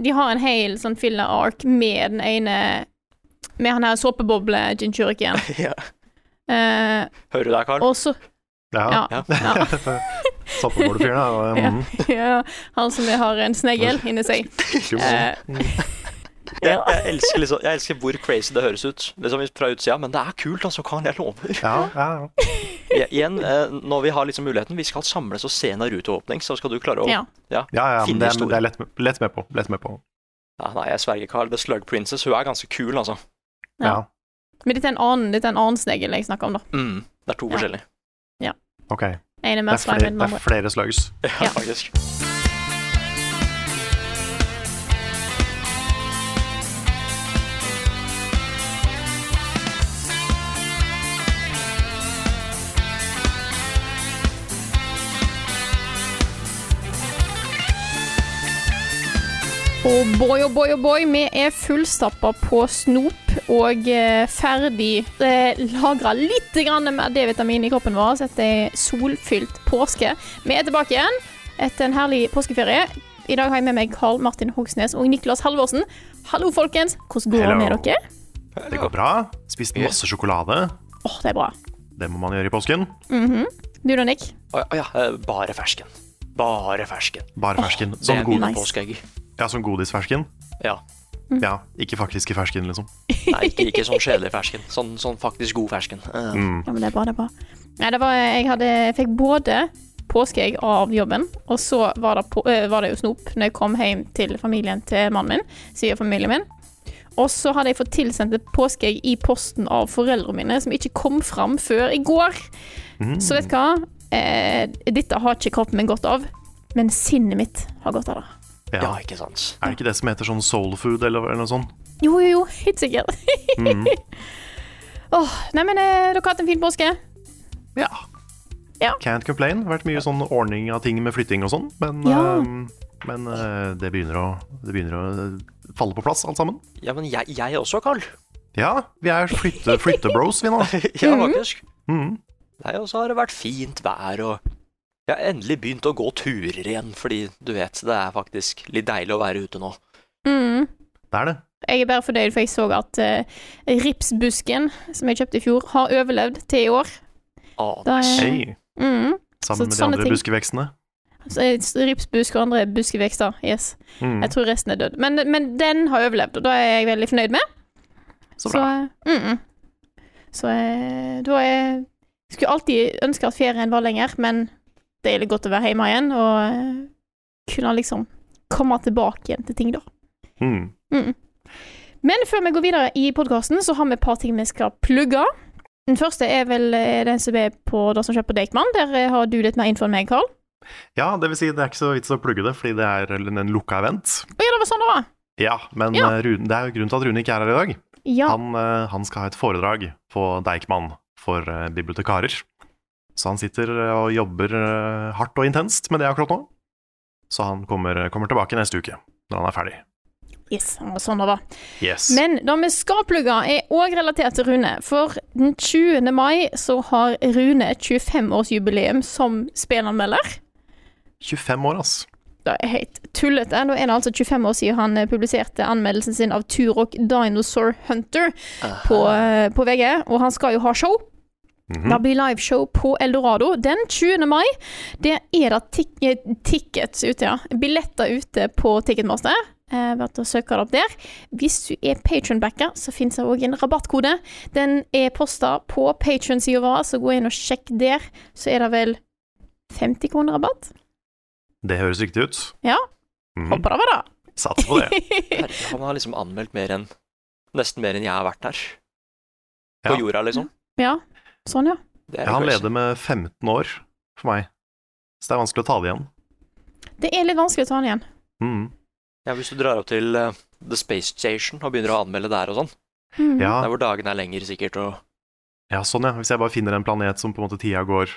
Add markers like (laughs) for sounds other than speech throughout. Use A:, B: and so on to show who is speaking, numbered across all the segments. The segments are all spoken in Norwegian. A: De har en hel sånn filler ark med den ene Med han her såpeboble-jinchurikien.
B: (laughs) Ja.
A: Eh,
B: Hører du deg, Karl?
A: og så Ja.
B: Ja.
A: ja. (laughs)
C: Soppebordfyren, da.
A: Ja.
C: (laughs) Mm.
A: ja. Han som har en snegl inni seg.
C: Tjo.
A: Eh,
B: Jeg, jeg, elsker liksom, jeg elsker hvor crazy det høres ut liksom fra utsida, men det er kult, altså, Karl. Jeg lover.
C: Ja, ja, ja.
B: I- Igjen, eh, når vi har liksom muligheten, vi skal samles og se Naruto-åpning, så skal du klare å
A: ja.
C: ja, ja men
B: Finne
C: det, er-
B: historie.
C: det er lett, med- lett med på. Lett med på.
B: Ja, Nei, jeg sverger, Carl. The Slug Princess, hun er ganske kul, altså.
A: Ja.
C: Ja,
A: Men dette er en annen, dette er en annen snegl jeg snakker om, da.
B: Mm. Det er to
A: Ja.
B: forskjellige.
C: ok. Det
A: En er
C: er
A: mer slime
C: flere,
A: enn den
C: det er
A: andre.
C: flere slugs.
B: Ja,
A: Ja.
B: faktisk.
A: Og boy, oh boy, oh boy, vi er fullstappa på snop og eh, ferdig eh, lagra litt grann mer D-vitamin i kroppen vår etter solfylt påske. Vi er tilbake igjen etter en herlig påskeferie. I dag har jeg med meg Karl Martin Hogsnes og Niklas Halvorsen. Hallo, folkens. Hvordan går det med
C: Hello.
A: dere?
C: Det går bra. Spist masse sjokolade.
A: Åh, det er bra.
C: Det må man gjøre i påsken.
A: Du da, Nick?
B: Å ja, eh, bare fersken. Bare fersken.
C: Bare fersken.
B: Det
C: Som,
B: er
C: god,
B: mine
A: nice. Mm.
B: påskeegg.
C: ja, som godisfersken.
B: Ja.
C: Ja, ikke faktiske fersken, liksom.
B: Nei, ikke, ikke sånn kjedelig fersken. Sånn, sånn faktisk god fersken. Eh,
C: Mm.
A: Ja, men det er bra, det er bra. Nei, det var, jeg, hadde, jeg fikk både påskeegg av jobben, og så var det, på, eh, var det jo snop når jeg kom hjem til familien til mannen min, svigerfamilien min. Og så hadde jeg fått tilsendt et påskeegg i posten av foreldrene mine, som ikke kom fram før i går. Så vet du hva? Eh, dette har ikke kroppen min godt av, men sinnet mitt har godt av det.
B: Ja,
C: Ja.
B: ikke sant.
C: Er det ikke det som heter sånn soul food, eller, eller noe sånt?
A: Jo, jo, jo, helt sikkert. (laughs) Åh, nei, men eh, dere har hatt en fin påske.
C: Ja.
A: Ja.
C: Can't complain. Vært mye sånn ordning av ting med flytting og sånn, men,
A: Ja.
C: øhm, men øh, det, begynner å, det begynner å falle på plass, alt sammen.
B: Ja, men jeg, jeg også,
C: (laughs)
B: Carl.
C: Ja, vi er flytte, flyttebros, vi nå.
B: Ja, faktisk.
C: Mm.
B: Nei, og så har det vært fint vær, og jeg har endelig begynt å gå turer igjen, fordi du vet, det er faktisk litt deilig å være ute nå.
A: Mm.
C: Det er det.
A: Jeg er bare fornøyd, for jeg så at eh, ripsbusken som jeg kjøpte i fjor, har overlevd til i år.
B: Å,
A: Da er-
B: nice.
C: Hey,
A: Mm. Så
C: sammen med de
A: sånne
C: andre
A: ting.
C: buskevekstene.
A: Så, eh, Ripsbusk og andre buskevekster. Yes.
C: Mm.
A: Jeg tror resten er dødd. Men, men den har overlevd, og da er jeg veldig fornøyd med.
C: Så
A: Så,
C: bra.
A: eh, mm, mm. så eh, da er Jeg skulle alltid ønske at ferien var lenger, men det er litt godt å være hjemme igjen og eh, kunne liksom komme tilbake igjen til ting, da.
C: Mm.
A: Mm. Men før vi går videre i podkasten, så har vi et par ting vi skal plugge. Den første er vel eh, den som er på det som skjer på Deichman. Der eh, har du litt mer info enn meg, Karl.
C: Ja, det vil si, det er ikke så vits å plugge det, fordi det er en en lukka event.
A: Å ja, det var sånn det var!
C: Ja, men
A: Ja.
C: øh, Rune, det er jo grunnen til at Rune ikke er her i dag.
A: Ja.
C: Han, eh, han skal ha et foredrag på Deichman for eh, bibliotekarer. Så han sitter eh, og jobber eh, hardt og intenst med det akkurat nå. Så han kommer, eh, kommer tilbake neste uke, når han er ferdig.
A: Yes, det var sånn det var.
C: Yes.
A: Men det vi skal plugge, er òg relatert til Rune. For den 20. mai så har Rune et 25-årsjubileum som spillanmelder.
C: 25 år, ass.
A: Det er helt tullete. Da er det altså 25 år siden han eh, publiserte anmeldelsen sin av Turok Dinosaur Hunter på, eh, på VG, og han skal jo ha show.
C: Mhm.
A: Det blir liveshow på Eldorado den 20. mai. Det er det tik eh, tickets ute, ja. Billetter ute på Ticketmaster. Eh, Bare til å søke det opp der. Hvis du er patronbacker, så finnes det òg en rabattkode. Den er posta på patronsida vår, så gå inn og sjekk der. Så er det vel 50 kroner rabatt?
C: Det høres riktig ut.
A: Ja,
C: Mhm.
A: håper det var det.
C: Satser på det.
A: (laughs)
B: Herre, Han har liksom anmeldt mer enn Nesten mer enn jeg har vært her. På
C: Ja.
B: jorda, liksom.
A: Ja, sånn ja.
B: Det
C: Ja, han
B: crazy.
C: leder med 15 år for meg, så det er vanskelig å ta det igjen.
A: Det er litt vanskelig å ta den igjen.
C: Mhm.
B: Ja, hvis du drar opp til eh, The Space Station og begynner å anmelde der og sånn,
A: Mm.
C: Ja,
B: der hvor dagene er lenger sikkert og
C: ja, sånn ja. Hvis jeg bare finner en planet som på en måte tida går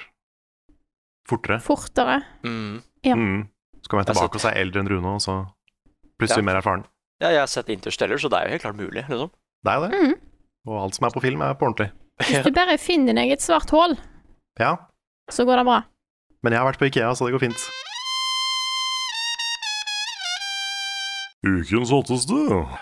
C: fortere,
A: Fortere.
B: mm.
A: Ja.
C: mm, så kommer jeg
B: Altså-
C: tilbake og så er jeg eldre enn Rune, og så plutselig
B: Ja.
C: mer erfaren.
B: Ja, jeg har sett Interstellar, så det er jo helt klart mulig, liksom.
C: Det er jo det.
A: Mm.
C: Og alt som er på film, er på ordentlig.
A: Hvis du bare finner deg et svart hull,
C: Ja.
A: så går det bra.
C: Men jeg har vært på Ikea, så det går fint. Ukens hotteste.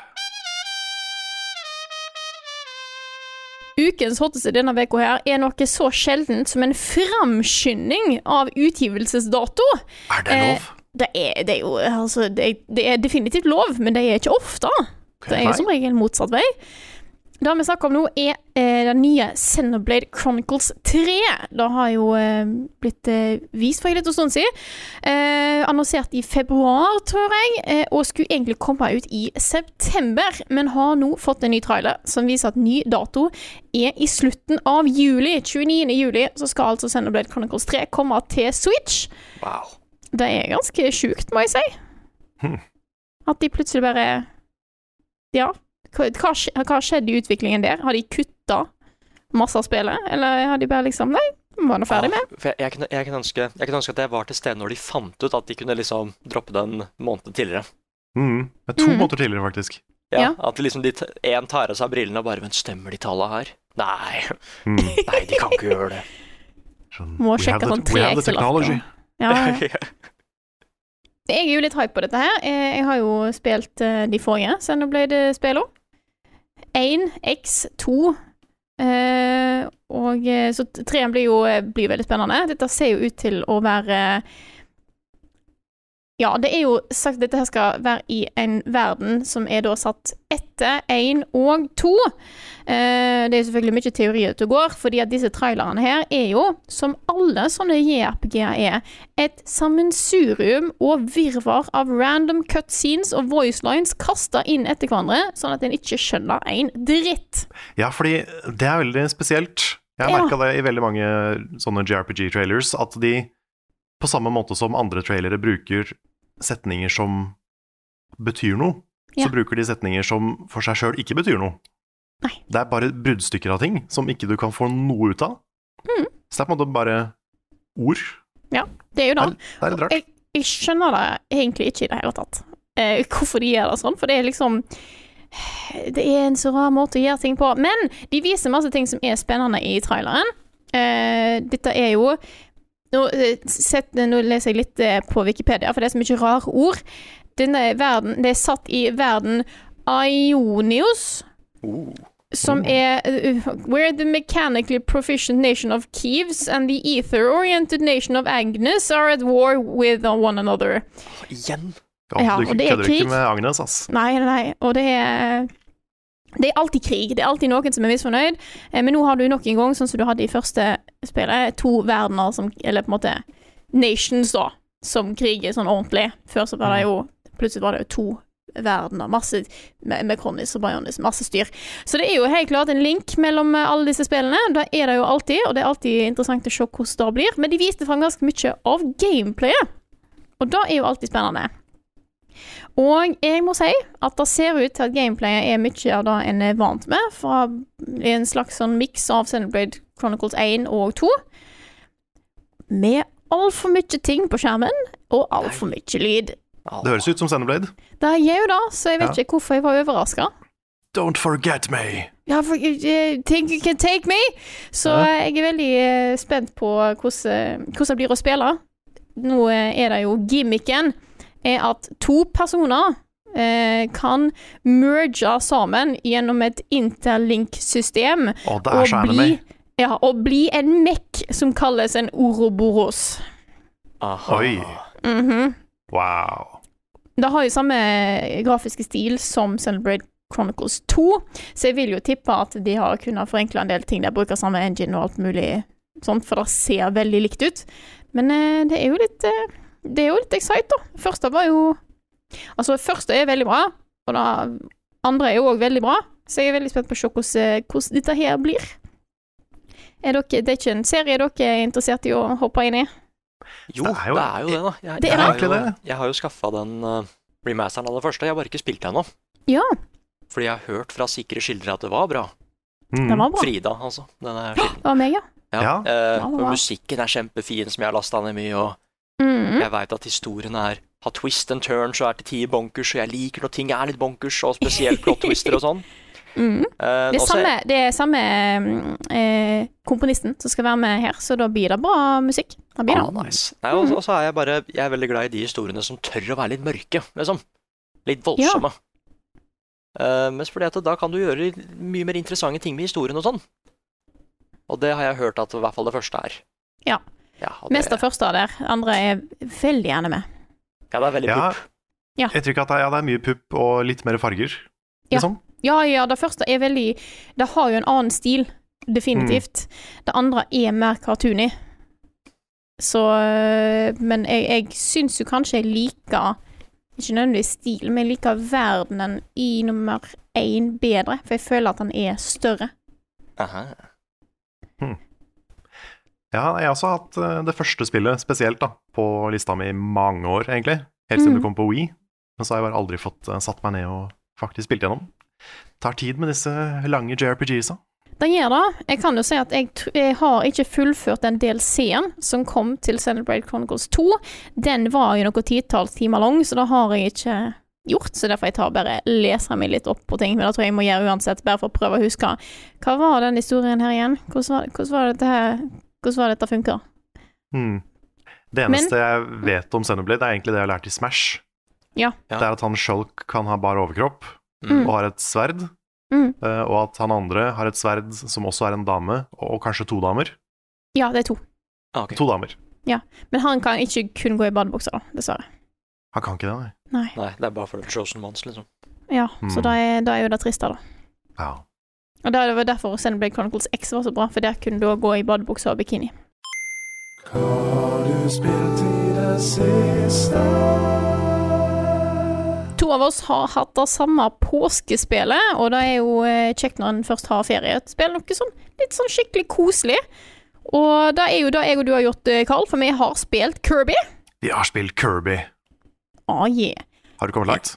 A: Ukens hotteste denne uka her er noe så sjeldent som en framskynding av utgivelsesdato.
C: Er det
A: Eh,
C: lov?
A: Det er, det er jo altså, det er, det er definitivt lov, men det er ikke ofte. Det er jo som regel motsatt vei. Det vi snakker om nå, er eh, den nye Xenoblade Chronicles 3. Det har jo eh, blitt eh, vist for en liten stund siden. Eh, annonsert i februar, tror jeg, eh, og skulle egentlig komme ut i september. Men har nå fått en ny trailer som viser at ny dato er i slutten av juli. 29. juli så skal altså Xenoblade Chronicles 3 komme til Switch.
B: Wow.
A: Det er ganske sjukt, må jeg si.
C: Hm.
A: At de plutselig bare Ja. Hva, hva, skje- hva skjedde i utviklingen der? Har de kutta masse av spillet? Eller har de bare liksom Nei, vi var nå ferdig med.
B: Ja, for jeg, jeg, kunne, jeg, kunne ønske, jeg kunne ønske at jeg var til stede når de fant ut at de kunne liksom droppe det en måned tidligere.
C: Mm. Det er to
A: Mm.
C: måneder tidligere, faktisk.
B: Ja,
A: Ja.
B: At liksom de t- en tar av seg brillene og bare Men stemmer de tallene her? Nei,
C: Mm.
B: (laughs) nei, de kan ikke gjøre
A: (laughs)
B: det.
C: Sånn,
A: Må
C: we
A: sjekke
C: have the-
A: sånn
C: we have the
A: tre
C: technology.
A: Ja,
B: (laughs)
A: ja. Jeg er jo litt hype på dette her. Eh, Jeg har jo spilt eh, de forrige Xenoblade-spillene. 1, X, 2 eh, Og eh, så t- treeren blir jo eh, blir veldig spennende. Dette ser jo ut til å være Ja, det er jo sagt at dette her skal være i en verden som er da satt etter 1 og 2. Eh, det er jo selvfølgelig mye teorier ute og går, fordi at disse trailerne her er jo, som alle sånne JRPG-er er, et sammensurium og virvar av random cutscenes og voicelines kasta inn etter hverandre, sånn at en ikke skjønner en dritt.
C: Ja, fordi det er veldig spesielt. Jeg har
A: Ja.
C: merka det i veldig mange sånne JRPG-trailers, at de på samme måte som andre trailere bruker setninger som betyr noe,
A: Ja.
C: så bruker de setninger som for seg sjøl ikke betyr noe.
A: Nei.
C: Det er bare bruddstykker av ting som ikke du kan få noe ut av.
A: Mhm.
C: Så det er på en måte bare ord.
A: Det er jo det.
C: Det er litt rart.
A: Jeg, jeg skjønner det egentlig ikke i det hele tatt. Eh, hvorfor de gjør det sånn, for det er liksom Det er en så rar måte å gjøre ting på. Men de viser masse ting som er spennende i traileren. Eh, dette er jo nå, eh, sett, nå leser jeg litt eh, på Wikipedia, for det er så mye rare ord. Denne verden, det er satt i verden Ionios. Som er uh, Where the mechanically proficient nation of Kieves and the ether-oriented nation of Agnes are at war with one another.
B: Igjen.
C: Ja,
A: ja,
C: du
A: og det er
C: kødder
A: krig.
C: ikke med Agnes, ass.
A: Nei, nei, nei. Og det er Det er alltid krig. Det er alltid noen som er misfornøyd. Eh, Men nå har du nok en gang, sånn som du hadde i første spillet, to verdener som Eller på en måte nations, da, som kriger sånn ordentlig. Før så var det jo Plutselig var det jo to verdener. Masse med med Kronis og Bajonis, masse styr. Så det er jo helt klart en link mellom eh, alle disse spillene. Det er det jo alltid, og det er alltid interessant å se hvordan det blir. Men de viste fram ganske mye av gameplayet, og det er jo alltid spennende. Og jeg må si at det ser ut til at gameplayet er mye av det en er vant med, fra en slags sånn miks av Xenoblade Chronicles 1 og 2, med altfor mye ting på skjermen, og altfor mye lyd.
B: Ja.
C: Det høres ut som Xenoblade.
A: Det gjør jo det, så jeg vet ikke hvorfor jeg var overraska.
C: Don't forget me!
A: Ja, for eh, Think you can take me! Så
C: Ja.
A: eh, jeg er veldig eh, spent på hvordan, eh, hvordan det blir å spille. Nå eh, er det jo gimmicken er at to personer eh, kan merge sammen gjennom et interlink-system
C: Å, det er så anime.
A: bli, ja, og bli en mekk som kalles en oroboros.
B: Aha.
C: Oi.
A: Mhm.
C: Wow.
A: Det har jo samme grafiske stil som Celebrate Chronicles 2, så jeg vil jo tippe at de har kunnet forenkle en del ting der, bruker samme engine og alt mulig sånt, for det ser veldig likt ut. Men eh, det er jo litt eh, Det er jo litt excite, da. Første var jo Altså, første er veldig bra, og det andre er jo òg veldig bra, så jeg er veldig spent på å se hvordan, eh, hvordan dette her blir. Er dere, det er ikke en serie dere er interessert i å hoppe inn i?
B: Jo,
C: Det er jo-
B: det er jo det, da. Jeg,
A: Det er
B: jeg, har
C: egentlig
B: jo,
C: det.
B: jeg har jo skaffa den eh, remasteren av det første. Jeg har bare ikke spilt det ennå.
A: Ja,
B: Fordi jeg har hørt fra sikre skildre at det var bra.
C: Mm.
A: den var bra.
B: Frida, altså. Den er skilden.
A: Det var meg, ja.
B: Ja.
C: Ja.
B: Eh,
A: Ja,
B: og
A: wow.
B: musikken er kjempefin, som jeg har lasta ned mye. og
A: Mhm.
B: Jeg veit at historien er har twist and turn, så er til tider bonkers, og jeg liker når ting er litt bonkers, og spesielt plot twister og sånn.
A: Mhm.
B: Eh,
A: Det er
B: også-
A: samme, det er samme mm, eh, komponisten som skal være med her, så da blir det bra musikk. Da blir det.
B: Ah, nice. Nei, og, så- og så er jeg bare Jeg er veldig glad i de historiene som tør å være litt mørke, liksom. Litt voldsomme. Eh, mens fordi at da kan du gjøre mye mer interessante ting med historien og sånn. Og det har jeg hørt at i hvert fall det første er.
A: Ja.
B: Ja, og
A: Mest
B: det,
A: av første av der, andre er veldig gjerne med.
B: ja, det er veldig
C: Ja.
B: pupp.
C: Jeg tror ikke at det, ja, det er mye pupp og litt mer farger,
A: Ja.
C: liksom.
A: Ja, ja, det første er veldig Det har jo en annen stil, definitivt.
B: Mm.
A: Det andre er mer cartoony. Så øh, Men jeg, jeg syns jo kanskje jeg liker Ikke nødvendigvis stil, men jeg liker verdenen i nummer én bedre, for jeg føler at han er større.
B: Aha.
C: Ja, jeg har også hatt eh, det første spillet spesielt da, på lista mi i mange år, egentlig. Helt
A: Mm.
C: siden det kom på Wii. Men så har jeg bare aldri fått eh, satt meg ned og faktisk spilt gjennom. Tar tid med disse lange JRPGs-a.
A: Den gjør det. Jeg kan jo si at jeg, tr- jeg har ikke fullført den DLC-en som kom til Celebrate Chronicles 2. Den var jo noen titalls timer lang, så det har jeg ikke gjort. Så derfor jeg tar bare leser meg litt opp på ting, men det tror jeg jeg må gjøre uansett, bare for å prøve å huske. Hva var den historien her igjen? Hvordan var, hvordan var, dette, her? Hvordan var det dette funker?
C: Hmm. Det
A: Men-
C: eneste jeg vet om Xenoblade, er egentlig det jeg har lært i Smash.
A: Ja.
B: Ja.
C: Det er at han Shulk kan ha bar overkropp
B: Mm.
C: og har et sverd.
A: Mm.
C: eh, Og at han andre har et sverd som også er en dame, og kanskje to damer.
A: Ja, det er to.
B: Ah, ok.
C: To damer.
A: Men han kan ikke kun gå i badebukser, da, dessverre.
C: Han kan ikke det, nei.
A: Nei.
B: Nei, det er bare for the chosen ones, liksom.
A: Ja, så
C: Mm.
A: da er, da er jo det trist, da.
C: Ja.
A: Og da- det var derfor Xenoblade Chronicles X var så bra, for der kunne du også gå i badebukser og bikini. To av oss har hatt det samme påskespillet, og det er jo eh, kjekt når en først har ferie. Et Spill noe sånn litt sånn skikkelig koselig. Og det er jo det jeg og du har gjort, eh, Carl, for vi har spilt Kirby.
C: Vi har spilt Kirby.
A: Ah, yeah.
C: Har du kommet langt?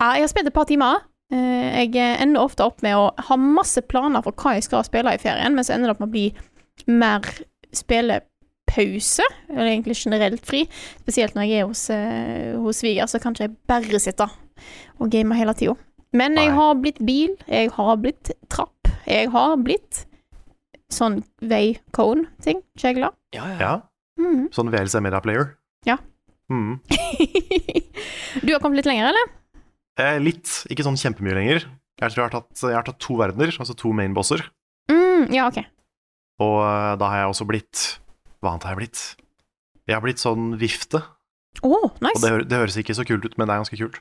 A: Ja, jeg har spilt et par timer. Eh, Jeg ender ofte opp med å ha masse planer for hva jeg skal spille i ferien, men så ender det opp med å bli mer spillepause, eller egentlig generelt fri. Spesielt når jeg er hos, eh, hos sviger, så kan ikke jeg bare sitte og game hele tida. Men jeg
C: Nei.
A: har blitt bil, jeg har blitt trapp, jeg har blitt sånn vei-cone-ting. Kjegler.
B: Ja, ja.
C: Ja.
A: Mhm.
C: Sånn VLC Media Player?
A: Ja.
C: Mm.
A: (laughs) du har kommet litt lenger, eller?
C: Eh, litt. Ikke sånn kjempemye lenger. Jeg tror jeg har tatt, jeg har tatt to verdener, altså to mainbosser.
A: Mm, ja, OK.
C: Og eh, da har jeg også blitt Hva annet har jeg blitt? Jeg har blitt sånn vifte,
A: Å,
C: og
A: nice.
C: det, hø- det høres ikke så kult ut, men det er ganske kult.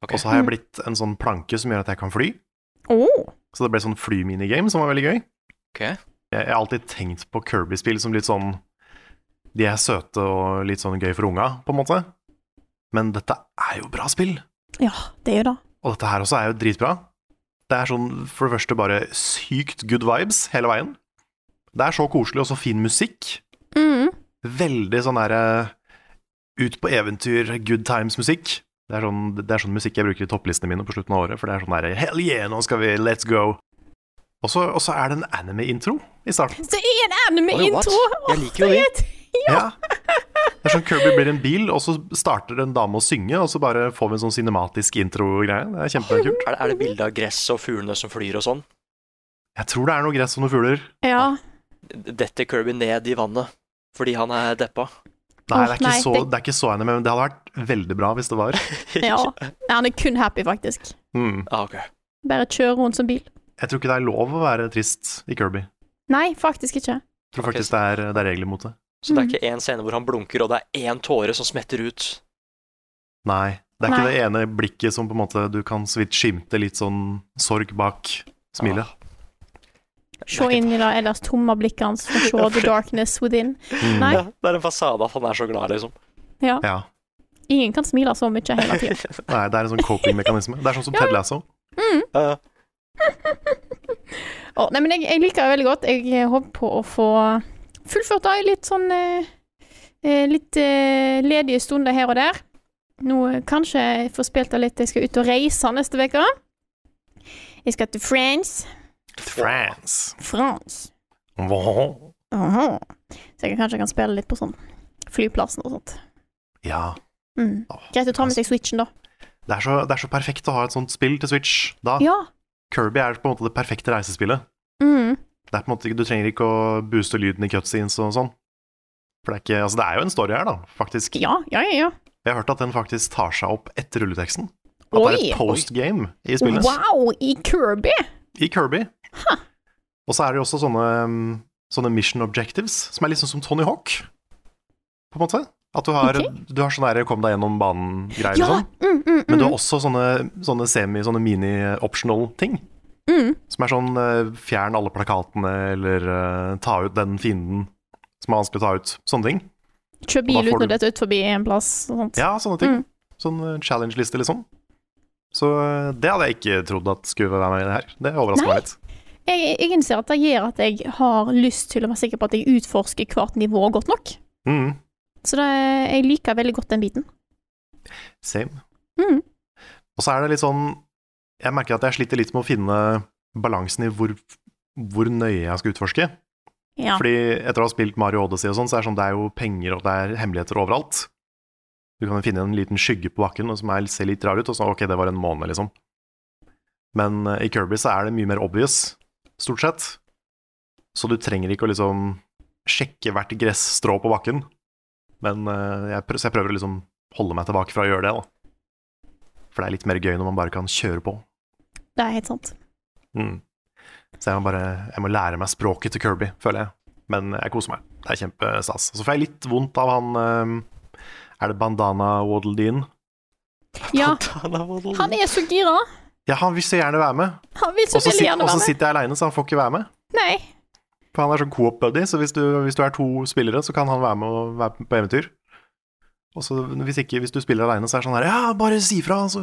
B: Ok.
C: Og så har jeg
A: Mm.
C: blitt en sånn planke som gjør at jeg kan fly.
A: Å.
C: Så det ble sånn flyminigame, som var veldig gøy.
B: Ok.
C: Jeg, jeg har alltid tenkt på Kirby-spill som litt sånn De er søte og litt sånn gøy for unga, på en måte. Men dette er jo bra spill.
A: Ja, det er jo det.
C: Og dette her også er jo dritbra. Det er sånn, for det første, bare sykt good vibes hele veien. Det er så koselig og så fin musikk.
A: Mm.
C: Veldig sånn derre ut på eventyr, good times-musikk. Det, er sånn, det er sånn musikk jeg bruker i topplistene mine på slutten av året, for det er sånn derre Hell yeah, nå skal vi, let's go. Og så og så er det en anime-intro i starten.
A: Det er en anime-intro!
B: Oi, what? Jeg liker jo
A: Åh,
B: det.
A: det er- Ja.
C: Ja. Det er sånn Kirby blir en bil, og så starter en dame å synge, og så bare får vi en sånn cinematisk intro-greie. Det er kjempekult.
A: (laughs)
B: Er, det- er det bilde av gress og fuglene som flyr og sånn?
C: Jeg tror det er noe gress og noen fugler.
A: ja.
B: Detter Kirby ned i vannet fordi han er deppa?
C: Nei,
A: Åh,
C: det, er ikke
A: nei,
C: så,
A: det-
C: det er ikke så anime, men det hadde vært veldig bra hvis det
A: (laughs)
C: var.
B: (laughs)
A: ja. Nei, Han er kun happy, faktisk.
C: Mm.
B: Ah, ok.
A: Bare kjører rundt som bil.
C: Jeg tror ikke det er lov å være trist i Kirby.
A: Nei, faktisk ikke.
C: Jeg tror
B: Ok,
C: faktisk det er, det er regler mot det.
B: Så det
A: Mm.
B: er ikke én scene hvor han blunker, og det er én tåre som smetter ut?
C: Nei. Det er ikke
A: Nei.
C: det ene blikket som på en måte du kan så vidt skimte litt sånn sorg bak smilet.
A: Se inn i det ellers tomme blikket hans for
B: (laughs)
A: å se the darkness within.
C: Mm.
A: Nei.
B: Ja, det er en fasade at han er så glad, liksom.
A: Ja.
C: Ja.
A: Ingen kan smile så mye hele tida.
C: Nei, det er en sånn coping-mekanisme. Det er sånn som
A: Ja,
C: Ted
A: ja.
C: Lasso.
B: (laughs) Ja,
A: Å, nei, men jeg, jeg liker det veldig godt. Jeg eh, håper på å få fullført det i litt sånn eh, eh, Litt eh, ledige stunder her og der. Nå eh, kanskje jeg får spilt av litt. Jeg skal ut og reise neste uke. Jeg skal til France.
C: France.
A: France.
C: Wow.
A: Aha. Så jeg kanskje kan spille litt på sånn flyplassen og sånt.
C: Ja.
A: Mm.
C: Åh,
A: Greit å ta med seg Switchen, da.
C: Det er, så, det er så perfekt å ha et sånt spill til Switch. Da,
A: Ja.
C: Kirby er på en måte det perfekte reisespillet.
A: Mm.
C: Det er på en måte, ikke- du trenger ikke å booste lyden i cutscenes og sånn. For det er, ikke, altså det er jo en story her, da, faktisk.
A: ja. Ja, ja, ja.
C: Jeg har hørt at den faktisk tar seg opp etter rulleteksten. At det er
A: Oi.
C: et postgame i spillet.
A: Wow, i Kirby!
C: I Kirby. Og så er det jo også sånne, um, sånne mission objectives, som er liksom som Tony Hawk, på en måte. At du har, du har sånn der kom deg gjennom banen-greier og
A: Ja!
C: sånn.
A: Mm, mm, mm.
C: Men du har også sånne, sånne semi, sånne mini-optional ting.
A: Mm.
C: Som er sånn eh, fjern alle plakatene, eller eh, ta ut den fienden som er vanskelig å ta ut. Sånne ting.
A: Kjør
C: Og da
A: bil
C: får
A: uten å
C: du-
A: dette ut forbi en plass og sånt.
C: Ja, sånne ting.
A: Mm.
C: Sånn eh, challenge-liste, liksom. Så eh, det hadde jeg ikke trodd at skulle være med i det her. Det overrasker
A: Nei.
C: meg litt.
A: Jeg, jeg innser at det gjør at jeg har lyst til å være sikker på at jeg utforsker hvert nivå godt nok.
C: Mm.
A: Så det, jeg liker veldig godt den biten.
C: Same.
A: Mm.
C: Og så er det litt sånn Jeg merker at jeg sliter litt med å finne balansen i hvor, hvor nøye jeg skal utforske.
A: Ja.
C: Fordi etter å ha spilt Mario Odyssey og sånn, så er det sånn det er jo penger og det er hemmeligheter overalt. Du kan jo finne en liten skygge på bakken og som er, ser litt rar ut, og så ok, det var en måned, liksom. Men eh, i Kirby så er det mye mer obvious, stort sett. Så du trenger ikke å liksom sjekke hvert gressstrå på bakken. Men eh, jeg prøver, så jeg prøver å liksom holde meg tilbake fra å gjøre det, da. For det er litt mer gøy når man bare kan kjøre på.
A: Det er helt sant.
C: Mm. Så jeg må bare jeg må lære meg språket til Kirby, føler jeg. Men jeg koser meg. Det er kjempestas. Og Så får jeg litt vondt av han eh, Er det Bandana Waddledeen?
A: Ja,
B: Han
A: han er så gira!
C: Ja, han vil så gjerne være med.
A: Han vil så
C: Og så
A: veldig
C: sit-
A: gjerne
C: og så
A: være med.
C: sitter jeg aleine, så han får ikke være med.
A: Nei.
C: For han er sånn coop-buddy, så hvis du, hvis du er to spillere, så kan han være med og være på eventyr. Og så hvis, ikke, hvis du spiller aleine, så er det sånn her Ja, bare si fra, så,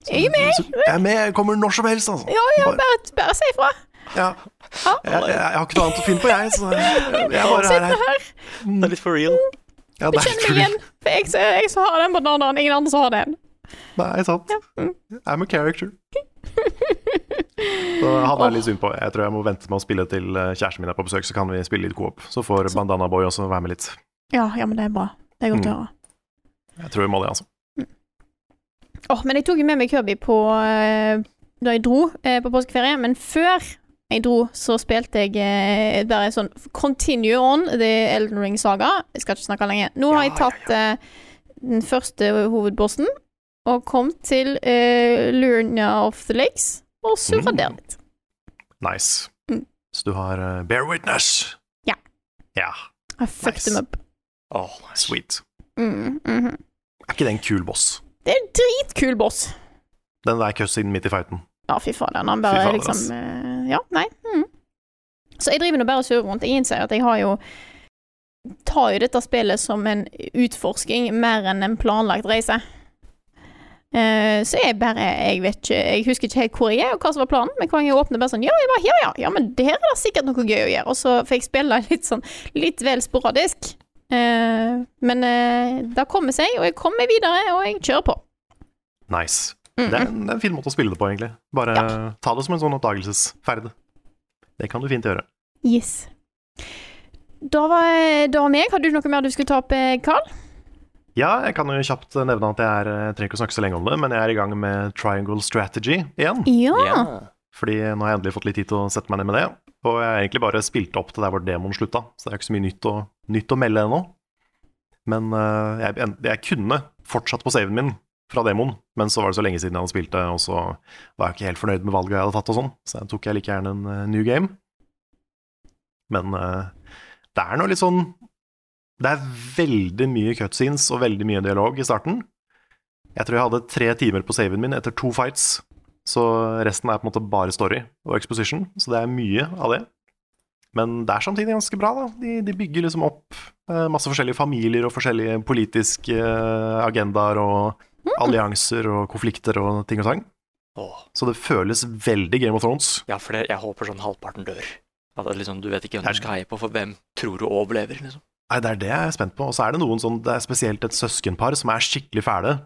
C: så
A: Jeg er med!
C: Så, jeg er med! Jeg kommer når som helst, altså.
A: Ja, ja,
C: Bare-
A: bare, bare si ifra.
C: ja. Jeg, jeg, jeg har ikke noe annet å finne på, jeg,
A: (laughs)
C: så jeg, jeg bare er her.
A: Sitter her.
B: Det er litt for real.
C: Ja,
A: Jeg
C: det er
A: kjenner
C: ikke-
A: meg igjen. For jeg, jeg som har den bananen, ingen andre som har den.
C: Nei, sant.
A: Mm.
C: I'm a character. Så han er litt synd på. Jeg tror jeg må vente med å spille til eh, kjæresten min er på besøk, så kan vi spille litt coop. Så får Bandana Boy også være med litt.
A: Ja, ja, men det er bra. Det
C: Mm.
A: er godt å høre.
C: Jeg tror vi må det, altså.
A: Åh, men jeg tok jo med meg Kirby på, eh, da jeg dro eh, på påskeferie, men før jeg dro, så spilte jeg eh, bare sånn Continue on the Elden Ring Saga. Jeg skal ikke snakke lenge. Nå har jeg tatt eh, den første hovedbossen og kom til eh, Lurna of the Lakes og surra
C: Mm.
A: der litt.
C: Nice.
A: Mm.
C: Så du har eh, Bear Witness.
A: Ja.
C: Ja,
A: I fucked
C: Nice.
A: them up.
B: Åh, nice.
C: Sweet.
A: Mm, mhm.
C: Er ikke det en kul boss?
A: Det er en dritkul boss.
C: Den der cutscenen midt i fighten.
A: Ja, fy fader. Han
C: Fy
A: bare
C: fader, ass.
A: liksom eh, Ja, nei. Mm. Så jeg driver nå bare og surrer rundt. Jeg innser at jeg har jo Tar jo dette spillet som en utforsking mer enn en planlagt reise. Eh, så jeg bare Jeg vet ikke Jeg husker ikke helt hvor jeg er, og hva som var planen, men hver gang jeg åpner, bare sånn Ja, jeg bare, ja, ja, ja, men det her er da sikkert noe gøy å gjøre. Og så får jeg spille (laughs) litt sånn litt vel sporadisk. Eh, men eh, det kommer seg, og jeg kommer videre, og jeg kjører på.
C: Nice.
A: Mm,
C: Det er,
A: mm.
C: en, det er en fin måte å spille det på, egentlig. Bare ta det som en sånn oppdagelsesferd. Det kan du fint gjøre.
A: Yes. Da var, da var meg. Hadde du noe mer du skulle ta opp, eh, Carl?
C: Ja, jeg kan jo kjapt nevne at jeg er, jeg trenger ikke å snakke så lenge om det, men jeg er i gang med Triangle Strategy igjen.
A: Ja.
B: Ja.
C: Fordi nå har jeg endelig fått litt tid til å sette meg ned med det. Og jeg har egentlig bare spilt opp til der hvor demoen slutta, så det er ikke så mye nytt å, nytt å melde ennå. Men eh, jeg, jeg kunne fortsatt på saven min fra demoen, men så var det så lenge siden jeg hadde spilt det, og så var jeg ikke helt fornøyd med valget jeg hadde tatt og sånn, så jeg tok jeg like gjerne en eh, new game. Men eh, det er nå litt sånn Det er veldig mye cutscenes og veldig mye dialog i starten. Jeg tror jeg hadde tre timer på saven min etter to fights, så resten er på en måte bare story og exposition, så det er mye av det. Men det er samtidig ganske bra, da. De, de bygger liksom opp eh, masse forskjellige familier og forskjellige politiske eh, agendaer og allianser og konflikter og ting og tang.
B: Åh.
C: Så det føles veldig Game of Thrones.
B: Ja, for det, jeg håper sånn halvparten dør. At det, liksom, du vet ikke hvem du skal heie på, for hvem tror du overlever, liksom.
C: Nei, det er det jeg er spent på. Og så er det noen sånn, det er spesielt et søskenpar som er skikkelig fæle,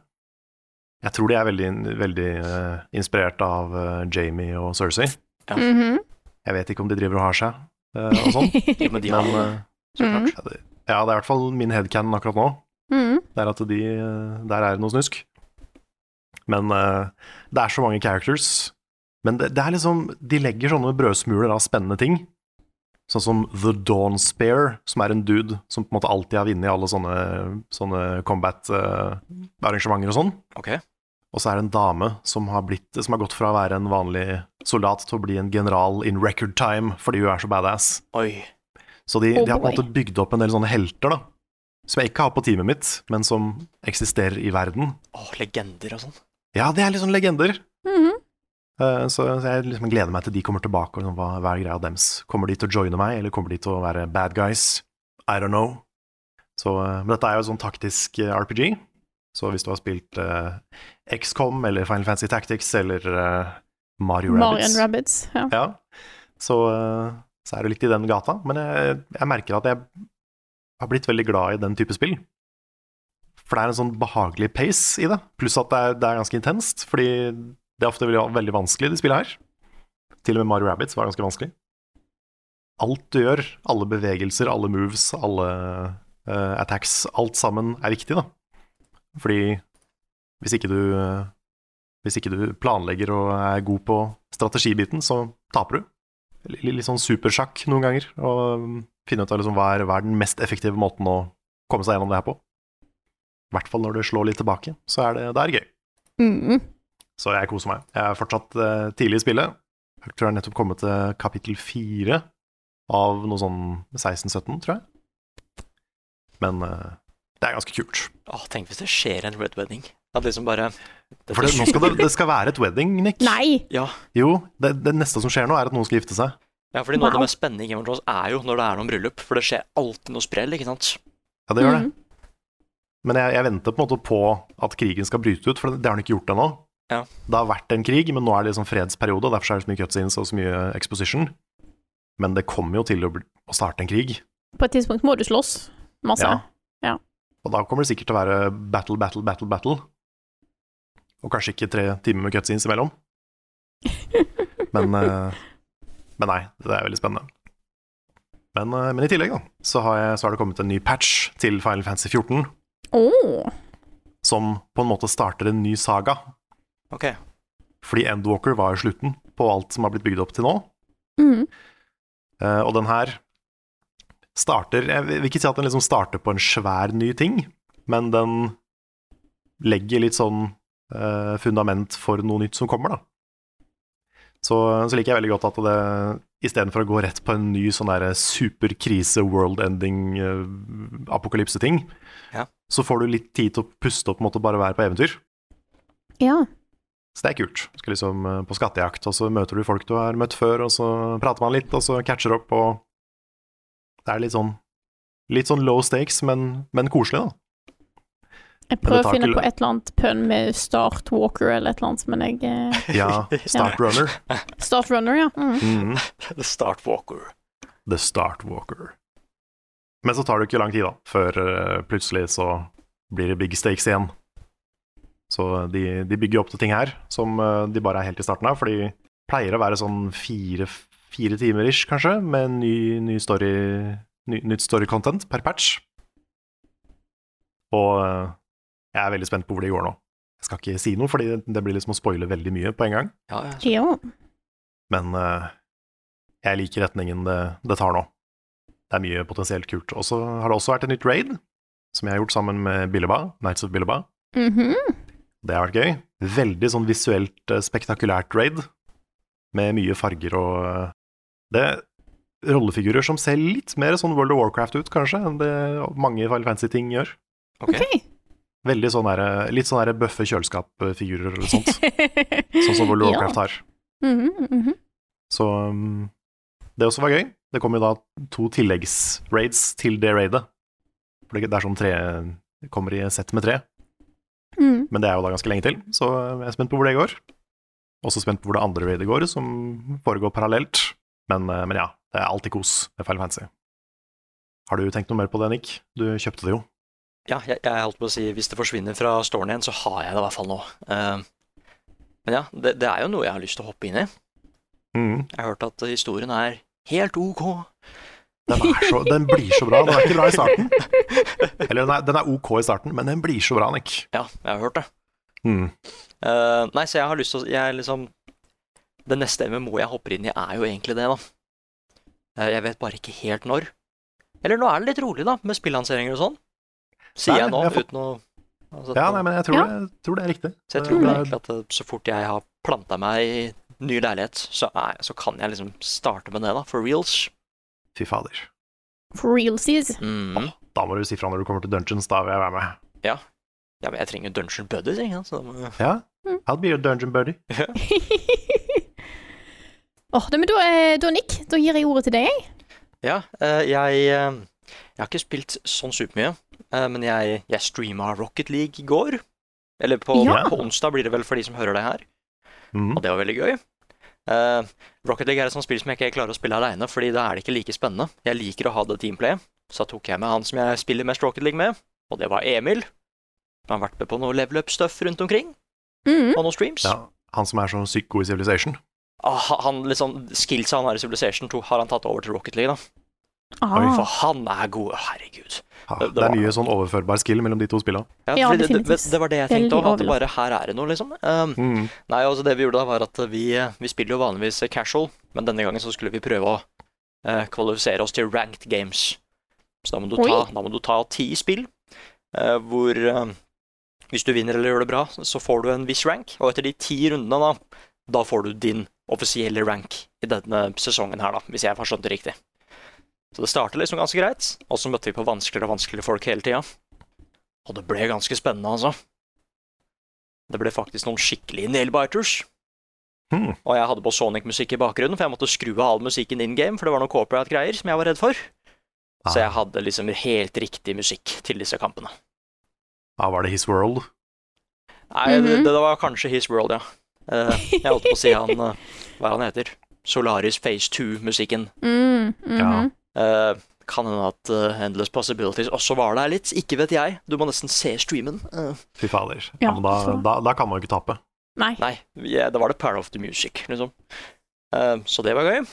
C: Jeg tror de er veldig, veldig eh, inspirert av eh, Jamie og Cersei.
A: Mhm.
C: Jeg vet ikke om de driver og har seg eh, og sånn.
B: Jo, men de har
C: Men,
B: det.
C: eh,
B: Så
A: Mhm.
B: klart.
C: ja, det ja, det er i hvert fall min headcanon akkurat nå.
A: Mhm.
C: Det er at de eh, Der er det noe snusk. Men eh, det er så mange characters. Men det, det er liksom De legger sånne brødsmuler av spennende ting. Sånn som The Dawn Spear, som er en dude som på en måte alltid har vunnet alle sånne, sånne combat-arrangementer og sånn.
B: Ok.
C: Og så er det en dame som har, blitt, som har gått fra å være en vanlig soldat til å bli en general in record time fordi hun er så badass.
B: Oi.
C: Så de,
A: Oh
C: de har på en
A: boy.
C: måte bygd opp en del sånne helter, da. Som jeg ikke har på teamet mitt, men som eksisterer i verden.
B: Å, legender og sånn.
C: Ja, det er litt sånn legender.
A: Mhm.
C: Eh, Så så jeg liksom gleder meg til de kommer tilbake, og liksom, hva, hva er greia dems? Kommer de til å joine meg, eller kommer de til å være bad guys? I don't know. Så, eh, men dette er jo et sånn taktisk eh, RPG, så hvis du har spilt eh, XCOM eller Final Fantasy Tactics eller eh, Mario
A: Mario
C: Rabbids
A: and Rabbits. Ja.
C: ja. Så, eh, så er det litt i den gata. Men jeg, jeg merker at jeg har blitt veldig glad i den type spill. For det er en sånn behagelig pace i det. Pluss at det er, det er ganske intenst, fordi det er ofte veldig, veldig vanskelig, de spillene her. Til og med Mario Rabbits var ganske vanskelig. Alt du gjør, alle bevegelser, alle moves, alle eh, attacks, alt sammen er viktig, da. Fordi hvis ikke du eh, hvis ikke du planlegger og er god på strategibiten, så taper du. Litt, litt sånn supersjakk noen ganger. Og um, finne ut av liksom hva, er, hva er den mest effektive måten å komme seg gjennom det her på. I hvert fall når det slår litt tilbake, så er det, det er gøy.
A: Mhm.
C: Så jeg koser meg. Jeg er fortsatt eh, tidlig i spillet. Jeg tror jeg er nettopp kommet til kapittel fire av noe sånn 16-17, tror jeg. Men eh, det er ganske kult.
B: Å, tenk hvis det skjer en Red Wedding. At liksom bare Dette
C: For det, nå skal det, det skal være et wedding, Nick.
A: Nei!
B: Ja.
C: Jo, det, det neste som skjer nå, er at noen skal gifte seg.
B: ja, fordi noe av
A: Wow.
B: det mest spennende i Game of Thrones er jo når det er noen bryllup. For det skjer alltid noe sprell, ikke sant?
C: Ja, det gjør
A: Mhm.
C: det. Men jeg, jeg venter på en måte på at krigen skal bryte ut, for det, det har den ikke gjort ennå.
B: Ja.
C: Det har vært en krig, men nå er det liksom fredsperiode, og derfor er det så mye cutscenes og så mye exposition. Men det kommer jo til å, bli, å starte en krig.
A: På et tidspunkt må du slåss. Masse.
C: Ja.
A: Altså, Ja.
C: Og da kommer det sikkert til å være battle, battle, battle, battle. Og kanskje ikke tre timer med cutscenes imellom. Men, eh, men nei, det er veldig spennende. Men, eh, men i tillegg da, så har, jeg, så har det kommet en ny patch til Final Fantasy 14,
A: Åh.
C: som på en måte starter en ny saga.
B: Ok.
C: Fordi Endwalker var jo slutten på alt som har blitt bygd opp til nå.
A: Mhm.
C: Eh, og den her starter Jeg vil ikke si at den liksom starter på en svær ny ting, men den legger litt sånn eh, fundament for noe nytt som kommer, da. Så, så liker jeg veldig godt at det istedenfor å gå rett på en ny sånn der superkrise, world-ending-apokalypse-ting,
B: Ja.
C: eh, så får du litt tid til å puste opp, på en måte bare være på eventyr.
A: ja.
C: Så det er kult. Du skal liksom eh, på skattejakt, og så møter du folk du har møtt før, og så prater man litt, og så catcher opp, og Det er litt sånn Litt sånn low stakes, men, men koselig, da.
A: Jeg
C: Men det
A: prøver
C: tar
A: å finne
C: ikke
A: på
C: lang-
A: et eller annet pønn med Start Walker eller et eller annet, men jeg eh,
C: Ja, Start Runner.
A: Start Runner, ja. Mhm.
C: Mhm.
B: (laughs) Start Walker.
C: The Start Walker. Men så tar det ikke lang tid, da, før eh, plutselig så blir det big stakes igjen. Så de, de bygger opp til ting her som eh, de bare er helt i starten av, for de pleier å være sånn fire, fire timer ish, kanskje, med ny, ny story, ny, nytt story-content per patch. Og eh, jeg er veldig spent på hvor det går nå. Jeg skal ikke si noe, fordi det, det blir liksom å spoile veldig mye på en gang.
B: Ja, ja.
A: Ja.
C: Men eh, jeg liker retningen det, det tar nå. Det er mye potensielt kult. Og så har det også vært et nytt raid, som jeg har gjort sammen med Billeba, Nights of Billeba.
A: Mhm.
C: Det har vært gøy. Veldig sånn visuelt eh, spektakulært raid, med mye farger og eh, Det er rollefigurer som ser litt mer sånn World of Warcraft ut, kanskje, enn det mange Final Fantasy-ting gjør.
B: Ok.
A: OK.
C: Veldig sånn der, Litt sånn der bøffe kjøleskap-figurer eller sånt,
A: (laughs)
C: sånn som World of
A: Ja.
C: Warcraft har.
A: Mhm, mhm.
C: Så um, det også var gøy. Det kom jo da to tilleggsraids til det raidet. For det det er sånn tre det kommer i sett med tre,
A: Mhm.
C: men det er jo da ganske lenge til, så uh, jeg er spent på hvor det går. Også spent på hvor det andre raidet går, som foregår parallelt. Men, eh, men ja, det er alltid kos med Final Fantasy. Har du tenkt noe mer på det, Nick? Du kjøpte det jo.
B: Ja, jeg, jeg holdt på å si hvis det forsvinner fra storen igjen, så har jeg det i hvert fall nå. Eh, men ja, det, det er jo noe jeg har lyst til å hoppe inn i.
C: Mm.
B: Jeg har hørt at historien er helt ok.
C: Den, er så, den blir så bra. Den er ikke bra i starten. Eller den er, den er ok i starten, men den blir så bra, Nick.
B: Ja, jeg har hørt det.
C: Mm.
B: Eh, nei, så jeg har lyst til å Jeg er liksom Det neste MMO jeg hopper inn i, er jo egentlig det, da. Eh, jeg vet bare ikke helt når. Eller nå er det litt rolig, da, med spillanseringer og sånn. Sier
C: Nei,
B: jeg nå,
C: jeg får-
B: uten å altså,
C: Ja, nei, men jeg tror,
A: Ja.
C: det, jeg tror det er riktig.
B: Så jeg tror
C: det
B: egentlig at eh, så fort jeg har planta meg i ny leilighet, så, er, så kan jeg liksom starte med det, da. For reals.
C: Fy fader.
A: For realsies.
B: Mm.
C: Da må du si fra når du kommer til dungeons, da vil jeg være med.
B: Ja, men jeg trenger jo dungeon buddies, ikke sant. Så da må-
C: Ja?
A: Mm.
C: I'll be your dungeon buddy.
A: Åh, (laughs) det, men da, eh, da, Nick, da gir jeg ordet til deg, jeg.
B: Ja, eh, jeg, eh, jeg har ikke spilt sånn supermye, eh, men jeg, jeg streama Rocket League i går. Eller på,
C: Ja.
B: på onsdag blir det vel for de som hører det her,
C: Mm.
B: og det var veldig gøy. Eh, Rocket League er et sånt spill som jeg ikke klarer å spille aleine, fordi da er det ikke like spennende. Jeg liker å ha det teamplayet, så da tok jeg med han som jeg spiller mest Rocket League med, og det var Emil. Han har vært med på noe level up-stuff rundt omkring,
A: Mm.
B: og noen streams.
C: Ja, han som er så sykt god i Civilization.
B: Ah, han liksom, Skillsa han har i Civilization 2, har han tatt over til Rocket League, da.
A: Ah.
B: For han er god, herregud.
C: Ja,
B: Det- det
C: det er
B: var-
C: mye sånn overførbar skill mellom de to spillene.
B: Ja,
A: Ja,
B: fordi det, det,
A: definitivt.
B: det var det jeg tenkte
A: Veldig
B: òg. At det
A: overlapp.
B: bare her er det noe, liksom. Um,
C: Mm.
B: nei, altså det vi gjorde da, var at vi, eh, vi spiller jo vanligvis casual, men denne gangen så skulle vi prøve å eh, kvalifisere oss til ranked games. Så da må du ta,
A: Oi.
B: da må du ta ti spill, eh, hvor eh, hvis du vinner eller gjør det bra, så får du en viss rank, og etter de ti rundene da, da får du din offisielle rank i denne sesongen her, da, hvis jeg har skjønt det riktig. Så det startet liksom ganske greit, og så møtte vi på vanskeligere og vanskeligere folk hele tida. Og det ble ganske spennende, altså. Det ble faktisk noen skikkelige nailbiters.
C: Hmm.
B: Og jeg hadde på Sonic-musikk i bakgrunnen, for jeg måtte skru av all musikken in game, for det var noen corporate-greier som jeg var redd for.
C: Ah,
B: Så jeg hadde liksom helt riktig musikk til disse kampene.
C: ah, var det His World?
B: Nei,
A: Mhm.
B: det, det var kanskje His World, ja. Eh, jeg holdt på å si
A: (laughs)
B: han eh, Hva er han heter? Solaris Phase 2-musikken.
A: Mm, mhm.
C: Ja.
B: Eh, kan hende at eh, Endless Possibilities også var der litt. Ikke vet jeg. Du må nesten se streamen. Eh,
C: Fy fader. Ja,
A: Ja,
C: men da,
A: så-
C: da, da kan man jo ikke tape.
A: Nei,
B: nei, jeg- da var det Power of the Music, liksom. Eh, så det var gøy.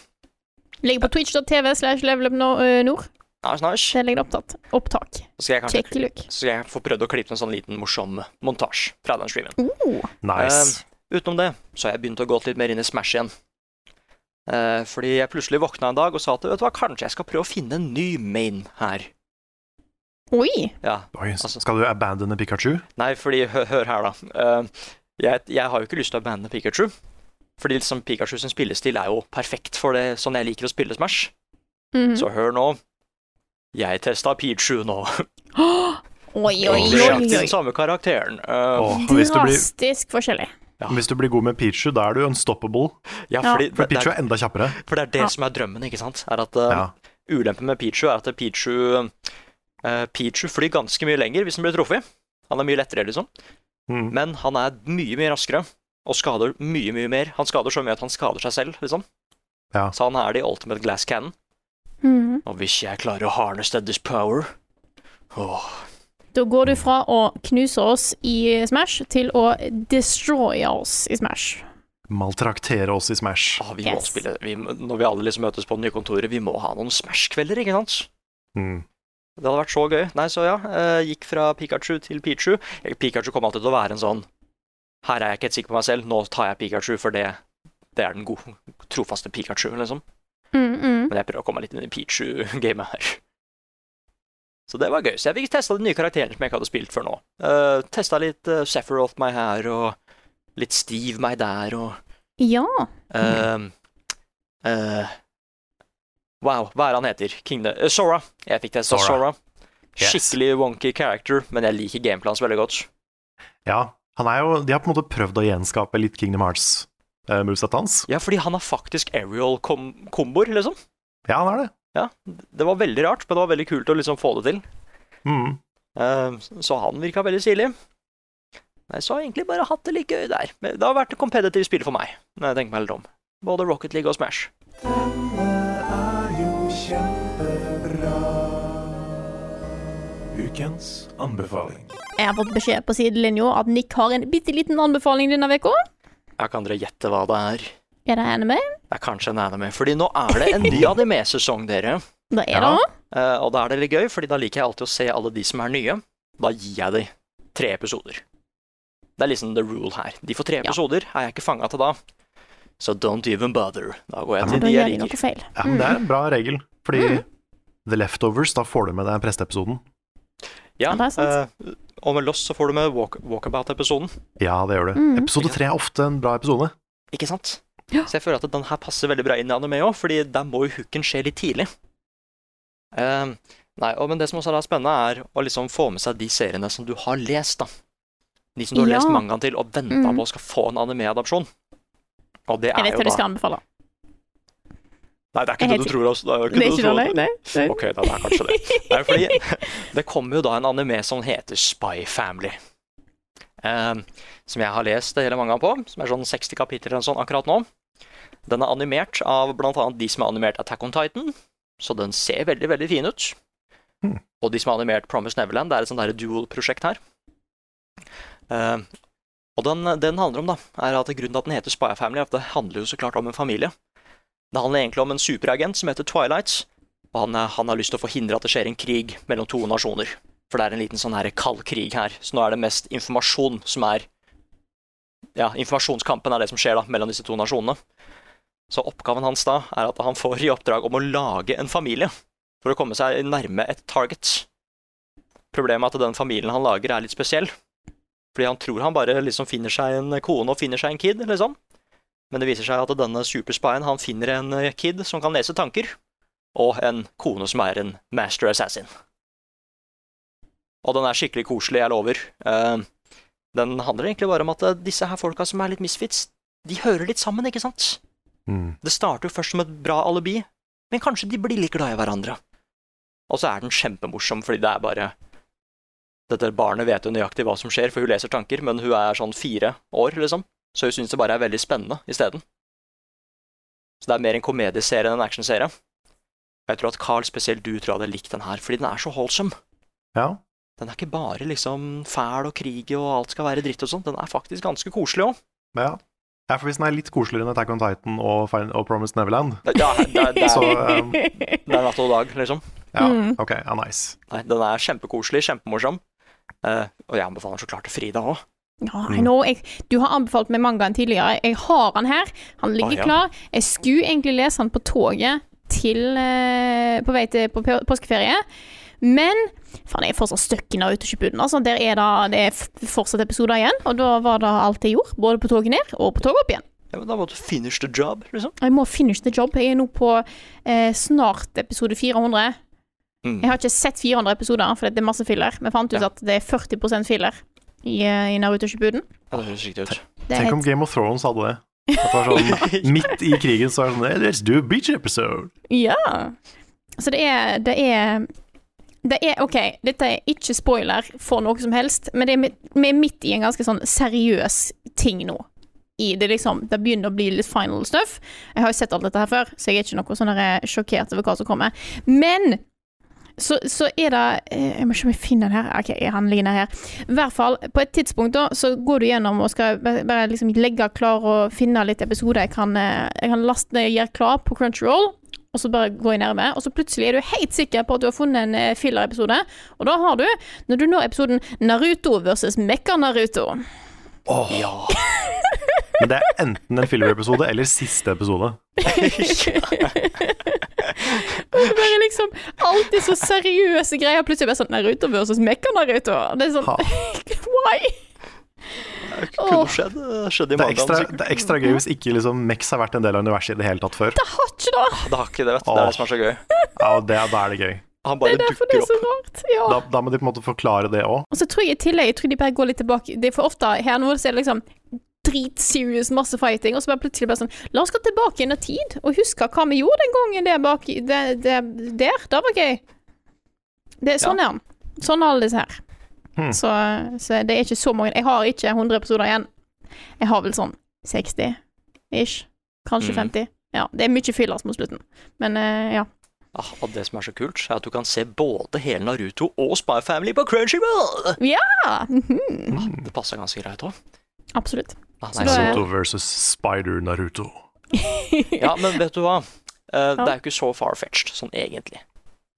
A: ligger på twitch.tv slash levelupnord.
B: Nice, nice.
A: Der ligger det opptatt. opptak.
B: Så skal jeg kanskje
A: Check look.
B: Så jeg får prøvd å klippe en sånn liten morsom montasje fra den streamen.
A: Oh.
C: Nice.
B: Utenom det så har jeg begynt å gå litt mer inn i Smash igjen. Eh, fordi jeg plutselig våkna en dag og sa at vet du hva, kanskje jeg skal prøve å finne en ny main her.
A: Oi.
B: Ja,
C: Oi, s-
B: altså-
C: skal du abandone Pikachu?
B: Nei, fordi hø hør her, da. Eh, jeg, jeg har jo ikke lyst til å bande Pikachu. Fordi liksom Pikachu sin spillestil er jo perfekt for det sånn jeg liker å spille Smash.
A: Mhm.
B: Så hør nå. Jeg testa Pichu nå.
A: Oi, oi,
B: Og
A: oi,
B: nøyaktig
A: oi,
B: den
A: oi.
B: samme karakteren. Eh,
C: Åh, sånn. hvis, du blir,
A: Drastisk forskjellig.
B: ja.
C: hvis du blir god med Pichu, da er du unstoppable.
B: ja,
A: Ja.
B: fordi,
C: For
B: det,
C: Pichu
B: er,
C: er enda kjappere.
B: for det er det
A: Ja.
B: som er drømmen, ikke sant? Er at eh,
C: Ja.
B: Ulempen med Pichu er at Pichu, eh, Pichu flyr ganske mye lenger hvis han blir truffet. Han er mye lettere, liksom.
C: Mm.
B: Men han er mye, mye raskere og skader mye, mye mer. Han skader så mye at han skader seg selv, liksom.
C: Ja.
B: Så han er det i ultimate glass cannon.
A: Mhm.
B: Og hvis jeg klarer å harness this power åh,
A: Da går du fra å knuse oss i Smash til å destroy oss i Smash.
C: Maltraktere oss i Smash.
B: ah, vi må
A: Yes.
B: spille vi, må- Når vi alle liksom møtes på det nye kontoret, vi må ha noen Smash-kvelder, ikke sant?
C: Mm.
B: Det hadde vært så gøy. Nei, så ja. eh, Gikk fra Pikachu til Pichu. Eh, Pikachu kommer alltid til å være en sånn Her er jeg ikke helt sikker på meg selv, nå tar jeg Pikachu, for det, det er den gode, trofaste Pikachu, liksom.
A: Mm,
B: Men
A: mm.
B: jeg prøver å komme meg litt inn i Pichu-gamet her. Så det var gøy. Så jeg fikk testa de nye karakterene som jeg ikke hadde spilt før nå. Uh, testa litt uh, Sephiroth meg her, og litt Steve meg der, og
A: Ja.
B: eh, eh, Wow, hva er han heter? Kingdom eh, Sora. Jeg fikk testa Sora.
C: Sora. Yes.
B: Skikkelig wonky character, men jeg liker gameplans veldig godt.
C: Ja, han er jo, de har på en måte prøvd å gjenskape litt Kingdom Hearts-movesettet hans.
B: Ja, fordi han har faktisk aerial-komboer, liksom.
C: Ja, han er det.
B: Ja, Det var veldig rart, men det var veldig kult å liksom få det til.
C: Mm.
B: Eh, Så han virka veldig stilig. Nei, så har jeg egentlig bare hatt det litt gøy der. Men Det har vært et competitive spill for meg. når jeg tenker meg litt om. Både Rocket League og Smash.
D: Ukens anbefaling.
A: Jeg har fått beskjed på sidelinja at Nick har en bitte liten anbefaling denne uka.
B: Jeg kan dere gjette hva det er.
A: Er det anime?
B: Det er kanskje en anime. Fordi nå er det (laughs) en ny anime-sesong, dere.
A: Da er
C: Ja.
A: det
B: Eh, og da er det litt gøy, fordi da liker jeg alltid å se alle de som er nye. Da gir jeg dem tre episoder. Det er liksom the rule her. De får tre episoder, er jeg ikke fanga til da. Så don't even bother. Da går jeg
C: Ja,
B: til
C: men
A: Da
B: de
A: gjør
B: jeg
A: vi
B: liker.
A: noe feil.
C: Ja, men Det er en bra regel, fordi
A: Mm.
C: The Leftovers, da får du med deg presteepisoden.
B: Ja,
A: Ja, det er sant.
B: eh, og med Lost så får du med walk Walkabout-episoden.
C: Ja, det gjør du.
A: Mhm.
C: Episode tre er ofte en bra episode.
B: Ikke sant?
A: Ja.
B: Så jeg føler at den her passer veldig bra inn i anime òg, fordi der må jo hooken skje litt tidlig. Eh, nei, og, men det som også er da spennende, er å liksom få med seg de seriene som du har lest, da. De som du har
A: Ja.
B: lest mangaen til og venta
A: Mm.
B: på skal få en anime-adopsjon. Og det
A: Jeg
B: er
A: vet
B: jo
A: hva
B: da
A: du skal anbefale.
B: Nei, det er
A: Jeg
B: ikke det
A: vet
B: du tror, altså. Det er jo ikke det
A: Det er
B: du
A: ikke
B: tror.
A: noe, nei, nei.
B: Ok, da, det er kanskje det. Nei, fordi det kommer jo da en anime som heter Spy Family. Eh, som jeg har lest hele mangaen på, som er sånn 60 kapitler eller sånn akkurat nå. Den er animert av blant annet de som har animert Attack on Titan, så den ser veldig, veldig fin ut.
C: Hmm.
B: Og de som har animert Promise Neverland, det er et sånt der dual-prosjekt her. Eh, og den, den handler om, da, er at grunnen til at den heter Spy Family, er at det handler jo så klart om en familie. Det handler egentlig om en superagent som heter Twilight, og han, er- han har lyst til å forhindre at det skjer en krig mellom to nasjoner. For det er en liten sånn her kald krig her, så nå er det mest informasjon som er Ja, informasjonskampen er det som skjer da, mellom disse to nasjonene. Så oppgaven hans da er at han får i oppdrag om å lage en familie for å komme seg nærme et target. Problemet er at den familien han lager, er litt spesiell. Fordi han tror han bare liksom finner seg en kone og finner seg en kid, liksom. Men det viser seg at denne superspyen han finner en eh, kid som kan lese tanker og en kone som er en master assassin. Og den er skikkelig koselig, jeg lover. Eh, Den handler egentlig bare om at eh, disse her folka som er litt misfits, de hører litt sammen, ikke sant?
C: Mhm.
B: Det starter jo først som et bra alibi, men kanskje de blir litt glad i hverandre. Og så er den kjempemorsom, fordi det er bare Dette barnet vet jo nøyaktig hva som skjer, for hun leser tanker, men hun er sånn fire år, liksom, så hun syns det bare er veldig spennende isteden. Så det er mer en komedieserie enn en actionserie. Og Jeg tror at Carl, spesielt du, tror jeg hadde likt den her, fordi den er så holdsom.
C: Ja.
B: Den er ikke bare liksom fæl og krig og alt skal være dritt og sånn, den er faktisk ganske koselig òg.
C: ja. Ja, for hvis den er litt koseligere enn Attack on Titan og, Fin- og Promised Neverland
B: Det, det, er- det, er- det,
C: Så,
B: er-
A: (laughs)
C: um,
B: det er natt og dag, liksom.
C: Ja,
A: Mhm.
C: ok, ja, nice.
B: Nei, den er kjempekoselig, kjempemorsom. Eh, og jeg anbefaler så klart til Frida òg.
A: Ja, I
B: Mm.
A: know. Jeg, du har anbefalt meg mangaen tidligere. Jeg har han her. Han
B: Å,
A: ligger
B: Ah, ja.
A: klar. Jeg skulle egentlig lese han på toget til eh, På vei til på pe- påskeferie. Men faen, jeg er fortsatt stuck nå ute i Kjøpuden. Altså. Der er det, det er f- fortsatt episoder igjen. Og da var det alt jeg gjorde. Både på toget ned og på toget opp igjen.
B: Ja, men da må du finish the job, liksom.
A: Jeg må finish the job. Jeg er nå på eh, snart episode 400.
B: Mm.
A: Jeg har ikke sett 400 episoder, for det er masse filler. Vi fant ut
B: Ja.
A: at det er 40 filler i, eh, i Naruto Shippuden.
B: Ja, det høres riktig (laughs) ut.
A: Det er
C: Tenk om
A: helt,
C: Game of Thrones hadde det. At det var
A: (laughs)
C: sånn, midt i krigen så er det sånn hey, Let's do a beach episode!
A: ja. Så det er, det er det er, ok, Dette er ikke spoiler for noe som helst, men det er, midt- vi er midt i en ganske sånn seriøs ting nå. I det liksom, det begynner å bli litt final stuff. Jeg har jo sett alt dette her før, så jeg er ikke noe sånn der sjokkert over hva som kommer. Men så, så er det eh, Jeg må se om jeg finner den her. Ok, han ligger nede her. I hvert fall, på et tidspunkt da, så går du gjennom og skal bare bare liksom legge klar og finne litt episoder jeg kan, eh, jeg kan laste ned og gjøre klar på Crunchyroll. Og så bare gå i nærme, og så plutselig er du helt sikker på at du har funnet en eh, filler-episode. Og da har du, når du når episoden Naruto versus Mekka-Naruto.
B: Ja.
C: Men det er enten en filler-episode eller siste episode.
A: Og det bare liksom alltid så seriøse greier. Plutselig bare sånn Naruto versus Mekka-Naruto. Det er sånn
C: Ha.
A: (laughs) Why?
B: Det
A: Åh.
B: kunne skjedd, eh, skjedd i
C: Det er ekstra,
B: mandagen.
C: det er ekstra
A: Mm.
C: gøy hvis ikke liksom, Mex har vært en del av universet i det hele tatt
A: (laughs)
C: før.
A: Det har ikke det.
B: Det har ikke det, vet du. Det er det som er så gøy.
C: Ja, og det, da er det gøy.
B: Han
A: Det
B: bare
A: er derfor det
B: dukker
A: er så
B: opp.
A: rart. Ja.
C: Da, da må de på en måte forklare det òg.
A: Og så tror jeg i tillegg jeg tror de bare går litt tilbake Det er for ofte her nå så er det liksom dritserious, masse fighting, og så bare plutselig bare sånn La oss gå tilbake inn i tid og huske hva vi gjorde den gangen der bak i- det- det- Der. Det var gøy. Det er sånn er han. Sånn er alle disse her.
C: Hmm.
A: Så, så det er ikke så mange Jeg har ikke 100 episoder igjen. Jeg har vel sånn 60 ish. Kanskje
B: Mhm.
A: 50. Ja, det er mye fillers mot slutten, men eh, ja.
B: Ah, og det som er så kult, er at du kan se både hele Naruto og Spy Family på Crunchyroll!
A: Ja! mhm.
B: Ah, det passer ganske greit òg.
A: Absolutt.
B: Ah,
A: Så
B: nei,
A: da er-
C: Mm. Naruto versus Spider-Naruto.
B: ja, men vet du hva? Eh, Det er jo ikke så far-fetched, sånn egentlig.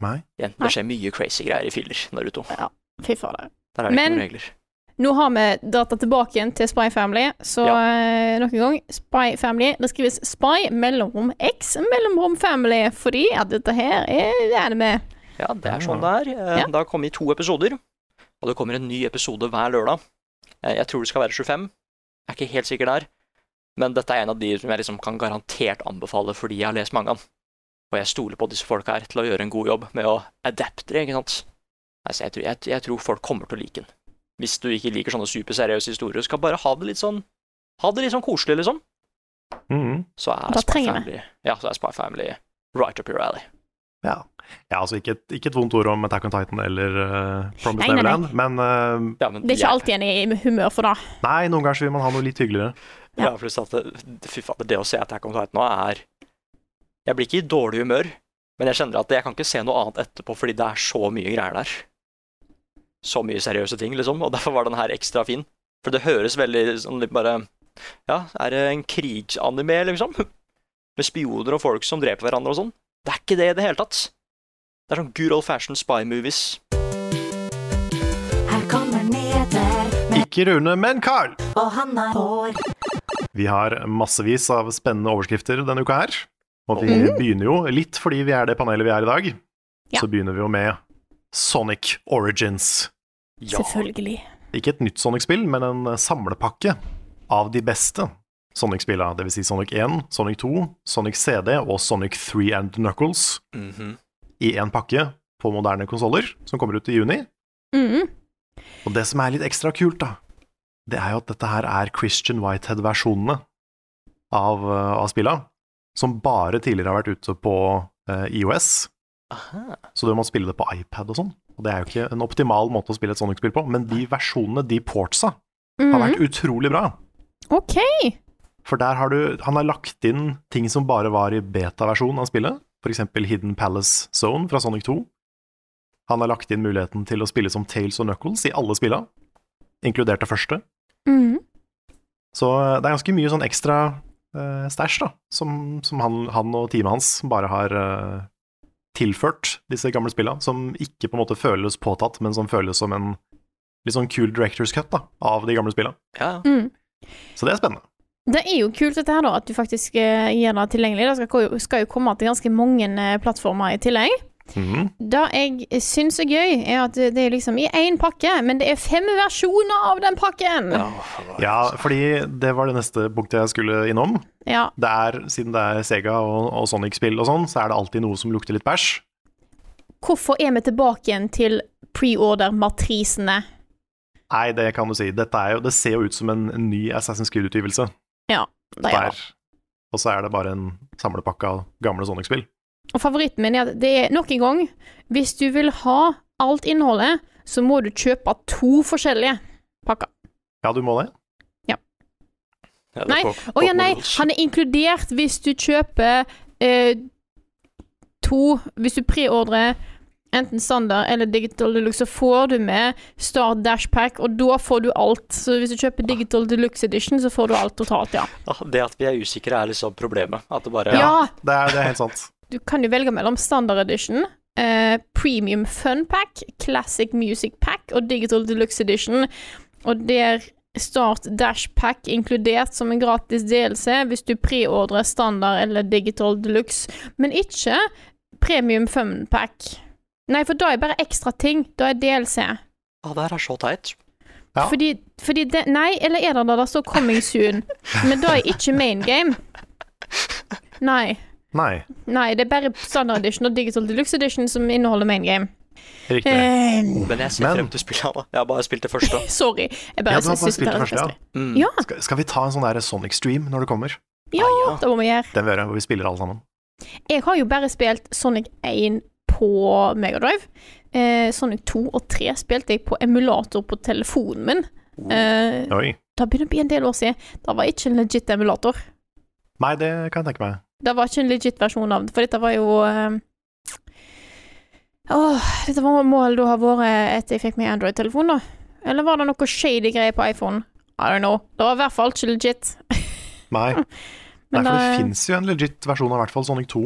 C: Nei.
B: Igjen, det skjer mye crazy greier i filler, Naruto.
A: (laughs) Fy fader.
B: Der er det
A: Men-
B: ikke noen regler.
A: Nå har vi data tilbake igjen til Spy Family, så
B: Ja.
A: eh, nok en gang Spy Family. Det skrives Spy mellomrom X mellomrom Family fordi at dette her er anime.
B: Ja, det er sånn det er. Eh,
A: Ja.
B: Det har kommet to episoder, og det kommer en ny episode hver lørdag. Eh, Jeg tror det skal være 25. Jeg er ikke helt sikker der. Men dette er en av de som jeg liksom kan garantert anbefale fordi jeg har lest mangaen. Og jeg stoler på disse folka her til å gjøre en god jobb med å adapte det, ikke sant. Altså, jeg, tror, jeg, jeg tror folk kommer til å like den. Hvis du ikke liker sånne superseriøse historier, skal bare ha det litt sånn Ha det litt sånn koselig, liksom.
C: Mhm.
B: Så er
A: Da
B: Spy
A: trenger vi.
B: Family, ja, så er Spy Family right up your alley.
C: Ja. ja, altså ikke et, ikke et vondt ord om Attack on Titan eller uh,
A: Nei,
C: Promise
A: nei, nei.
C: Neverland, men eh,
B: Ja, men
A: Det er
B: jeg-
A: ikke alltid en er i humør for det.
C: nei, noen ganger så vil man ha noe litt hyggeligere.
B: Ja, pluss at det, fy faen, det å se Attack on Titan nå er Jeg blir ikke i dårlig humør, men jeg kjenner at jeg kan ikke se noe annet etterpå fordi det er så mye greier der. Så mye seriøse ting, liksom, og derfor var den her ekstra fin. For det høres veldig sånn litt bare Ja, er det en krigsanime, liksom? (laughs) Med spioner og folk som dreper hverandre og sånn. Det er ikke det i det hele tatt. Det er sånn good old fashion spy movies.
E: Her kommer Neder,
C: Ikke Rune, men Carl!
E: og han har hår.
C: Vi har massevis av spennende overskrifter denne uka her. Og vi begynner jo, litt fordi vi er det panelet vi er i dag,
A: Mhm. Ja.
C: så begynner vi jo med Sonic Origins.
B: Ja.
A: Selvfølgelig.
C: Ikke et nytt Sonic-spill, men en eh, samlepakke av de beste Sonic-spillene. Det vil si Sonic 1, Sonic 2, Sonic CD og Sonic 3 and Knuckles
B: Mhm.
C: i én pakke på moderne konsoller, som kommer ut i juni.
A: Mhm.
C: Og det som er litt ekstra kult, da, det er jo at dette her er Christian Whitehead-versjonene av, eh, av spilla, som bare tidligere har vært ute på eh, IOS,
B: Aha.
C: så du må spille det på iPad og sånn. Og det er jo ikke en optimal måte å spille et Sonic-spill på, men de versjonene, de portsa, har
A: Mhm.
C: vært utrolig bra.
A: OK.
C: For der har du Han har lagt inn ting som bare var i beta-versjonen av spillet, f.eks. Hidden Palace Zone fra Sonic 2. Han har lagt inn muligheten til å spille som Tails og Knuckles i alle spilla, inkludert det første.
A: Mhm.
C: Så det er ganske mye sånn ekstra uh, stæsj, da, som, som han, han og teamet hans bare har eh, tilført disse gamle spilla, som ikke på en måte føles påtatt, men som føles som en litt sånn cool director's cut da, av de gamle spilla.
B: Ja, ja.
A: Mhm.
C: Så det er spennende.
A: Det er jo kult dette her da, at du faktisk eh, gjør det tilgjengelig. Det skal, ko- skal jo komme til ganske mange eh, plattformer i tillegg.
C: Mhm.
A: Det jeg syns er gøy, er at det er liksom i én pakke, men det er fem versjoner av den pakken. Ja.
C: Ja, fordi det var det neste punktet jeg skulle innom. Det er, Siden det er Sega og, og Sonic-spill og sånn, så er det alltid noe som lukter litt bæsj.
A: Hvorfor er vi tilbake igjen til preorder-matrisene?
C: Nei, det kan du si. Dette er jo, det ser jo ut som en en ny Assassin's Creed-utgivelse.
A: Det er-
C: der. Og så er det bare en samlepakke av gamle Sonic-spill.
A: Og favoritten min er at det er nok en gang Hvis du vil ha alt innholdet, så må du kjøpe to forskjellige pakker.
C: Ja, du må det.
B: Ja, det er
A: Nei,
B: Poke-
A: Å ja, nei,
B: Pokeballs.
A: han er inkludert hvis du kjøper eh, to Hvis du preordrer enten standard eller digital deluxe, så får du med Start Dash Pack, og da får du alt. Så hvis du kjøper digital deluxe edition, så får du alt totalt, ja.
B: Ah, Det at vi er usikre, er liksom problemet. At det bare
A: Ja,
C: Det er, det er helt sant.
A: du kan jo velge mellom standard edition, eh, premium fun pack, classic music pack og digital deluxe edition. Og der Start Dash Pack inkludert som en gratis DLC hvis du preordrer standard eller digital deluxe, men ikke premium fun pack. Nei, for da er bare ekstra ting. Da er DLC.
B: ah, det her er så teit.
C: Ja.
A: Fordi, fordi det Nei, eller er det da det står 'coming soon'? Men da er ikke main game. Nei.
C: Nei,
A: Nei, det er bare standard edition og digital deluxe edition som inneholder main game.
C: riktig.
A: Eh,
B: Men jeg ser
C: Men-
B: frem til spillet. Anna. Jeg har bare spilt det (laughs) første.
A: sorry. Jeg bare
C: Ja, du har
A: synes
C: bare
A: det
C: spilt
A: er
C: det første, ja.
A: festlig.
B: Mm.
A: Ja.
C: Skal, skal vi ta en sånn der Sonic-stream når det kommer?
A: Ja,
B: Ah, ja.
A: det må vi gjøre.
C: Den vil gjøre, hvor vi spiller alle sammen.
A: Jeg har jo bare spilt Sonic 1 på Megadrive. Eh, Sonic 2 og 3 spilte jeg på emulator på telefonen min.
C: Oh.
A: Eh,
C: Oi.
A: det begynner å bli en del år siden. Det var ikke en legit emulator.
C: Nei, det kan jeg tenke meg.
A: Det var ikke en legit versjon av det, for dette var jo eh, Åh, dette var målet da har vært etter jeg fikk meg Android-telefon, da. Eller var det noe shady greier på iPhone? I don't know. Det var i hvert fall ikke legit.
C: Nei. Nei,
A: Mm. Men
C: for det
A: det-
C: fins jo en legit versjon av i hvert fall Sonic 2.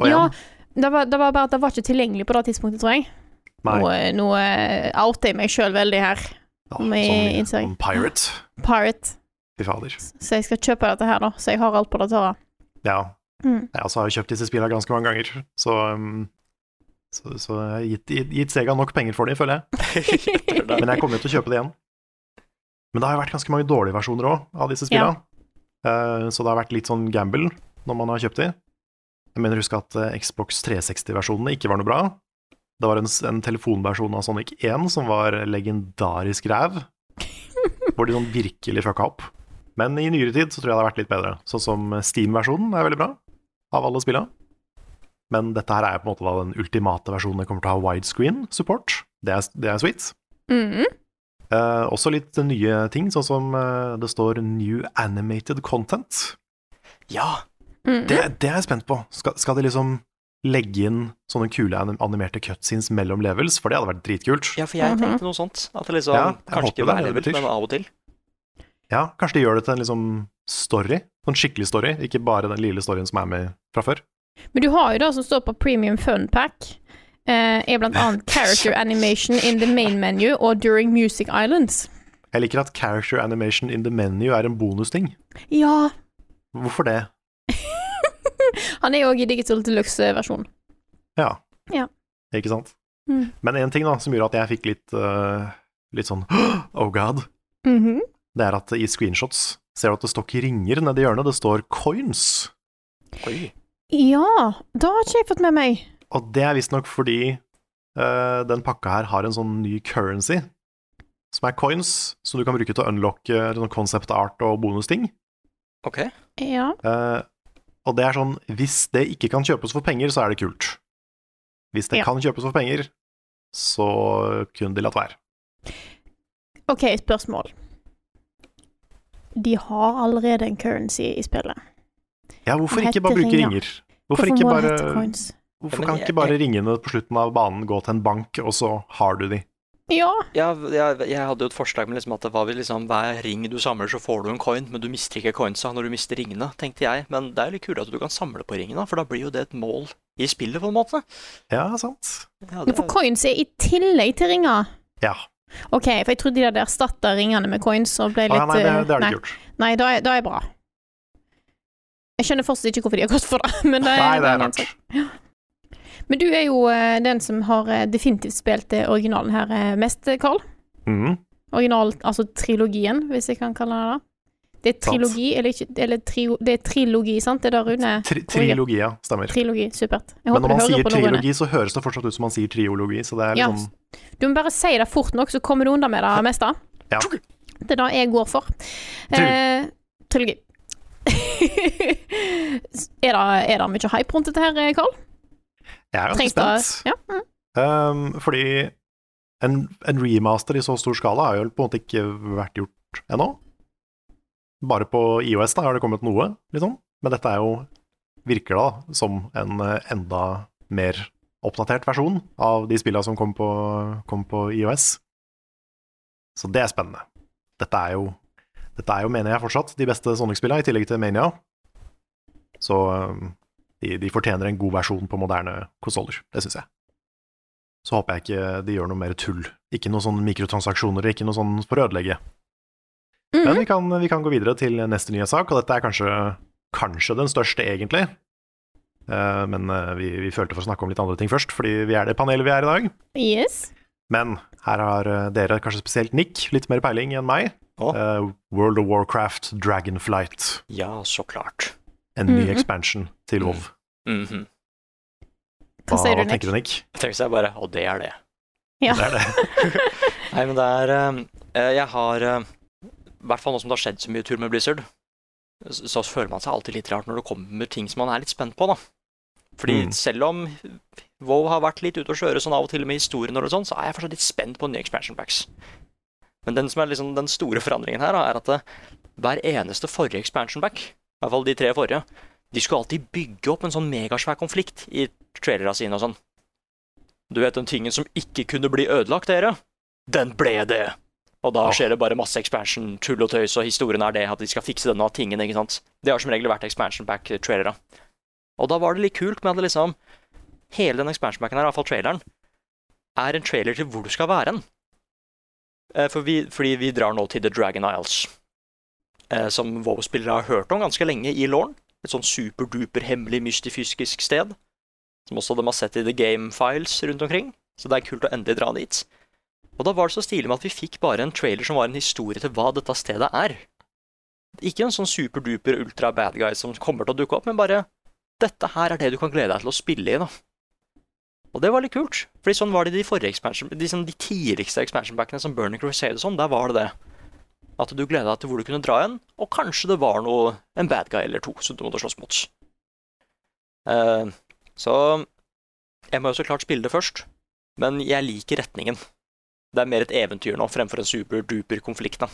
C: Og
A: Ja,
C: igjen,
A: det var, det var bare at det var ikke tilgjengelig på det tidspunktet, tror jeg.
C: nei.
A: Nå, nå eh, outer jeg meg sjøl veldig her.
C: Ja,
A: med
C: sånn
A: innsikt.
C: som pirate.
A: Pirate.
C: Fy fader.
A: Så jeg skal kjøpe dette her, da. Så jeg har alt på det tørre.
C: Ja.
A: Mm.
C: Jeg også har jo kjøpt disse spillene ganske mange ganger, så um, så, så jeg har gitt, gitt, gitt Sega nok penger for dem, føler jeg. Men jeg kommer jo til å kjøpe det igjen. Men det har jo vært ganske mange dårlige versjoner òg, av disse spillene. Eh, så det har vært litt sånn gamble når man har kjøpt de. Jeg mener, husk at eh, Xbox 360-versjonene ikke var noe bra. Det var en, s- en telefonversjon av Sonic 1 som var legendarisk ræv. Hvor de sånn virkelig fucka opp. Men i nyere tid så tror jeg det har vært litt bedre. Sånn som Steam-versjonen er veldig bra, av alle spillene. Men dette her er jo på en måte da den ultimate versjonen. Den kommer til å ha widescreen-support. Det, er- det er sweet.
A: Mhm.
C: Eh, også litt nye ting, sånn som eh, det står 'new animated content'.
B: Ja!
A: Mhm.
C: Det, det er jeg spent på. Skal, skal de liksom legge inn sånne kule anim- animerte cutscenes mellom levels? For det hadde vært dritkult.
B: Ja, for jeg
A: Mhm.
B: tenkte noe sånt. At det liksom
C: Ja, jeg
B: kanskje
C: håper
B: ikke hver
C: det er det det
B: level,
C: betyr.
B: men av og til.
C: Ja, kanskje de gjør det til en liksom story. Sånn skikkelig story, ikke bare den lille storyen som er med fra før.
A: Men du har jo det som står på Premium Fun Pack. Eh, er
C: (laughs)
A: blant annet character animation in the main menu og during Music Islands.
C: Jeg liker at character animation in the menu er en bonusting.
A: Ja.
C: Hvorfor det?
A: (laughs) Han er jo òg i Digital Deluxe-versjonen.
C: Ja.
A: Ja.
C: Ikke sant?
A: Mm.
C: Men én ting da, som gjorde at jeg fikk litt, eh, litt sånn (gasps) oh god,
A: Mhm.
C: det er at i screenshots ser du at det står ikke ringer nede i hjørnet, det står coins.
B: Oi.
A: Ja, det har ikke jeg fått med meg.
C: Og det er visstnok fordi eh, den pakka her har en sånn ny currency, som er coins, som du kan bruke til å unlocke eh, sånn concept art og bonusting.
B: Ok.
A: Ja.
C: Eh, og det er sånn, hvis det ikke kan kjøpes for penger, så er det kult. Hvis det
A: Ja.
C: kan kjøpes for penger, så kunne de latt være.
A: OK, spørsmål. De har allerede en currency i spillet.
C: Ja, hvorfor
A: Det
C: ikke bare
A: heter
C: bruke
A: ringer.
C: ringer? Hvorfor, ikke
A: må det
C: bare,
A: hete coins?
C: hvorfor
B: Ja, men
C: kan
B: jeg-
C: ikke bare ringene på slutten av banen gå til en bank, og så har du de?
A: Ja.
B: Ja, jeg, jeg hadde jo et forslag med liksom at det var vel liksom hver ring du samler, så får du en coin, men du mister ikke coinsa når du mister ringene, tenkte jeg. Men det er jo litt kult at du kan samle på ringene, for da blir jo det et mål i spillet, på en måte.
C: Ja, sant.
B: Ja,
A: Men
B: det,
A: For coins er i tillegg til ringer.
C: Ja.
A: OK, for jeg trodde de hadde erstatta ringene med coins og ble
C: Å,
A: litt
C: ja nei, det,
A: eh,
C: det har de ikke gjort.
A: Nei, da er, da er bra. Jeg skjønner fortsatt ikke hvorfor de har gått for det. (laughs) Men det, er-
C: Nei, det
A: en
C: er
A: annen
C: rart.
A: sak. Men du er jo eh, den som har eh, definitivt spilt eh, originalen her eh, mest, eh, Carl.
C: Mm.
A: Original, altså trilogien, hvis jeg kan kalle det det. Det er trilogi, eller ikke eller trio, Det er trilogi, sant? Det er det Rune
C: Tri
A: korrigerer.
C: trilogia stemmer.
A: Trilogi, supert. Jeg
C: Men
A: håper
C: når man
A: du hører
C: sier
A: på nå, Rune.
C: trilogi, så høres det fortsatt ut som man sier triologi, så det er
A: Ja.
C: liksom
A: Du må bare si det fort nok, så kommer du unna med det meste.
C: Ja.
A: Det er det jeg går for. Eh, trilogi. (laughs) er, det, er det mye hype rundt dette her, Karl?
C: Jeg er ganske
A: Trengs det-
C: spent.
A: Ja. Mm.
C: Um, fordi en, en remaster i så stor skala har jo på en måte ikke vært gjort ennå. Bare på IOS da har det kommet noe, liksom. Men dette er jo, virker da som en eh, enda mer oppdatert versjon av de spillene som kom på, kom på IOS. Så det er spennende. Dette er jo, dette er jo mener jeg fortsatt, de beste Sonic-spillene, i tillegg til Mania. Så um, de, de fortjener en god versjon på moderne konsoller, det syns jeg så håper jeg ikke de gjør noe mer tull. Ikke noe sånn mikrotransaksjoner, ikke noe sånn for å ødelegge.
A: Mhm.
C: Men vi kan, vi kan gå videre til neste nye sak, og dette er kanskje, kanskje den største, egentlig. Eh, men eh, vi, vi følte for å snakke om litt andre ting først, fordi vi er det panelet vi er i dag.
A: Yes.
C: Men her har eh, dere, kanskje spesielt Nick, litt mer peiling enn meg.
B: Å.
C: Eh, World of Warcraft Dragonflight,
B: ja, så klart.
C: en ny
A: Mhm.
C: expansion til WoW.
B: Mhm.
A: Hva sier du, Nick?
C: tenker du, Nick?
B: Jeg tenkte jeg bare, og det er det.
A: Ja.
C: Det er
A: (laughs)
C: det.
B: Nei, men det er eh, Jeg har eh, I hvert fall nå som det har skjedd så mye tur med Blizzard, så, så føler man seg alltid litt rart når det kommer ting som man er litt spent på, da. Fordi
C: Mm.
B: selv om WoW har vært litt ute å kjøre sånn av og til med historien og sånn, så er jeg fortsatt litt spent på nye expansion packs. Men den som er liksom den store forandringen her, da, er at eh, hver eneste forrige expansion pack, i hvert fall de tre forrige, de skulle alltid bygge opp en sånn megasvær konflikt i trailera sine og sånn. Du vet den tingen som ikke kunne bli ødelagt, dere? Den ble det! Og da skjer det bare masse expansion, tull og tøys, og historien er det at de skal fikse denne tingen, ikke sant? Det har som regel vært expansion pack-trailere. Og da var det litt kult med at det liksom Hele den expansion packen her, i hvert fall traileren, er en trailer til hvor du skal være hen. Eh, For vi, fordi vi drar nå til The Dragon Isles, eh, som WoW-spillere har hørt om ganske lenge i Lorn. Et sånn superduper hemmelig mystifysisk sted, som også de har sett i The Game Files rundt omkring. Så det er kult å endelig dra dit. Og da var det så stilig med at vi fikk bare en trailer som var en historie til hva dette stedet er. Ikke en sånn superduper ultra bad guy som kommer til å dukke opp, men bare dette her er det du kan glede deg til å spille i, da. Og det var litt kult, fordi sånn var det i de forrige expansion, de, sånn, de tidligste expansion packene som Burning Crusade og sånn, der var det det. At du gleda deg til hvor du kunne dra igjen, og kanskje det var noe, en bad guy eller to som du måtte slåss mot. Eh, så jeg må jo så klart spille det først, men jeg liker retningen. Det er mer et eventyr nå, fremfor en super-duper konflikt, da.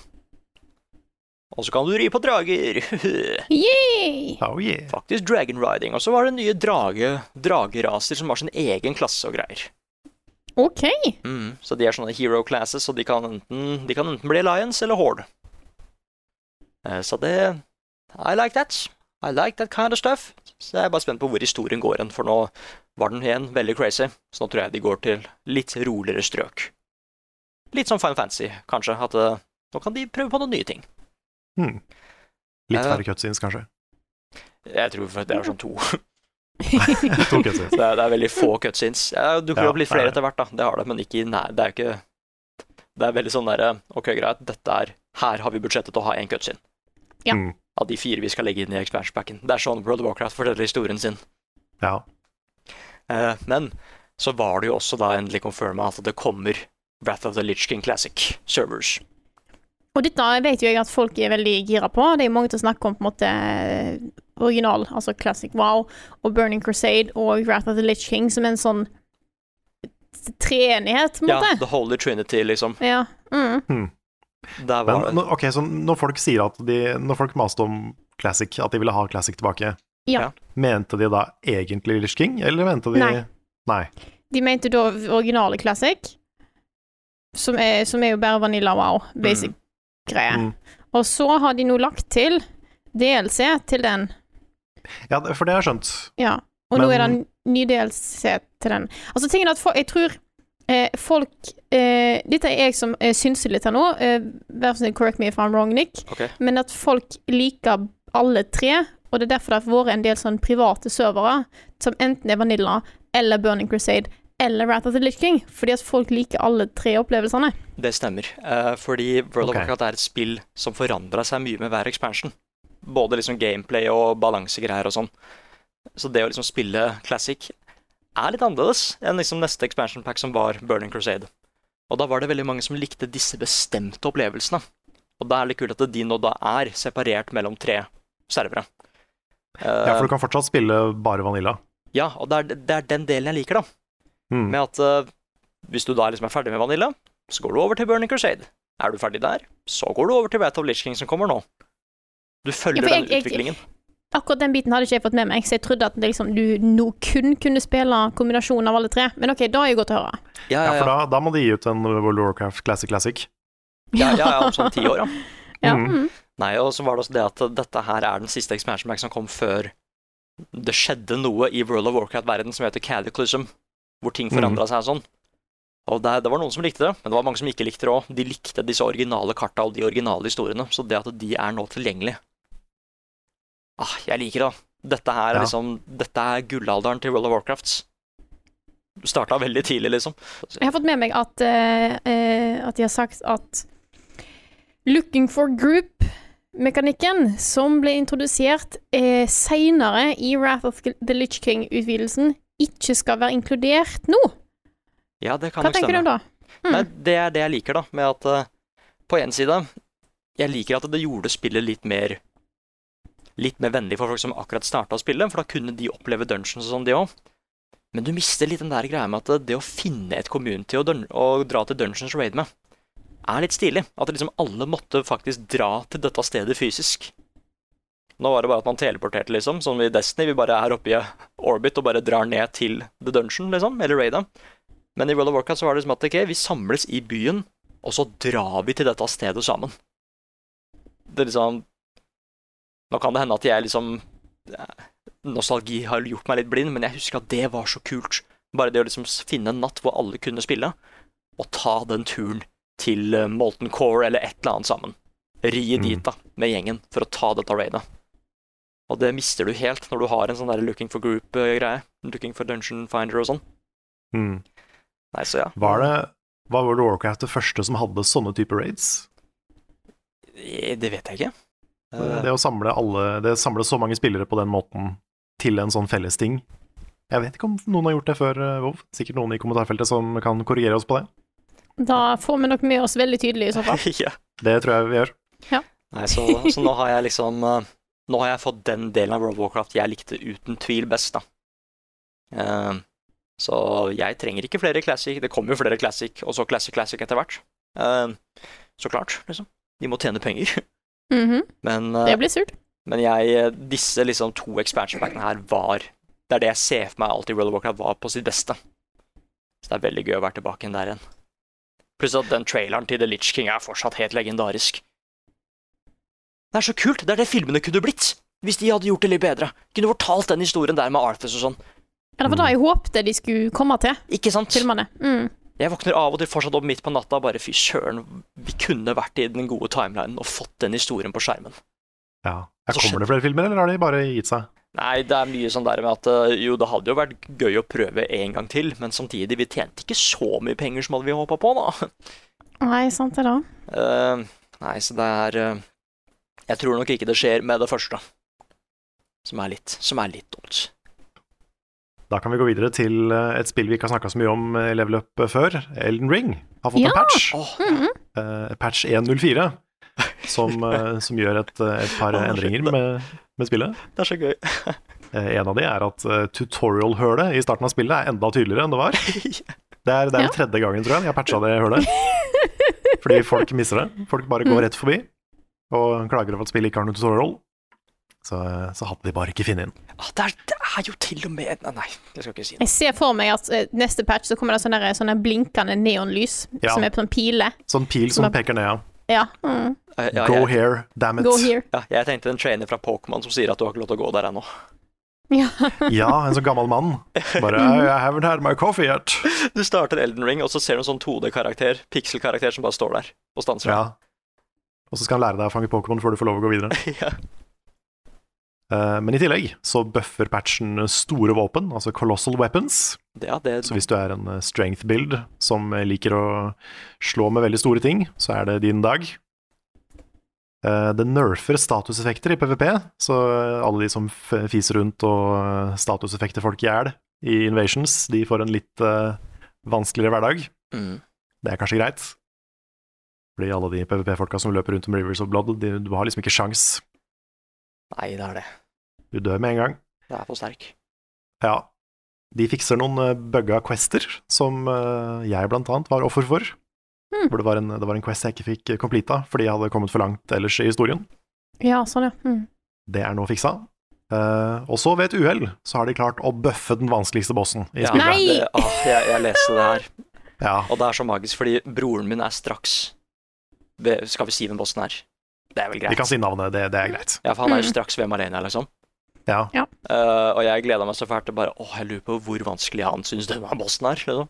B: Og så kan du ri på drager! (laughs)
A: Yay!
C: Oh yeah.
B: Faktisk dragon riding. Og så var det nye drage, drageraser som har sin egen klasse og greier.
A: OK.
B: Mm, så de er sånne hero classes, og de kan enten, de kan enten bli Alliance eller Horde. Eh, Så det I like that. I like that kind of stuff. Så jeg er bare spent på hvor historien går hen, for nå var den igjen veldig crazy. Så nå tror jeg de går til litt roligere strøk. Litt som Fine Fancy, kanskje. At eh, nå kan de prøve på noen nye ting.
C: Hmm. Litt
B: Ja.
C: færre cutscenes, kanskje.
B: Jeg tror det er sånn to.
C: To cutscenes.
B: Det er, det er veldig få cutscenes. Ja, Det dukker
C: Ja,
B: opp litt
C: det er
B: flere
C: det.
B: etter hvert, da. Det har det, men ikke i nær... Det er jo ikke Det er veldig sånn derre Ok, greit, dette er Her har vi budsjettet til å ha én cutscene.
A: Ja.
C: Mm.
B: Av de fire vi skal legge inn i expansion packen. Det er sånn World of Warcraft forteller historien sin.
C: Ja.
B: Eh, men så var det jo også da endelig confirma at det kommer Wrath of the Lich King Classic servers.
A: Og dette vet jo jeg at folk er veldig gira på. Det er mange til å snakke om på en måte original, altså classic wow, og Burning Crusade og Wrath of the Lich King som en sånn treenighet, på en
B: Ja,
A: måte.
B: The Holy Trinity, liksom.
A: Ja. Mm.
C: Hmm.
B: Der var
C: Men
B: det.
C: nå- ok, så når folk sier at de Når folk maste om Classic, at de ville ha Classic tilbake,
A: Ja.
C: mente de da egentlig Lish King, eller mente de
A: Nei.
C: Nei.
A: De mente da originale classic, som er, som er jo bare Vanilla Wow, basic greie.
C: Mm.
A: Og så har de nå lagt til DLC til den.
C: Ja, det- for det har jeg skjønt.
A: Ja. Og nå
C: Men-
A: er det en ny DLC til den. Altså, tingen er at folk, jeg tror eh, folk eh, Dette er jeg som eh, synser litt her nå. Eh, vær så snill, correct me if I'm wrong, Nick.
B: Ok.
A: Men at folk liker alle tre, og det er derfor det har vært en del sånn private servere som enten er Vanilla eller Burning Crusade eller Wrath of the Lich King, fordi at folk liker alle tre opplevelsene.
B: Det stemmer. Eh, fordi World
C: Ok.
B: of Warcraft er et spill som forandra seg mye med hver expansion. Både liksom gameplay og balansegreier og sånn. Så det å liksom spille classic er litt annerledes enn liksom neste expansion pack som var Burning Crusade. Og da var det veldig mange som likte disse bestemte opplevelsene. Og da er det litt kult at de nå da er separert mellom tre servere. Eh,
C: Ja, for du kan fortsatt spille bare Vanilla.
B: ja, og det er, det er den delen jeg liker, da
C: Mm.
B: med at eh, hvis du da liksom er ferdig med Vanilla, så går du over til Burning Crusade. Er du ferdig der, så går du over til Wrath of Lich King som kommer nå. Du følger
A: Ja, for
B: den
A: jeg- jeg-
B: utviklingen.
A: Akkurat den biten hadde ikke jeg fått med meg, så jeg trodde at det liksom, du nå kun kunne spille kombinasjonen av alle tre. Men OK, da er jo godt å høre.
C: Ja, for da, da må de gi ut en World of Warcraft Classic Classic.
B: ja, ja, ja, om sånn ti år, ja.
A: (laughs) Ja.
C: Mm.
A: Mm.
B: Nei, og så var det også det at dette her er den siste expansion pack som kom før det skjedde noe i World of Warcraft-verden som heter Cataclysm, hvor ting forandra seg og sånn. Og det, det var noen som likte det, men det var mange som ikke likte det òg. De likte disse originale karta og de originale historiene, så det at de er nå tilgjengelige Ah, jeg liker det, da. Dette er
C: Ja.
B: liksom Dette er gullalderen til World of Warcraft. Du starta veldig tidlig, liksom.
A: Jeg har fått med meg at, eh, eh, at de har sagt at Looking for group-mekanikken som ble introdusert eh, seinere i Wrath of the Litch King-utvidelsen, ikke skal være inkludert nå.
B: Ja, det kan
A: Hva
B: nok
A: tenker
B: stemme.
A: du om det? Mm.
B: Nei, det er det jeg liker, da. Med at eh, på en side Jeg liker at det gjorde spillet litt mer Litt mer vennlig for folk som akkurat starta å spille, for da kunne de oppleve dungeons og sånn, de òg. Men du mister litt den der greia med at eh, det å finne et community å, dun å dra til Dungeons Raid med, er litt stilig. At liksom alle måtte faktisk dra til dette stedet fysisk. Nå var det bare at man teleporterte, liksom, som i Destiny. Vi bare er oppe i orbit og bare drar ned til the dungeon, liksom, eller raida. Men i World of Warcraft så var det som at ok, vi samles i byen, og så drar vi til dette stedet sammen. Det er liksom Nå kan det hende at jeg liksom Nostalgi har gjort meg litt blind, men jeg husker at det var så kult. Bare det å liksom finne en natt hvor alle kunne spille, og ta den turen til eh, Molten Core eller et eller annet sammen. Ri dit, da, med gjengen, for å ta dette raidet. Og det mister du helt når du har en sånn der looking for group-greie. Looking for dungeon finder og sånn.
C: Mm.
B: Nei, så ja.
C: Var det var World of Warcraft det første som hadde sånne typer raids?
B: Eh, Det vet jeg ikke. Eh,
C: Det å samle alle Det samle så mange spillere på den måten til en sånn felles ting. Jeg vet ikke om noen har gjort det før, eh, Vov. Sikkert noen i kommentarfeltet som kan korrigere oss på det.
A: Da får vi nok med oss veldig tydelig i så fall.
B: (laughs) ja.
C: Det tror jeg vi gjør.
B: Nei, så, så nå har jeg liksom eh, Nå har jeg fått den delen av World of Warcraft jeg likte uten tvil best, da. Eh, så jeg trenger ikke flere classic. Det kommer jo flere classic, og så classic classic etter hvert. Eh, så klart, liksom. De må tjene penger. (laughs)
A: Mhm.
B: Men, eh,
A: Det blir surt.
B: men jeg, eh, disse liksom to expansion packene her var Det er det jeg ser for meg alltid World of Warcraft var på sitt beste. Så det er veldig gøy å være tilbake igjen der igjen. Pluss at den traileren til The Litch King er fortsatt helt legendarisk. Det er så kult! Det er det filmene kunne blitt! Hvis de hadde gjort det litt bedre. Kunne fortalt den historien der med Arthurs og sånn.
A: Ja, det var det jeg håpte de skulle komme til,
B: Ikke sant?
A: filmene. Mm.
B: Jeg våkner av og til fortsatt opp midt på natta og bare fy søren, vi kunne vært i den gode timelinen og fått den historien på skjermen.
C: Ja.
B: Så
C: Jeg
B: Altså, skjøn-
C: kommer det flere filmer, eller har de bare gitt seg?
B: Nei, det er mye sånn der med at øh, jo, det hadde jo vært gøy å prøve en gang til, men samtidig, vi tjente ikke så mye penger som hadde vi håpa på, da. (laughs)
A: Nei, sant det, da.
B: Eh, nei, så det er eh, Jeg tror nok ikke det skjer med det første. Som er litt, som er litt dumt.
C: Da kan vi gå videre til eh, et spill vi ikke har snakka så mye om eh, i Level Up eh, før. Elden Ring har fått
A: Ja.
C: en patch.
B: Åh,
A: Mhm.
C: eh, patch 104, som,
B: (laughs)
C: eh, som gjør et, eh, et par
B: Å, shit,
C: endringer
B: det-
C: med, med spillet.
B: det er så gøy.
C: Eh, en av de er at eh, tutorial-hølet i starten av spillet er enda
B: (laughs)
C: tydeligere enn det var. Det er, det er
A: Ja.
C: tredje gangen, tror jeg, de har patcha det
A: (laughs)
C: hølet. Fordi folk mister det. Folk bare
A: Mm.
C: går rett forbi og klager over at spillet ikke har noen tutorial. Så, eh, så hadde de bare ikke funnet inn.
B: Ah, det, er, det er jo til og med Nei, nei, jeg skal ikke si det.
A: Jeg ser for meg at eh, neste patch så kommer det sånne, der- sånne blinkende neonlys
C: Ja.
A: som er på sånn pile.
C: Sånn pil som
A: Som er-
C: peker ned, ja.
A: Ja. Mm.
B: Eh, ja,
C: Go
B: jeg,
C: here, damn it.
A: Go here.
B: ja, jeg tenkte en trainer fra Pokémon som sier at du har ikke lov til å gå der ennå.
A: Ja.
C: (laughs) Ja, en sånn gammel mann.
A: (laughs)
C: Bare I I haven't had my coffee yet.
B: Du starter Elden Ring, og så ser du en sånn 2D-karakter, pikselkarakter, som bare står der og stanser.
C: Ja. Og så skal han lære deg å fange Pokémon før du får lov å gå videre.
B: (laughs) ja.
C: Eh, Men i tillegg så bøffer patchen store våpen, altså colossal weapons.
B: Det, ja, det,
C: Så hvis du er en eh, strength build som eh, liker å slå med veldig store ting, så er det din dag. Eh, Det nerfer statuseffekter i PVP, så eh, alle de som f- fiser rundt og eh, statuseffekter folk i hjel i Invasions, de får en litt eh, vanskeligere hverdag.
B: Mm.
C: Det er kanskje greit. Fordi alle de PVP-folka som løper rundt om Rivers of Blood, de, du har liksom ikke sjans.
B: Nei, det er det.
C: Du dør med en gang.
B: Det er for sterk.
C: Ja. De fikser noen eh, bugga quester, som eh, jeg blant annet var offer for.
A: Hmm.
C: Hvor det var, en, det var en quest jeg ikke fikk eh, completa fordi jeg hadde kommet for langt ellers i historien.
A: ja, sånn, ja. Mm.
C: Det er nå fiksa. Eh, og så ved et uhell så har de klart å bøffe den vanskeligste bossen i
B: Ja,
C: spillet.
A: Nei!
B: det- åh, jeg, jeg leste det her,
C: Ja,
B: og det er så magisk, fordi broren min er straks ved, Skal vi si hvem bossen er? Det er vel
C: vi
B: greit.
C: kan si navnet, det, det er greit.
B: Ja, for han er jo
A: Mm.
B: straks ved Malenia, liksom.
C: Ja.
B: Eh, og jeg gleda meg så fælt til bare Å, jeg lurer på hvor vanskelig han syns denne bossen er. Liksom.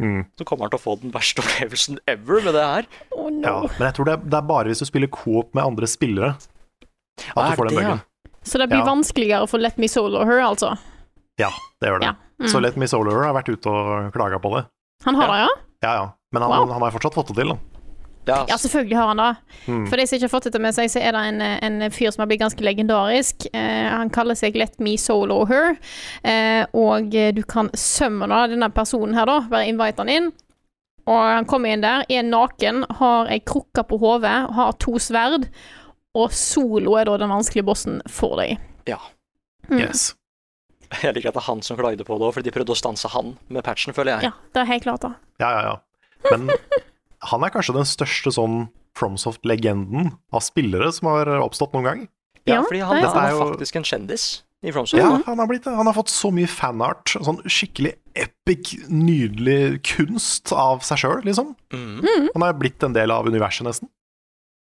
C: Mm.
B: Så kommer han til å få den verste opplevelsen ever med det her.
A: Å, Oh, no.
C: ja. Men jeg tror det er, det er bare hvis du spiller coop med andre spillere at
B: Ah,
C: du får den
B: det, ja.
C: buggen.
A: Så det blir
C: Ja.
A: vanskeligere for Let Me Solo Her, altså.
C: Ja, det gjør det.
A: Ja. Mm.
C: Så Let Me Solar har vært ute og klaga på det.
A: Han har det, ja?
C: Ja ja. Men han,
A: Wow.
C: han har fortsatt fått det til, da.
B: Ja,
A: Ja, selvfølgelig har han det.
C: Mm.
A: For de som ikke har fått dette med seg, så er det en, en fyr som har blitt ganske legendarisk. Eh, han kaller seg Let Me Solo Her. Eh, og eh, du kan summone denne personen her, da. Bare invite han inn. Og han kommer inn der, er naken, har ei krukke på hodet, har to sverd. Og solo er da den vanskelige bossen for deg.
B: Ja.
A: Mm.
C: Yes.
B: Jeg liker at det er han som klagde på det òg, fordi de prøvde å stanse han med patchen, føler jeg.
A: Ja, det er helt klart, da.
C: Ja, ja, ja. Men han er kanskje den største sånn Fromsoft-legenden av spillere som har oppstått noen gang.
B: Ja,
A: Ja,
B: fordi han,
A: det er Mm.
B: han
C: sant.
B: er faktisk en kjendis i Fromsø.
C: Ja, han har, blitt, det. han har fått så mye fanart, sånn skikkelig epic, nydelig kunst av seg sjøl, liksom.
B: Mm.
C: Han er blitt en del av universet, nesten.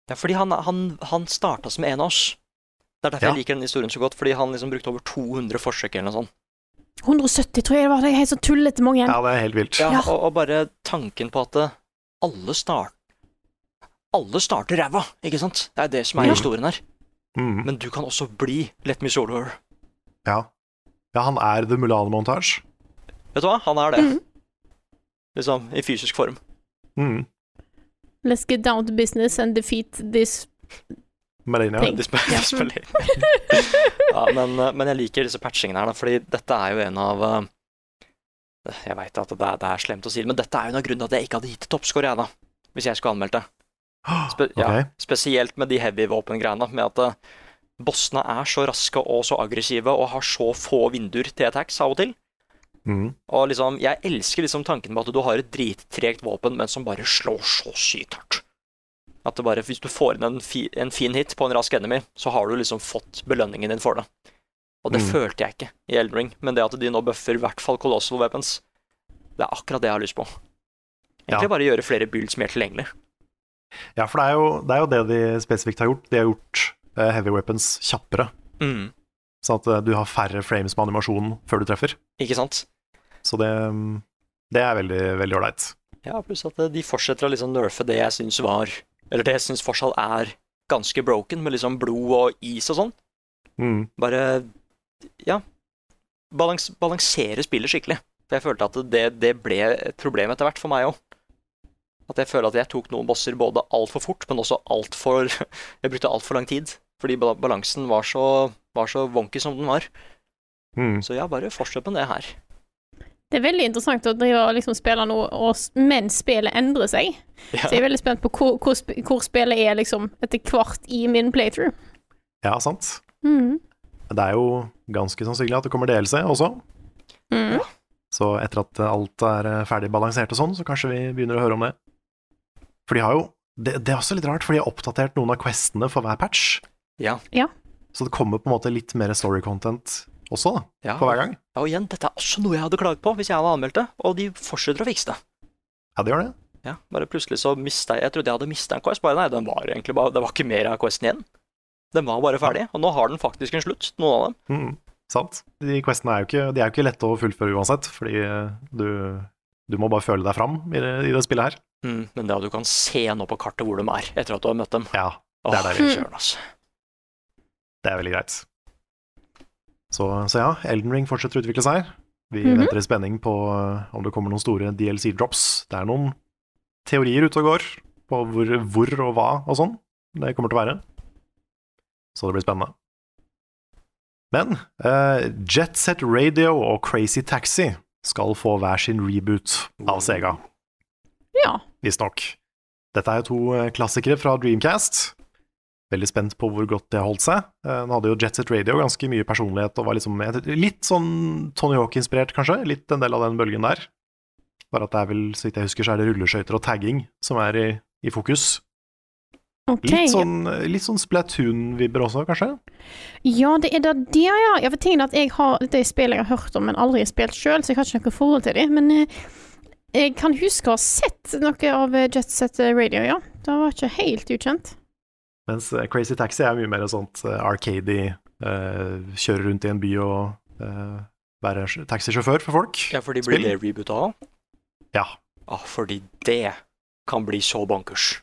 B: Ja, fordi han, han, han starta som en av oss. Det er derfor
C: Ja.
B: jeg liker den historien så godt, fordi han liksom brukte over 200 forsøk eller noe sånt.
A: 170, tror jeg det var. Det er helt så tullete mange.
C: Ja, det er helt vilt.
B: Ja,
A: Ja.
B: Og, og bare tanken på at eh, alle start... Alle starter ræva, ikke sant? Det er det som er
C: Ja.
B: historien her.
C: Mm.
B: Men du kan også bli Let me solo her.
C: Ja. ja, han er The Mulan Montage.
B: Vet du hva? Han er det.
A: Mhm.
B: Liksom, i fysisk form.
C: Mm.
A: Let's get down to business and defeat this
C: Melania.
A: Tenk.
B: Det
C: (gasps)
B: spiller,
A: Ja.
B: (laughs) det spiller. Ja, men, eh, men jeg liker disse patchingene her, da, fordi dette er jo en av eh, Jeg veit at det er, det er slemt å si det, men dette er jo en av grunnene til at jeg ikke hadde gitt toppscore, jeg, da. Hvis jeg skulle anmeldt det. Spe ja,
C: Ok.
B: Spesielt med de heavy våpen-greiene, med at eh, bossene er så raske og så aggressive og har så få vinduer til attacks av og til.
C: Mm.
B: Og liksom, jeg elsker liksom tanken på at du har et drittregt våpen, men som bare slår så sykt hardt. At det bare, hvis du får inn en, fi, en fin hit på en rask enemy, så har du liksom fått belønningen din for det. Og det
C: Mm.
B: følte jeg ikke i Elden Ring, men det at de nå bøffer i hvert fall Colossal Weapons, det er akkurat det jeg har lyst på. Egentlig
C: Ja.
B: bare gjøre flere builds mer tilgjengelig.
C: Ja, for det er, jo, det er jo det de spesifikt har gjort. De har gjort eh, heavy weapons kjappere, sånn at eh, du har færre frames med animasjon før du treffer.
B: Ikke sant?
C: Så det, mm, det er veldig veldig ålreit.
B: Ja, pluss at eh, de fortsetter å liksom nerfe det jeg syns var Eller det jeg syns fortsatt er ganske broken, med liksom blod og is og sånn.
C: Mm.
B: Bare ja, balans, balansere spillet skikkelig. For jeg følte at det, det ble et problem etter hvert for meg òg. At jeg føler at jeg tok noen bosser både altfor fort, men også altfor (laughs) Jeg brukte altfor lang tid. Fordi ba- balansen var så, var så wonky som den var.
C: Mm.
B: Så ja, bare fortsett med det her.
A: Det er veldig interessant å drive og liksom spille noe og, s- mens spillet endrer seg. Så jeg er veldig spent på hvor, hvor, sp- hvor spillet er liksom etter hvert i min playthrough.
C: Ja, sant.
A: Mm.
C: Det er jo ganske sannsynlig at det kommer DLC også.
A: Mm.
C: Så etter at alt er eh, ferdig balansert og sånn, så kanskje vi begynner å høre om det. For de har jo Det, det er også litt rart, for de har oppdatert noen av questene for hver patch.
B: Ja.
A: Ja.
C: Så det kommer på en måte litt mer story content også, da,
B: Ja,
C: for hver gang.
B: Ja, og igjen, dette er også noe jeg hadde klaget på hvis jeg hadde anmeldt det, og de fortsetter å fikse det.
C: Ja, det gjør det.
B: Ja, bare plutselig så mista jeg Jeg trodde jeg hadde mista en quest, bare nei, den var egentlig bare Det var ikke mer av questen igjen. Den var bare ferdig, og nå har den faktisk en slutt, noen av dem.
C: Mm, sant. De questene er jo ikke, de er jo ikke lette å fullføre uansett, fordi eh, du, du må bare føle deg fram i det, i det spillet her.
B: Mm, men det at du kan se nå på kartet hvor de er, etter at du har møtt dem
C: Ja,
B: Åh,
C: Det er deilig.
B: søren, altså.
C: det er veldig greit. Så, så ja, Elden Ring fortsetter å utvikle seg. Vi
A: Mhm.
C: venter i spenning på eh, om det kommer noen store DLC-drops. Det er noen teorier ute og går på hvor, hvor og hva og sånn det kommer til å være. Så det blir spennende. Men eh, Jet Set Radio og Crazy Taxi skal få hver sin reboot av Sega.
A: Ja.
C: visstnok. Dette er jo to eh, klassikere fra Dreamcast. Veldig spent på hvor godt det har holdt seg. Eh, Den hadde jo Jet Set Radio ganske mye personlighet og var liksom et- litt sånn Tony Hawk-inspirert, kanskje. Litt en del av den bølgen der. Bare at det er vel, så vidt jeg husker, så er det rulleskøyter og tagging som er i, i fokus.
A: OK.
C: Litt sånn, litt sånn Splatoon-vibber også, kanskje.
A: Ja, det er da det, ja. ja for tingen er at jeg har, Dette er spill jeg har hørt om, men aldri har spilt sjøl, så jeg har ikke noe forhold til dem. Men eh, jeg kan huske å ha sett noe av eh, Jet Set Radio, ja. Det var ikke helt ukjent.
C: Mens eh, Crazy Taxi er mye mer sånt eh, arcadey, eh, kjøre rundt i en by og eh, være sj- taxisjåfør for folk.
B: Ja, fordi
C: Spill.
B: blir det reboota òg?
C: Ja,
B: Ja, fordi det kan bli så bankers.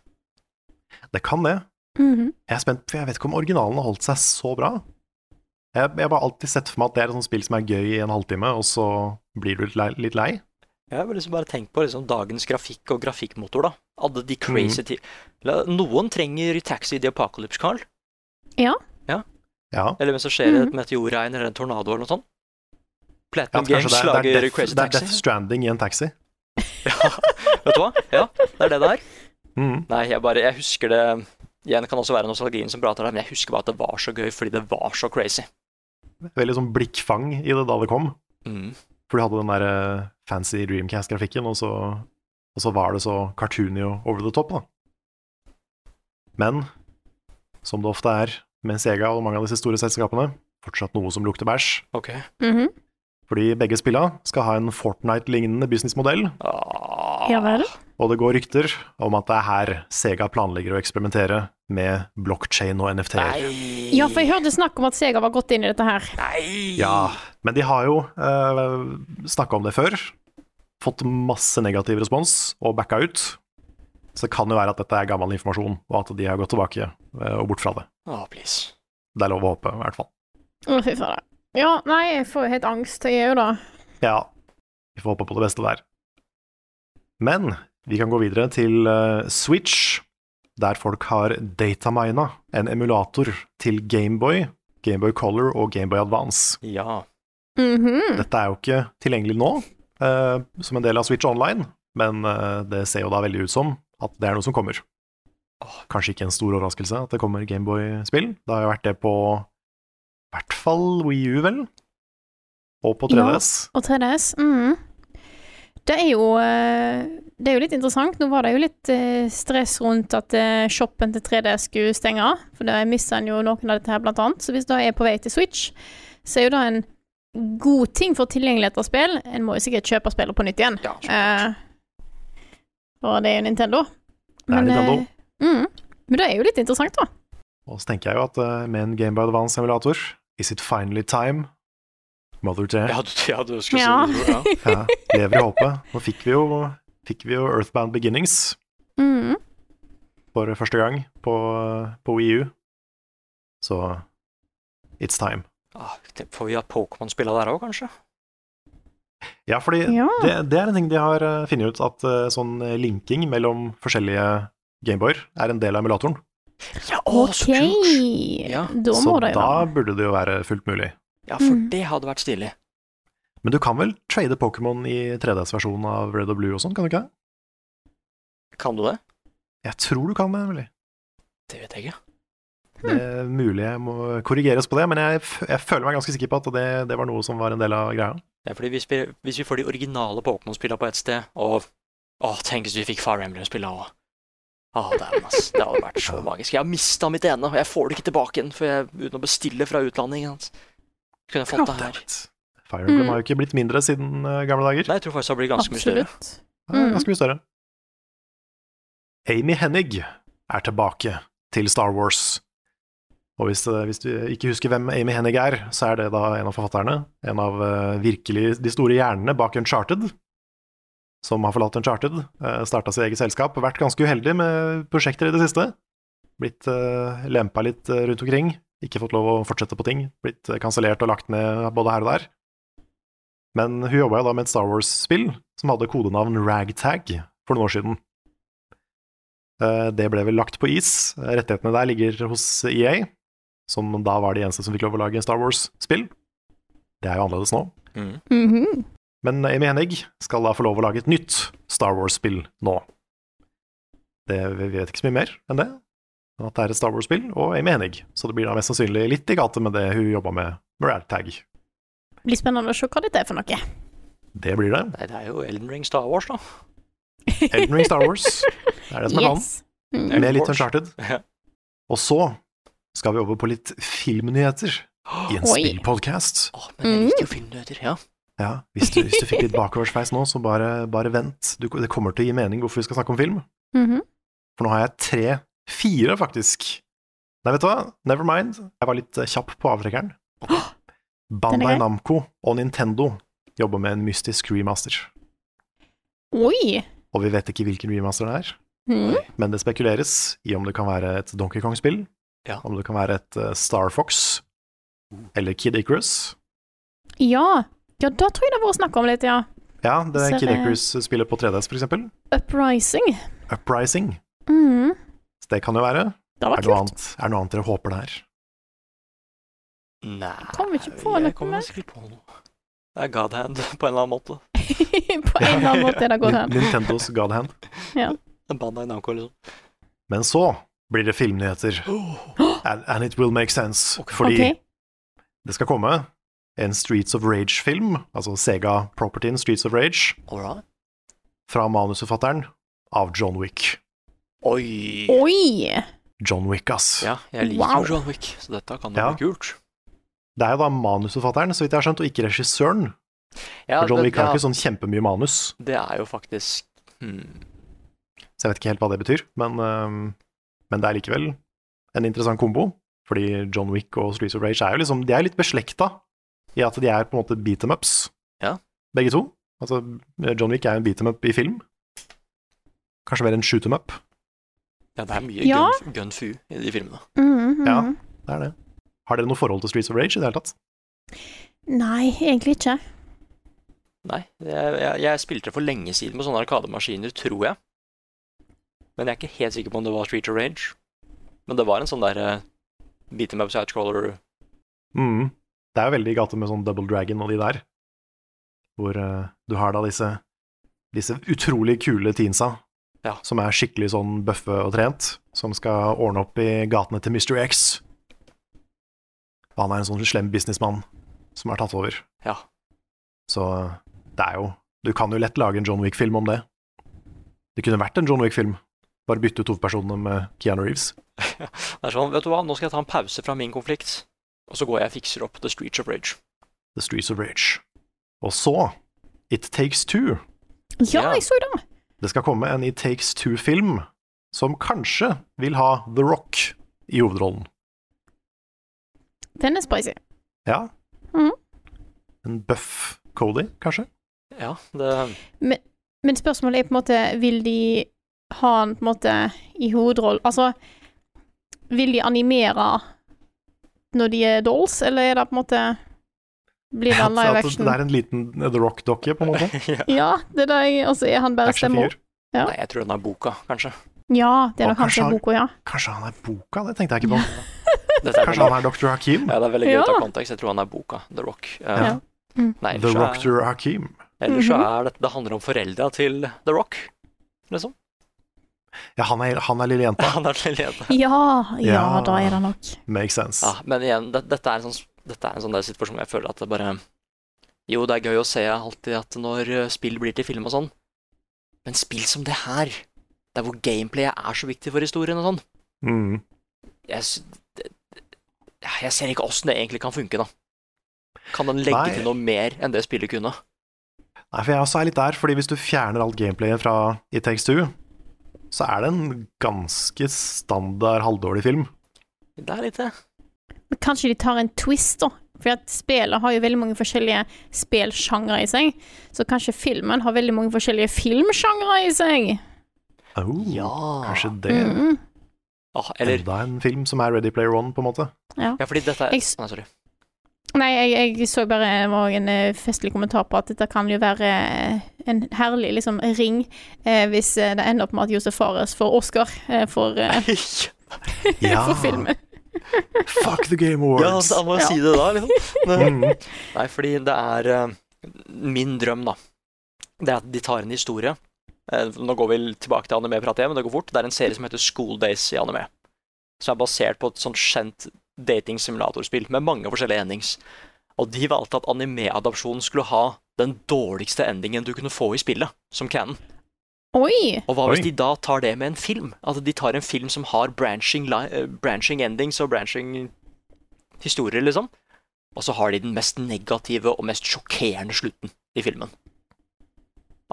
C: det kan det.
A: Mhm.
C: Jeg er spent, for jeg vet ikke om originalen har holdt seg så bra. Jeg, jeg har bare alltid sett for meg at det er et sånt spill som er gøy i en halvtime, og så blir du litt lei. Litt lei.
B: Jeg vil liksom bare tenke på liksom dagens grafikk og grafikkmotor, da. Alle
C: Mm.
B: de crazy ti... La- Noen trenger Taxi the Apocalypse, Carl.
C: Ja.
B: Eller mens det skjer
A: Mhm.
B: et meteorregn eller en tornado eller noe sånt.
C: ja
B: Platinum
C: kanskje
B: Games
C: det er, det,
B: lager
C: er death,
B: Crazy
C: det er
B: Taxi.
C: Death Stranding i en taxi.
B: Vet du hva? Ja, det er det det er.
C: Mm.
B: Nei, jeg bare Jeg husker det Igjen det kan også være nostalgien som prater der, men jeg husker bare at det var så gøy fordi det var så crazy.
C: Veldig sånn blikkfang i det da det kom,
B: Mm.
C: for du hadde den der eh, fancy Dreamcast-grafikken, og, så- og så var det så cartoony og over the top, da. Men som det ofte er med Sega og mange av disse store selskapene, fortsatt noe som lukter bæsj.
B: Ok.
A: Mhm.
C: Fordi begge spilla skal ha en Fortnite-lignende businessmodell,
B: Ah.
A: Ja vel.
C: og det går rykter om at det er her Sega planlegger å eksperimentere med blockchain og
B: Eh.
C: NFT-er.
A: Ja, for jeg hørte snakk om at Sega var godt inn i dette her.
C: Ja, men de har jo eh, snakka om det før, fått masse negativ respons og backa ut. Så det kan jo være at dette er gammel informasjon, og at de har gått tilbake eh, og bort fra det.
B: Ah, please.
C: Det er lov å håpe, i hvert fall.
A: Å, fy fader. Ja, nei, jeg får jo helt angst. Jeg er jo da
C: Ja, vi får håpe på det beste der. Men vi kan gå videre til eh, Switch, der folk har datamina en emulator til Gameboy, Gameboy Color og Gameboy Advance.
B: Ja.
A: Mhm.
C: Dette er jo ikke tilgjengelig nå eh, som en del av Switch Online, men eh, det ser jo da veldig ut som at det er noe som kommer. Kanskje ikke en stor overraskelse at det kommer Gameboy-spill. Det har jo vært det på i hvert fall Wii U, vel? Og på 3DS.
A: Og 3DS. mhm. Det er jo eh, Det er jo litt interessant. Nå var det jo litt eh, stress rundt at eh, shoppen til 3DS skulle stenge. For da mista en jo noen av dette her, blant annet. Så hvis det er på vei til Switch, så er jo det en god ting for tilgjengelighet av spill. En må jo sikkert kjøpe spillet på nytt igjen.
B: Ja, så klart.
A: Eh, og det er jo Nintendo.
C: Det er Nintendo.
A: eh, mhm. Men det er jo litt interessant, da.
C: Og så tenker jeg jo at eh, med en Gameboy Advance-emulator Is it finally time? Mother Dare.
B: Ja, du, ja, du skulle
A: Ja.
B: si
A: (laughs)
B: det. Ja.
C: Ja, lever i håpet. Nå fikk vi, jo, fikk vi jo Earthbound Beginnings
A: Mhm.
C: for første gang på, på EU. Så it's time.
B: Ah, får vi ha Pokémon-spilla der òg, kanskje?
C: Ja, fordi
A: Ja.
C: det, det er en ting de har eh, funnet ut, at eh, sånn linking mellom forskjellige Gameboyer er en del av emulatoren.
B: Ja,
A: OK.
B: Ja,
A: Da må
C: så
A: det jo
C: da
A: være.
C: burde det jo være fullt mulig.
B: Ja, for
A: Mm.
B: det hadde vært stilig.
C: Men du kan vel trade Pokémon i 3DS-versjonen av Red og Blue og sånn, kan du ikke det?
B: Kan du det?
C: Jeg tror du kan det, Emilie.
B: Det vet jeg ikke.
C: Det er mulig jeg må korrigeres på det, men jeg, f jeg føler meg ganske sikker på at det, det var noe som var en del av greia.
B: Det er fordi hvis vi, hvis vi får de originale Pokémon-spilla på ett sted, og Åh, tenk hvis vi fikk Fire Emblem-spilla òg. Åh, dæven, ass. Det hadde vært så magisk. Jeg har mista mitt ene, og jeg får det ikke tilbake igjen for jeg, uten å bestille fra utlandet. ikke sant? Kunne jeg fått det her?
C: Goddammit. Fire Emblem
A: Mm.
C: har jo ikke blitt mindre siden eh, gamle dager.
B: Nei, jeg tror faktisk det blir ganske mye større.
A: Absolutt.
C: Det er
A: Mm.
C: Ganske mye større. Amy Hennig er tilbake til Star Wars. Og hvis, eh, hvis du ikke husker hvem Amy Hennig er, så er det da en av forfatterne, en av eh, virkelig de store hjernene bak Uncharted, som har forlatt Uncharted, starta sitt eget selskap, vært ganske uheldig med prosjekter i det siste. Blitt eh, lempa litt eh, rundt omkring, ikke fått lov å fortsette på ting, blitt eh, kansellert og lagt ned både her og der. Men hun jobba jo da med et Star Wars-spill som hadde kodenavn Ragtag for noen år siden. Eh, Det ble vel lagt på is. Rettighetene der ligger hos EA, som da var de eneste som fikk lov å lage Star Wars-spill. Det er jo annerledes nå.
B: Mm.
A: Mhm.
C: Men Amy Hennig skal da få lov å lage et nytt Star Wars-spill nå. Det, vi vet ikke så mye mer enn det. men At det er et Star Wars-spill og Amy Hennig. Så det blir da mest sannsynlig litt i gate med det hun jobba med med Ragtag.
A: Blir spennende å se hva dette er for noe.
C: Det blir det.
B: Nei, det er jo Elden Ring Star Wars, da.
C: Elden Ring Star Wars. Det er det som er planen.
A: Mm.
C: Med litt
B: Wars.
C: Uncharted.
B: Ja.
C: Og så skal vi over på litt filmnyheter i en
A: Oi.
C: spillpodkast.
B: Åh, men
A: Mm.
B: jeg liker jo filmnyheter. Ja.
C: Ja, hvis du, hvis du fikk litt bakoversveis nå, så bare, bare vent. Du, det kommer til å gi mening hvorfor vi skal snakke om film.
A: Mhm.
C: For nå har jeg tre, fire faktisk. Nei, vet du hva? Never mind. Jeg var litt eh, kjapp på
A: (gasps)
C: avtrekkeren.
A: grei.
C: Bandai Namco og Nintendo jobber med en mystisk remaster.
A: Oi!
C: Og vi vet ikke hvilken remaster det er.
A: Mhm.
C: Men det spekuleres i om det kan være et Donkey Kong-spill,
B: Ja.
C: om det kan være et eh, Star Fox eller Kid Icarus.
A: Ja. ja, da tror jeg det har vært snakk om litt, ja.
C: Ja, det
A: Så
C: er Kid
A: det-
C: Icarus-spillet på 3DS, for eksempel.
A: Uprising.
C: Uprising.
A: Mhm.
C: Så det kan jo være.
A: Det var
C: Er det noe
A: kult.
C: annet, er det noe annet dere håper det er?
B: Nei
A: Kom vi ikke på noe
B: Jeg kommer
A: mer?
B: sikkert på noe. Det er god hand (laughs) på en eller annen måte.
A: (laughs) På en eller annen måte er det gått
C: Nin-
A: hen. (laughs)
C: Nintendos God Hand.
B: Bandai Namco, liksom.
C: Men så blir det filmnyheter. And, and it will make sense.
B: Ok.
C: (laughs) Fordi
A: Ok.
C: det skal komme en Streets of Rage-film, altså Sega-propertyen Streets of Rage,
B: All right.
C: fra manusforfatteren av John Wick.
B: Oi!
A: Oi!
C: John Wick, ass.
B: Ja, jeg liker
A: Wow.
B: jo John Wick, så dette kan jo
C: Ja.
B: bli kult.
C: Det er jo da manusforfatteren, så vidt jeg har skjønt, og ikke regissøren,
B: Ja,
C: For John
B: det-
C: Wick har
B: ja,
C: ikke sånn kjempemye manus,
B: Det er jo faktisk hmm.
C: så jeg vet ikke helt hva det betyr. Men, øhm, men det er likevel en interessant kombo, fordi John Wick og Streets of Rage er jo liksom, de er litt beslekta i at de er på en måte beat em ups,
B: Ja.
C: begge to. Altså, John Wick er en beat em up i film. Kanskje mer en shoot em up.
B: Ja, det er mye
A: Ja.
B: gun, gun fu i de filmene.
A: Mhm, mhm.
C: Ja. Det er det. Har dere noe forhold til Streets of Rage i det hele tatt?
A: Nei, egentlig ikke.
B: Nei, jeg, jeg, jeg spilte det for lenge siden med sånne arkademaskiner, tror jeg. Men jeg er ikke helt sikker på om det var Street of Rage. Men det var en sånn der uh, beat em up sidescroller
C: Mm. Det er jo veldig i gata med sånn Double Dragon og de der, hvor eh, du har da disse, disse utrolig kule teensa,
B: Ja.
C: som er skikkelig sånn bøffe og trent, som skal ordne opp i gatene til Mr. X. Han er en sånn slem businessmann som er tatt over.
B: Ja.
C: Så eh, det er jo Du kan jo lett lage en John Wick-film om det. Det kunne vært en John Wick-film, bare bytte ut hovedpersonene med Keanu Reeves.
B: Det er sånn, vet du hva, nå skal jeg ta en pause fra min konflikt, og så går jeg og fikser opp The Streets of Rage.
C: The Streets of Rage. Og så It Takes Two.
B: Ja.
A: Ja, jeg så det.
C: Det skal komme en It Takes Two-film som kanskje vil ha The Rock i hovedrollen.
A: Den er spicy.
C: Ja.
A: Mhm.
C: En bøff Cody, kanskje?
B: Ja, det
A: Men spørsmålet er på en måte Vil de ha han på en måte i hovedrollen Altså, vil de animere når de er dolls, eller er det på en måte
C: (laughs)
A: Blir det en
C: At-
A: live
C: at
A: action?
C: altså, Det er en liten The Rock-dokke, på
A: (laughs)
C: en måte.
B: (laughs) ja.
A: Ja, det er det jeg Altså, er han bare stemmer?
C: Actionfigur.
A: Ja.
B: Nei, jeg tror den er boka,
C: (laughs)
B: kanskje.
A: Ja, det er
C: Og
A: nok han som er
C: kanskje
A: boka, ja.
C: Kanskje han er boka? Det tenkte jeg
A: (laughs)
C: ikke på.
B: Dette er
C: Kanskje
B: veldig,
C: han er Dr. Hakim?
B: ja, det er veldig gøy
A: Ja.
B: å ta kontekst. Jeg tror han er boka, The Rock. Eh,
A: Ja. Mm.
B: Nei,
C: The Rock
B: ellers så er,
C: Dr. Hakim.
B: ellers så er det, det handler om foreldra til The Rock. Liksom.
C: Ja, han er, han er lille jenta.
B: (laughs) Han er til lede.
A: Ja, ja,
C: Ja.
A: da er det nok.
C: Makes sense.
A: Ah.
B: Ja, men igjen, det, dette er en sånn, dette er en sånn der situasjon hvor jeg føler at det bare Jo, det er gøy å se alltid at når eh, spill blir til film og sånn, men spill som det her, der hvor gameplayet er så viktig for historien og sånn
C: Mm.
B: jeg, s- det- det- jeg ser ikke åssen det egentlig kan funke, da. Kan den legge
C: Nei.
B: til noe mer enn det spillet kunne?
C: Nei, for jeg også er litt der, fordi hvis du fjerner alt gameplayet fra It Takes Two, så er det en ganske standard halvdårlig film.
B: Det er litt det.
A: Men kanskje de tar en twist, da. For at spillet har jo veldig mange forskjellige spillsjangre i seg. Så kanskje filmen har veldig mange forskjellige filmsjangre i seg.
C: Oh,
B: Ja.
C: Kanskje det
A: Mm.
B: Ah, eller
C: enda en film som er Ready Player One, på en
B: (laughs)
C: måte.
B: Ja, fordi dette er
A: Jeg s-
B: Nei, (laughs) sorry.
A: Nei, jeg, jeg så bare det var en eh, festlig kommentar på at dette kan jo være eh, en herlig liksom, ring eh, hvis eh, det ender opp med at Josef Fares får Oscar eh, for, eh,
B: (laughs)
A: for filmen.
C: (laughs) Fuck the Game Awards!
B: da må jeg si det da,
C: (laughs)
B: liksom.
C: Mm.
B: Nei, fordi det er eh, min drøm, da. Det er at de tar en historie. Eh, Nå går vi tilbake til anime, prater jeg, men det går fort. Det er en serie som heter School Days i anime. Som er basert på et sånt kjent dating-simulatorspill med mange forskjellige endings. Og de valgte at anime-adopsjonen skulle ha den dårligste endingen du kunne få i spillet, som canon.
A: Oi!
B: Og hva hvis
C: Oi.
B: de da tar det med en film? At de tar en film som har branching, li eh, branching endings og branching historier, liksom. Og så har de den mest negative og mest sjokkerende slutten i filmen.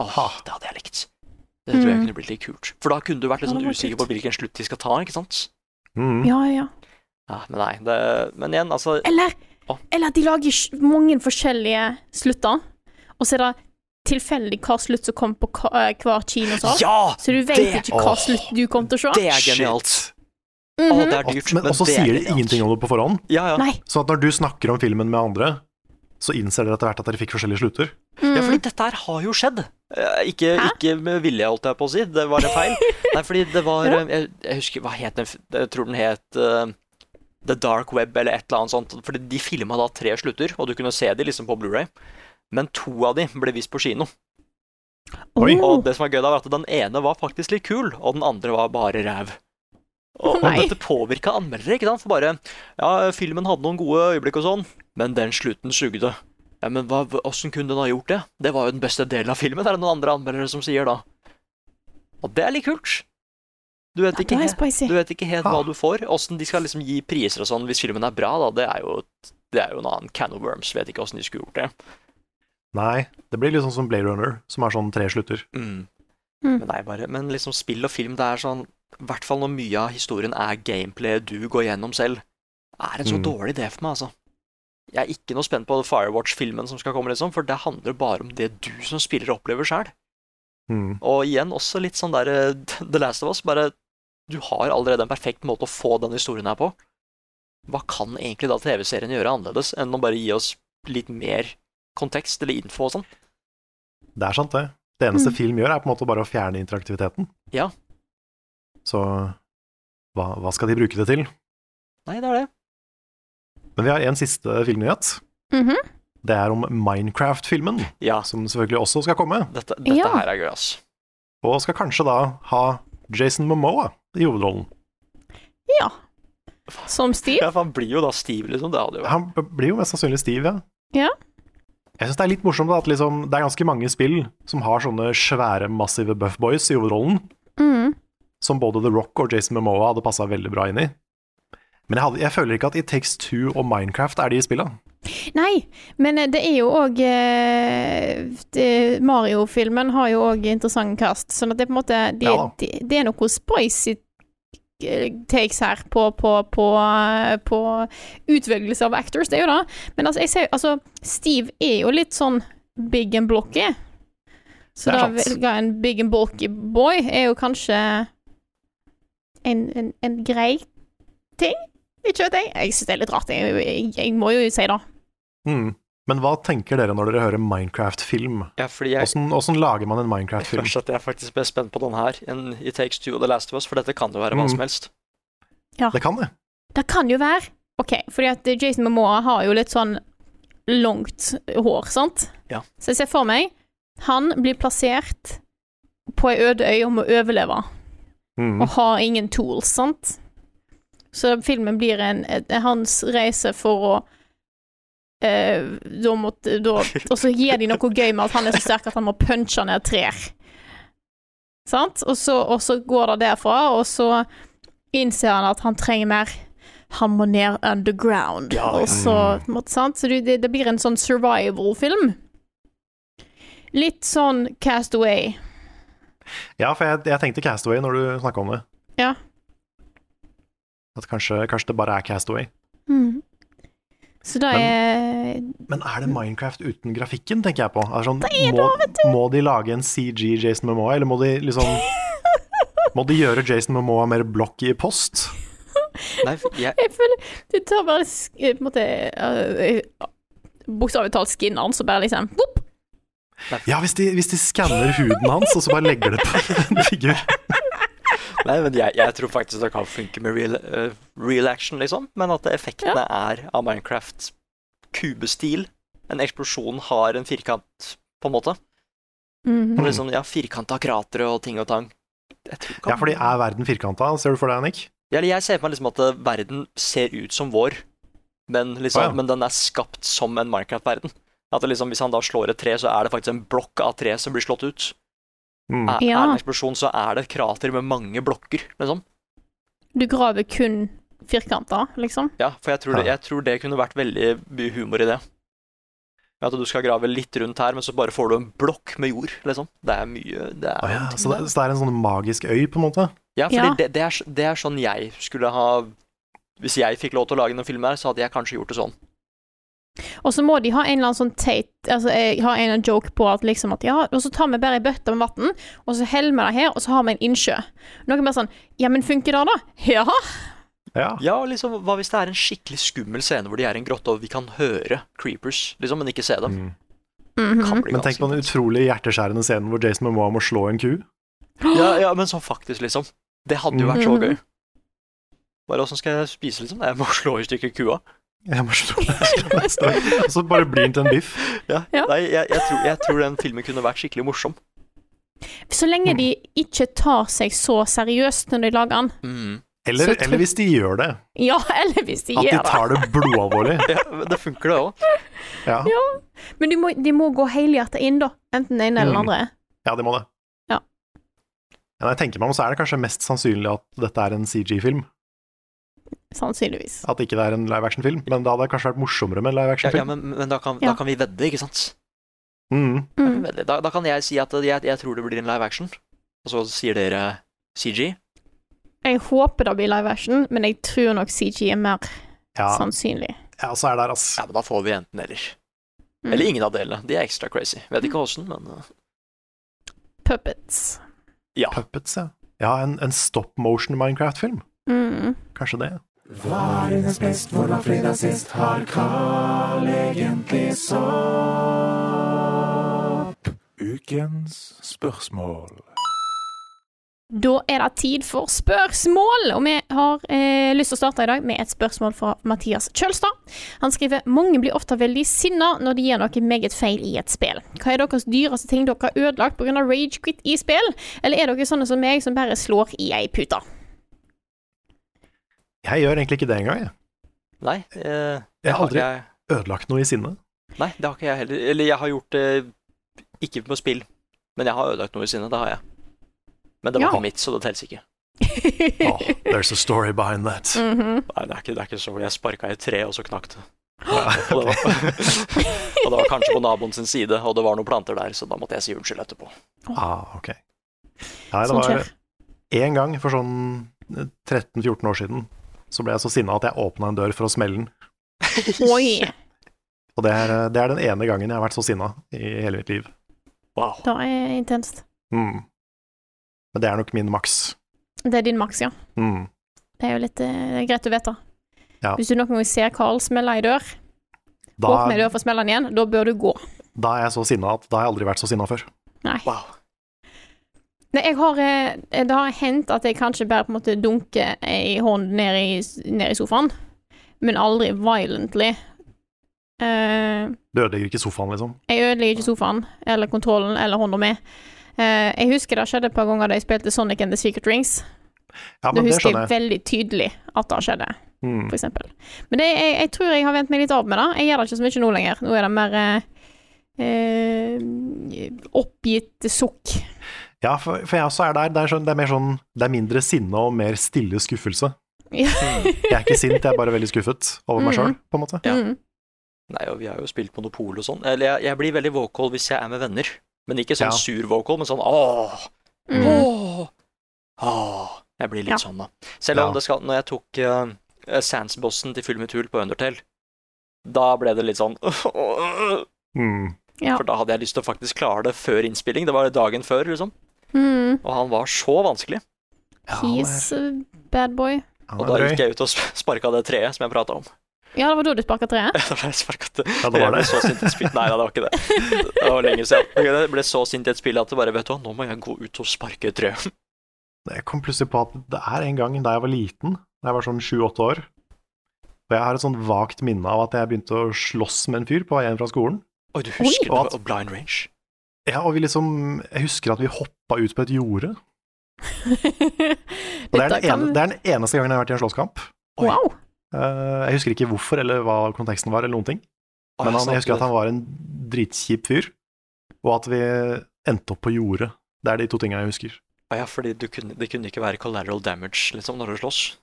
B: Åh, det hadde jeg likt. Det tror jeg
A: Mm.
B: kunne blitt litt kult. For da kunne du vært litt
A: Ja, det
B: sånn
A: var
B: usikker
A: kult.
B: på hvilken slutt de skal ta, ikke sant?
C: Mm.
A: Ja, ja.
B: Ja, men nei, det, men igjen, altså
A: Eller,
B: Å.
A: eller at de lager sj- mange forskjellige slutter, og så er det tilfeldig hva slutt som kom på ka- eh, hver kinosal.
B: Ja!
A: Så du vet
B: Det,
A: ikke hva
C: Åh.
A: slutt du kommer til å se.
B: det er genialt. Å,
A: Mhm.
B: det er
C: Og-
B: dyrt,
C: Men også
B: det er
C: sier de
B: genialt.
C: ingenting om det på forhånd.
B: Ja, ja.
A: Nei.
C: Så at når du snakker om filmen med andre, så innser dere etter hvert at dere fikk forskjellige slutter.
B: Ja, fordi
A: Mm.
B: dette her har jo skjedd. Eh, Ikke,
A: Hæ?
B: ikke med vilje, holdt jeg på å si. Det var en feil.
A: (laughs)
B: Nei, fordi det var
A: Ja.
B: eh, jeg, jeg husker Hva het den? f- Jeg tror den het eh, The Dark Web eller et eller annet sånt. Fordi de filma da tre slutter, og du kunne se de liksom på Blu-ray. Men to av de ble vist på kino.
C: Oi.
A: Mhm. Åh.
B: Og det som er gøy da, var at den ene var faktisk litt kul, og den andre var bare ræv. Og, og
A: Nei.
B: dette påvirka anmeldere, ikke sant? For bare Ja, filmen hadde noen gode øyeblikk og sånn, men den slutten sugde. Ja, men hva, åssen kunne den ha gjort det? Det var jo den beste delen av filmen, er det noen andre anmeldere som sier da. Og det er litt kult. Du vet
A: Ja,
B: ikke,
A: det er
B: he-
A: spicy.
B: du vet ikke helt
C: Ah.
B: hva du får. Åssen de skal liksom gi priser og sånn hvis filmen er bra, da, det er jo, det er jo en annen can of worms. Vet ikke åssen de skulle gjort det.
C: Nei, det blir litt sånn som Blade Runner, som er sånn tre slutter.
B: Mm.
A: Mm.
B: Men, nei, bare, men liksom spill og film, det er sånn I hvert fall når mye av historien er gameplay du går gjennom selv, er en så
C: Mm.
B: dårlig idé for meg, altså. Jeg er ikke noe spent på Firewatch-filmen som skal komme, liksom, for det handler bare om det du som spiller opplever sjøl.
C: Mm.
B: Og igjen også litt sånn der eh, The Last of Us, bare Du har allerede en perfekt måte å få den historien her på. Hva kan egentlig da TV-serien gjøre annerledes enn å bare gi oss litt mer kontekst eller info og sånn?
C: Det er sant, det. Det eneste
A: Mm.
C: film gjør, er på en måte bare å fjerne interaktiviteten.
B: Ja.
C: Så hva, hva skal de bruke det til?
B: Nei, det er det.
C: Men vi har en siste filmnyhet.
A: Mhm.
C: Det er om Minecraft-filmen,
B: Ja,
C: som selvfølgelig også skal komme.
B: dette, dette
A: Ja.
B: her er gøy, ass.
C: Og skal kanskje da ha Jason Momoa i hovedrollen.
A: Ja. Som Steve.
B: Ja, for han blir jo da stiv, liksom. Det hadde jo vært
C: Han b- blir jo mest sannsynlig stiv, ja.
A: Ja.
C: Jeg syns det er litt morsomt da, at liksom, det er ganske mange spill som har sånne svære, massive buff boys i hovedrollen,
A: Mm.
C: som både The Rock og Jason Momoa hadde passa veldig bra inn i. Men jeg, hadde, jeg føler ikke at It Takes Two og Minecraft er de spilla.
A: Nei, men eh, det er jo òg Mario-filmen har jo òg interessant cast, sånn at det er på en måte Det,
C: Ja da.
A: det, det er noe spicy eh, takes her på, på, på, eh, på utvelgelse av actors, det er jo det. Men altså, jeg ser, altså, Steve er jo litt sånn big and blocky. Så
C: Det er
A: da
C: sant.
A: velger en big and bulky boy er jo kanskje en, en, en grei ting. Ikke vet jeg. Jeg syns det er litt rart. Jeg, jeg, jeg må jo si det.
C: Mm. Men hva tenker dere når dere hører Minecraft-film?
B: Ja, fordi jeg
C: Åssen åssen lager man en
B: jeg
C: Minecraft-film?
B: først at jeg faktisk ble spent på den her enn i Takes Two og The Last of Us, for dette kan jo være hva
C: Mm.
B: som helst.
C: Det kan det.
A: Det kan jo være OK, fordi at Jason Momoa har jo litt sånn langt hår, sant?
B: Ja.
A: Så jeg ser for meg han blir plassert på ei øde øy og må overleve,
C: Mm.
A: og har ingen tools, sant? Så filmen blir en, en- hans reise for å eh, da måtte, da,
B: (laughs)
A: Og så gir de noe gøy med at han er så sterk at han må punche ned trær. Sant? Og så, og så går det derfra, og så innser han at han trenger mer. Han må ned underground.
B: Ja,
A: og så, på en måte, sant? så du, det, det blir en sånn survival-film. Litt sånn Castaway.
C: Ja, for jeg, jeg tenkte Castaway når du snakka om det.
A: Ja.
C: At kanskje, kanskje det bare er Castaway.
A: Mm. Så det er
C: Men er det Minecraft uten grafikken, tenker jeg på? Er sånn, må, må de lage en CG Jason Momoa, eller må de liksom Må de gjøre Jason Momoa mer blokk i post?
B: Nei, for jeg,
A: Jeg føler Det tar bare sk- eh, på en måte eh, eh, Bokstavelig talt skinneren, så bare liksom boop,
C: Ja, hvis de, hvis de skanner huden hans, og så bare legger det på en figur.
B: nei, men jeg, jeg tror faktisk det kan funke med real, eh, real action, liksom. Men at effektene er av Minecraft kubestil. En eksplosjon har en firkant, på en måte.
A: Mhm.
C: Mm.
B: Og liksom, ja, firkanta kratre og ting og tang. Jeg tror det kan-
C: Ja, fordi er verden firkanta? Ser du for deg, Nick?
B: Ja, Eller jeg ser for meg liksom at eh, verden ser ut som vår, men, liksom,
C: Å, ja.
B: men den er skapt som en Minecraft-verden. At det liksom, Hvis han da slår et tre, så er det faktisk en blokk av tre som blir slått ut.
C: Mm.
B: Er, er det
A: Ja.
B: en eksplosjon, så er det et krater med mange blokker. liksom.
A: Du graver kun firkanter, liksom.
B: Ja, For jeg tror, det,
C: Ja.
B: jeg tror det kunne vært veldig mye humor i det. Med At du skal grave litt rundt her, men så bare får du en blokk med jord. liksom. Det er mye det er
C: Å ja,
B: noe
C: så det,
B: der.
C: så det er en sånn magisk øy, på en måte?
B: ja, fordi
A: Ja.
B: Det, det, er, s- det er sånn jeg skulle ha Hvis jeg fikk lov til å lage denne filmen, her, så hadde jeg kanskje gjort det sånn.
A: Og så må de ha en eller annen sånn teit Altså jeg har en eller annen joke på at liksom at ja, og så tar vi bare ei bøtte med vann, og så heller vi det her, og så har vi en innsjø. Noen bare sånn Ja, men funker det, da? Ja.
C: Ja.
B: Ja, og liksom, hva hvis det er en skikkelig skummel scene hvor de er i en grotte og vi kan høre creepers, liksom, men ikke se dem?
C: Mm.
A: Mhm.
B: Kan bli
C: Men tenk
B: ganske
C: på den
B: intenst.
C: utrolig hjerteskjærende scenen hvor Jason Momoa må slå en ku.
B: Ja, ja, men sånn faktisk, liksom. Det hadde jo vært
C: Mm.
B: så
A: Mhm. (laughs)
B: gøy. Bare åssen skal jeg spise, liksom? Nei, Jeg må (laughs) slå i stykker kua.
C: Jeg må (laughs) slå slå- slå- Og så bare blir den til en biff.
B: Ja.
A: Ja.
B: Nei, jeg, jeg, tror, jeg tror den filmen kunne vært skikkelig morsom.
A: Så lenge de ikke tar seg så seriøst når de lager den.
C: Eller,
A: Så tro-
C: eller hvis de gjør det.
A: Ja, (laughs) eller hvis de
C: At de
A: gjør det.
C: tar det blodalvorlig.
B: Ja, men det funker, det òg.
C: Ja,
A: Ja. Men de må, de må gå helhjertet inn, da. Enten den ene eller den
C: Mm.
A: andre.
C: ja de må det.
A: Ja.
C: Ja, Når jeg tenker meg om, så er det kanskje mest sannsynlig at dette er en CG-film.
A: Sannsynligvis.
C: At ikke det er en live action-film. Men det hadde kanskje vært morsommere med en live
B: Ja, ja,
C: action-film.
B: men, men da, kan, da
A: Ja.
B: kan vi vedde, ikke sant?
C: Mm.
A: Mm.
B: Da, da kan jeg si at jeg, jeg tror det blir en live action, og så sier dere CG.
A: Jeg håper det blir live action, men jeg tror nok CG er mer
C: Ja,
A: sannsynlig.
C: ja, så er det der, ass.
B: Ja, men da får vi enten eller.
A: Mm.
B: Eller ingen av delene. De er ekstra crazy. Vet ikke åssen, men uh,
A: Puppets.
B: ja.
C: Puppets, ja. Ja, en, en stop motion Minecraft-film.
A: Mm.
C: Kanskje det.
D: Ukens spørsmål.
A: Da er det tid for spørsmål, og vi har eh, lyst til å starte i dag med et spørsmål fra Mathias Kjølstad. Han skriver mange blir ofte veldig sinna når de gjør noe meget feil i et spill. Hva er deres dyreste ting dere har ødelagt pga. ragequit i spill, eller er dere sånne som meg som bare slår i ei pute?
C: Jeg gjør egentlig ikke det engang. Jeg.
B: Nei. eh,
C: Jeg har aldri-
B: jeg,
C: Ødelagt noe i sinne.
B: Nei, det har ikke jeg heller. Eller jeg har gjort det ikke på spill, men jeg har ødelagt noe i sinne. Det har jeg. Men det var
A: Ja.
B: ikke mitt, så det teller ikke.
C: Oh, there's a story behind that.
A: (laughs) Mhm.
B: Nei, det er ikke, det er ikke så. Jeg sparka i et tre, og så knakk
A: (gasps)
B: det. Og det, var,
A: (laughs)
B: og det var kanskje på naboen sin side, og det var noen planter der, så da måtte jeg si unnskyld etterpå.
C: Ah, ok. Nei, det
A: Sånt
C: var
A: skjer.
C: én gang for sånn 13-14 år siden, så ble jeg så sinna at jeg åpna en dør for å smelle den.
A: Oi.
C: Og det er, eh, det er den ene gangen jeg har vært så sinna i hele mitt liv.
B: Wow.
A: Det er eh, intenst.
C: Mm. Men det er nok min maks.
A: Det er din maks, ja.
C: Mm.
A: Det er jo litt eh, det er greit å vite.
C: Ja.
A: Hvis du noen gang ser Carl smelle ei dør,
C: Da,
A: åpne ei dør for å smelle den igjen, da bør du gå.
C: da er jeg så sinna at da har jeg aldri vært så sinna før.
A: Nei.
B: wow.
A: Nei, jeg har, eh, det har hendt at jeg kanskje bare på en måte dunker ei hånd ned i, ned i sofaen, men aldri violently. Eh,
C: Du ødelegger ikke sofaen, liksom.
A: jeg ødelegger ikke sofaen eller kontrollen eller hånda mi. Eh, jeg husker det skjedde et par ganger da jeg spilte Sonic and the Secret Rings.
C: Ja,
A: da
C: men
A: husker
C: det
A: jeg
C: skjønner jeg.
A: veldig tydelig at det skjedde.
C: Mm.
A: for eksempel. Men det, jeg, jeg tror jeg har vent meg litt av med det. Jeg gjør det ikke så mye nå lenger. Nå er det mer eh, eh, oppgitt sukk.
C: Ja, for, for jeg også er der. Det er, sånn, det er mer sånn Det er mindre sinne og mer stille skuffelse. Hmm.
A: Ja.
C: Jeg er ikke sint, jeg er bare veldig skuffet over meg sjøl, på en måte.
B: Ja.
A: Mm.
B: Nei, og vi har jo spilt monopol og sånn. Eller jeg, jeg blir veldig vocal hvis jeg er med venner. Men ikke sånn
C: Ja.
B: sur vocal, men sånn åh,
A: Mm.
B: åh, åh. Jeg blir litt
A: Ja.
B: sånn, da. Selv om
C: Ja.
B: det skal Når jeg tok eh, Sans-bossen til Full Mutul på Undertale, da ble det litt sånn åh, åh, åh.
C: Mm.
A: Ja.
B: For da hadde jeg lyst til å faktisk klare det før innspilling. Det var dagen før, liksom.
A: Mm.
B: Og han var så vanskelig.
C: Ja, han er-
A: He's a bad boy.
C: han
B: Og da
C: er drøy.
B: gikk jeg ut og sp- sparka det treet som jeg prata om. (laughs)
A: Ja, det var da du sparka treet?
C: (laughs)
B: Da ble jeg sparket det.
C: Ja, det
B: Jeg
C: var
B: ble
C: det.
B: så sint i et spill. Nei, nei, det var ikke det. Det var lenge siden.
A: (laughs)
B: Jeg ble så sint i et spill at det bare Vet du hva, nå må jeg gå ut og sparke et tre.
C: Jeg kom plutselig på at det er en gang da jeg var liten, da jeg var sånn sju-åtte år, og jeg har et sånn vagt minne av at jeg begynte å slåss med en fyr på vei hjem fra skolen.
B: Oi, du husker det
C: Oi.
B: var blind range?
C: Ja, og vi liksom Jeg husker at vi hoppa ut på et jorde. Og det er,
A: Dette
C: den ene,
A: kan-
C: det er den eneste gangen jeg har vært i en slåsskamp. Oi.
A: Wow.
C: Eh, Jeg husker ikke hvorfor eller hva konteksten var, eller noen ting.
B: Å,
C: Men han, jeg
B: snakker-
C: husker at han var en dritkjip fyr, og at vi endte opp på jordet. Det er de to tingene jeg husker.
B: Å, Ah, Ja, fordi du kunne, det kunne ikke være collateral damage liksom, når du slåss.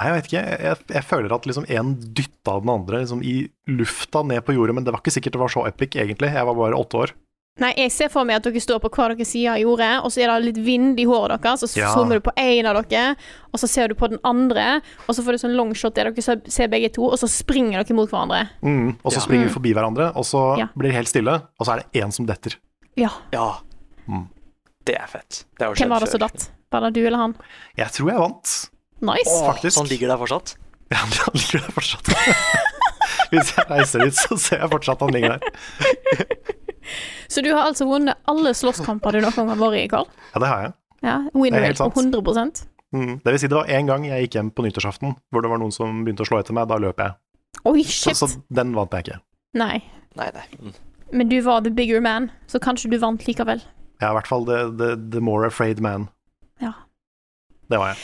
C: Nei, jeg vet ikke. Jeg, jeg føler at liksom en dytta den andre liksom i lufta ned på jordet, men det var ikke sikkert det var så epic, egentlig. Jeg var bare åtte år.
A: Nei, jeg ser for meg at dere står på hver deres side av jordet, og så er det litt vind i håret deres, så
C: Ja.
A: zoomer du på én av dere, og så ser du på den andre, og så får du sånn longshot der dere ser- ser begge to, og så springer dere mot hverandre.
C: Mm. Og så
B: Ja.
C: springer vi forbi hverandre, og så
A: Ja.
C: blir det helt stille, og så er det én som detter.
A: Ja.
B: Ja.
C: Mm.
B: Det er fett. Det har jo
A: Hvem
B: skjedd
A: var det som
B: før.
A: datt? Var det du eller han?
C: Jeg tror jeg vant.
A: Nice. (laughs)
B: Å, Så
C: Faktisk.
B: han sånn ligger der fortsatt?
C: Ja, han ligger der fortsatt. Hvis jeg reiser dit, så ser jeg fortsatt han ligger der.
A: Så du har altså vunnet alle slåsskamper du noen gang har vært i, Karl?
C: Ja, det har jeg.
A: Ja, win
C: Det er
A: rate
C: helt
A: på
C: sant.
A: 100
C: Mm. Det vil si, det var én gang jeg gikk hjem på nyttårsaften hvor det var noen som begynte å slå etter meg. Da løp jeg.
A: Oi,
C: Så,
A: shit!
C: så den vant jeg ikke.
A: Nei.
B: Nei, nei. Mm. (laughs)
A: Men du var the bigger man, så kanskje du vant likevel.
C: Jeg er i hvert fall the, the, the more afraid man.
A: Ja.
C: Det var jeg.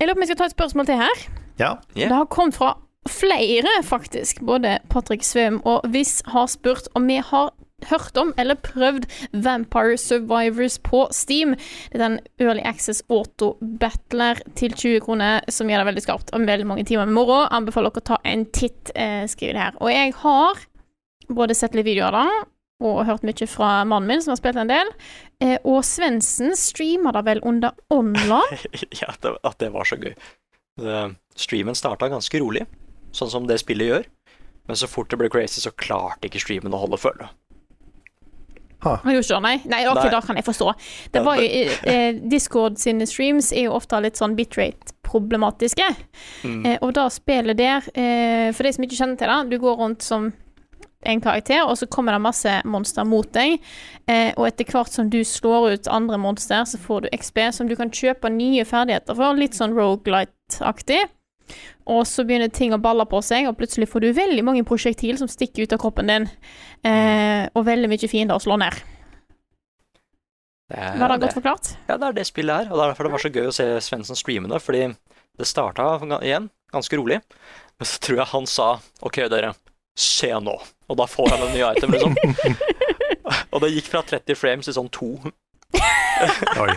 A: Jeg lurer på om jeg skal ta et spørsmål til her.
C: Ja.
B: Ja.
A: Det har kommet fra flere, faktisk. Både Patrick Svøm og Viss har spurt om vi har hørt om eller prøvd Vampire Survivors på Steam. Det er en Early Access Auto Battler til 20 kroner som gjør det veldig skarpt om veldig mange timer med moro. Anbefaler dere å ta en titt, eh, skriver det her. Og jeg har både sett litt videoer da, og hørt mye fra mannen min, som har spilt en del. Eh, og Svendsen streama det vel under Online?
B: ja, det, at det var så gøy. Det, streamen starta ganske rolig, sånn som det spillet gjør. Men så fort det ble crazy, så klarte ikke streamen å holde følge.
A: Jeg gjorde ikke det, nei. nei ok,
B: Nei.
A: da kan jeg forstå. Det
B: Ja,
A: var jo,
B: det-
A: eh, Discord sine streams er jo ofte litt sånn bitrate-problematiske.
B: Mm.
A: Eh, og da spillet der, eh, for de som ikke kjenner til det, du går rundt som en karakter, og så kommer det masse monster mot deg. Eh, og etter hvert som du slår ut andre monster, så får du XB som du kan kjøpe nye ferdigheter for, litt sånn roguelite-aktig. Og så begynner ting å balle på seg, og plutselig får du veldig mange prosjektil som stikker ut av kroppen din, eh, og veldig mye fiender å slå ned.
B: Det, er-
A: Var Eh, det
B: det,
A: godt forklart?
B: ja, det er det spillet er. Og det er derfor det var så gøy å se Svendsen streame det, fordi det starta ga- igjen ganske rolig. Men så tror jeg han sa OK, dere, se nå. Og da får han en ny item, liksom. Og det gikk fra 30 frames til sånn to.
C: Oi.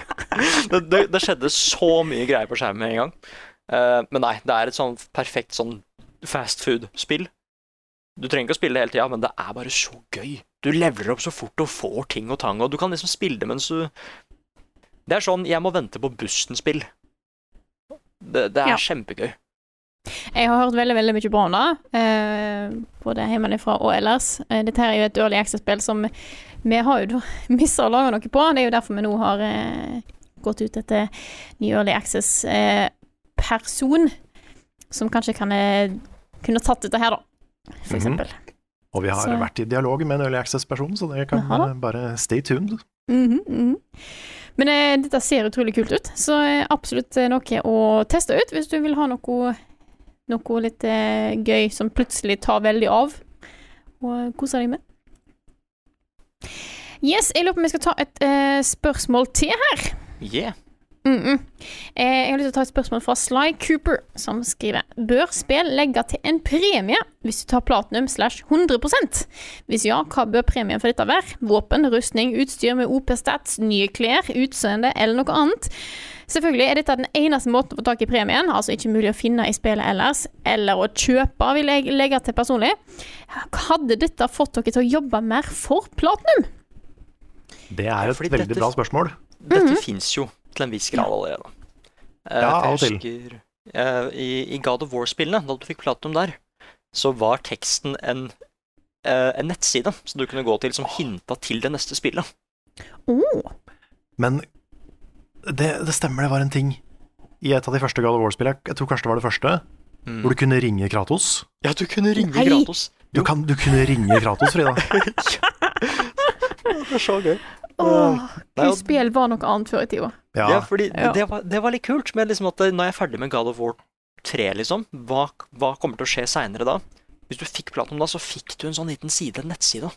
B: det, det, det skjedde så mye greier på skjermen med en gang. Eh, men nei, det er et sånn perfekt sånn fast food-spill. Du trenger ikke å spille det hele tida, men det er bare så gøy. Du leveler opp så fort og får ting og tang, og du kan liksom spille det mens du Det er sånn 'jeg må vente på bussen'-spill. Det, det er
A: Ja.
B: kjempegøy.
A: Jeg har hørt veldig veldig mye bra om det, eh, både hjemmefra og ellers. Eh, dette her er jo et early access-spill som vi har (laughs) jo mista å lage noe på. Det er jo derfor vi nå har eh, gått ut etter ny early access-person, som kanskje kan eh, kunne tatt dette her, da. For
C: Mhm.
A: eksempel.
C: Og vi har
A: Så-
C: vært i dialog med en Early Access-person, så dere kan
A: Jaha.
C: eh, bare stay tuned.
A: Mhm, mhm. Men eh, dette ser utrolig kult ut, så eh, absolutt eh, noe å teste ut hvis du vil ha noe, noe litt eh, gøy som plutselig tar veldig av, og kose deg med. Yes, jeg lurer på om jeg skal ta et eh, spørsmål til her.
B: Yeah.
A: Mhm. eh, jeg har lyst til å ta et spørsmål fra Sly Cooper, som skriver Bør spill legge til en premie hvis du tar platinum slash 100 Hvis ja, hva bør premien for dette være? Våpen, rustning, utstyr med OP-stats, nye klær, utseende eller noe annet? Selvfølgelig er dette den eneste måten å få tak i premien, altså ikke mulig å finne i spillet ellers, eller å kjøpe, vil jeg legge til personlig. Hadde dette fått dere til å jobbe mer for platinum?
C: Det er jo et
B: fordi
C: veldig
B: dette-
C: bra spørsmål.
B: Dette
A: Mhm.
B: fins jo til en viss grad allerede. Eh,
C: Ja, av og
B: jeg
C: til.
B: husker, eh, i, I God of War-spillene, da du fikk platinum der, så var teksten en, eh, en nettside som du kunne gå til som hinta til det neste spillet.
A: Oh.
C: Men det, det stemmer, det var en ting i et av de første God of War-spillene. Jeg tror kanskje det var det første, hvor du kunne ringe Kratos.
B: Mm. Ja, du kunne ringe
A: Nei.
B: Gratos.
C: Du, kan, du kunne ringe Kratos,
B: (laughs)
C: Frida.
B: Det er så gøy.
A: Åh,
B: Nei, og-
A: spill var noe annet før i tida.
C: Ja,
B: Ja, fordi
A: Ja.
B: Det, var, det var litt kult, men liksom at det- når jeg er ferdig med God of War 3, liksom, hva, hva kommer til å skje seinere da? Hvis du fikk platinum da, så fikk du en sånn liten side, en nettside,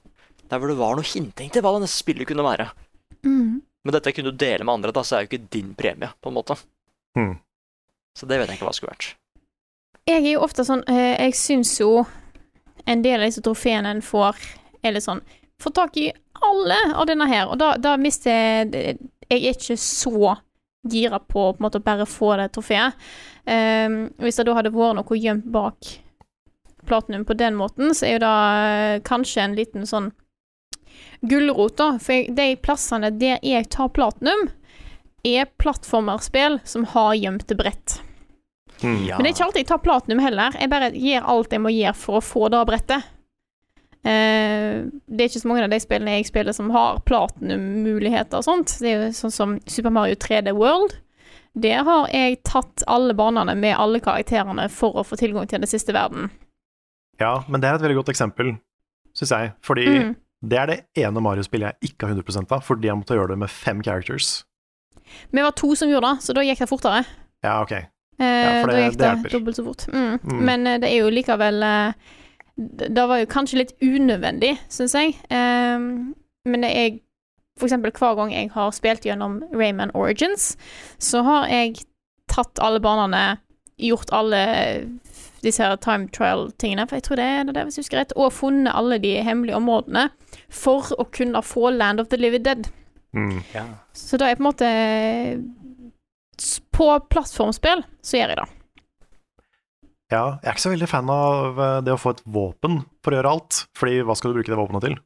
B: der hvor det var noe hinting til hva det neste spillet kunne være.
A: Mhm.
B: Men dette kunne du dele med andre, da, så er jo ikke din premie, på en måte.
C: Mhm.
B: Så det vet jeg ikke hva det skulle vært.
A: Jeg er jo ofte sånn eh, Jeg syns jo en del av disse trofeene en får, er litt sånn Få tak i alle av denne her. Og da, da mister jeg Jeg er ikke så gira på, på en måte, å bare få det trofeet. Ehm, hvis det da hadde vært noe gjemt bak platinum på den måten, så er jo det eh, kanskje en liten sånn gulrot, da. For jeg, de plassene der jeg tar platinum, er plattformerspill som har gjemte brett.
C: Hmm.
B: Ja.
A: Men det er ikke alltid jeg tar platinum heller. Jeg bare gjør alt jeg må gjøre for å få det brettet. Eh, det er ikke så mange av de spillene jeg spiller som har platinum-muligheter og sånt. Det er jo sånn som Super Mario 3D World. Der har jeg tatt alle banene med alle karakterene for å få tilgang til den siste verden.
C: ja, men det er et veldig godt eksempel, syns jeg. Fordi
A: Mm.
C: det er det ene Mario-spillet jeg ikke har 100 av, fordi jeg måtte gjøre det med fem characters.
A: Vi var to som gjorde det, så da gikk det fortere.
C: Ja, ok.
A: Eh,
C: for det-
A: da gikk
C: det
A: det,
C: hjelper.
A: dobbelt så fort. Mm.
C: Mm.
A: Men eh, det er jo likevel eh, d- Det var jo kanskje litt unødvendig, syns jeg. Ehm, men det er For eksempel hver gang jeg har spilt gjennom Rayman Origins, så har jeg tatt alle banene, gjort alle eh, disse her time trial-tingene, for jeg tror det er det, der, hvis jeg husker rett, og funnet alle de hemmelige områdene for å kunne få Land of the Living Dead.
C: Mm.
A: Så da er jeg på en måte eh, s- På plattformspill så gjør jeg det.
C: Ja, jeg er ikke så veldig fan av eh, det å få et våpen for å gjøre alt. Fordi hva skal du bruke det våpenet til?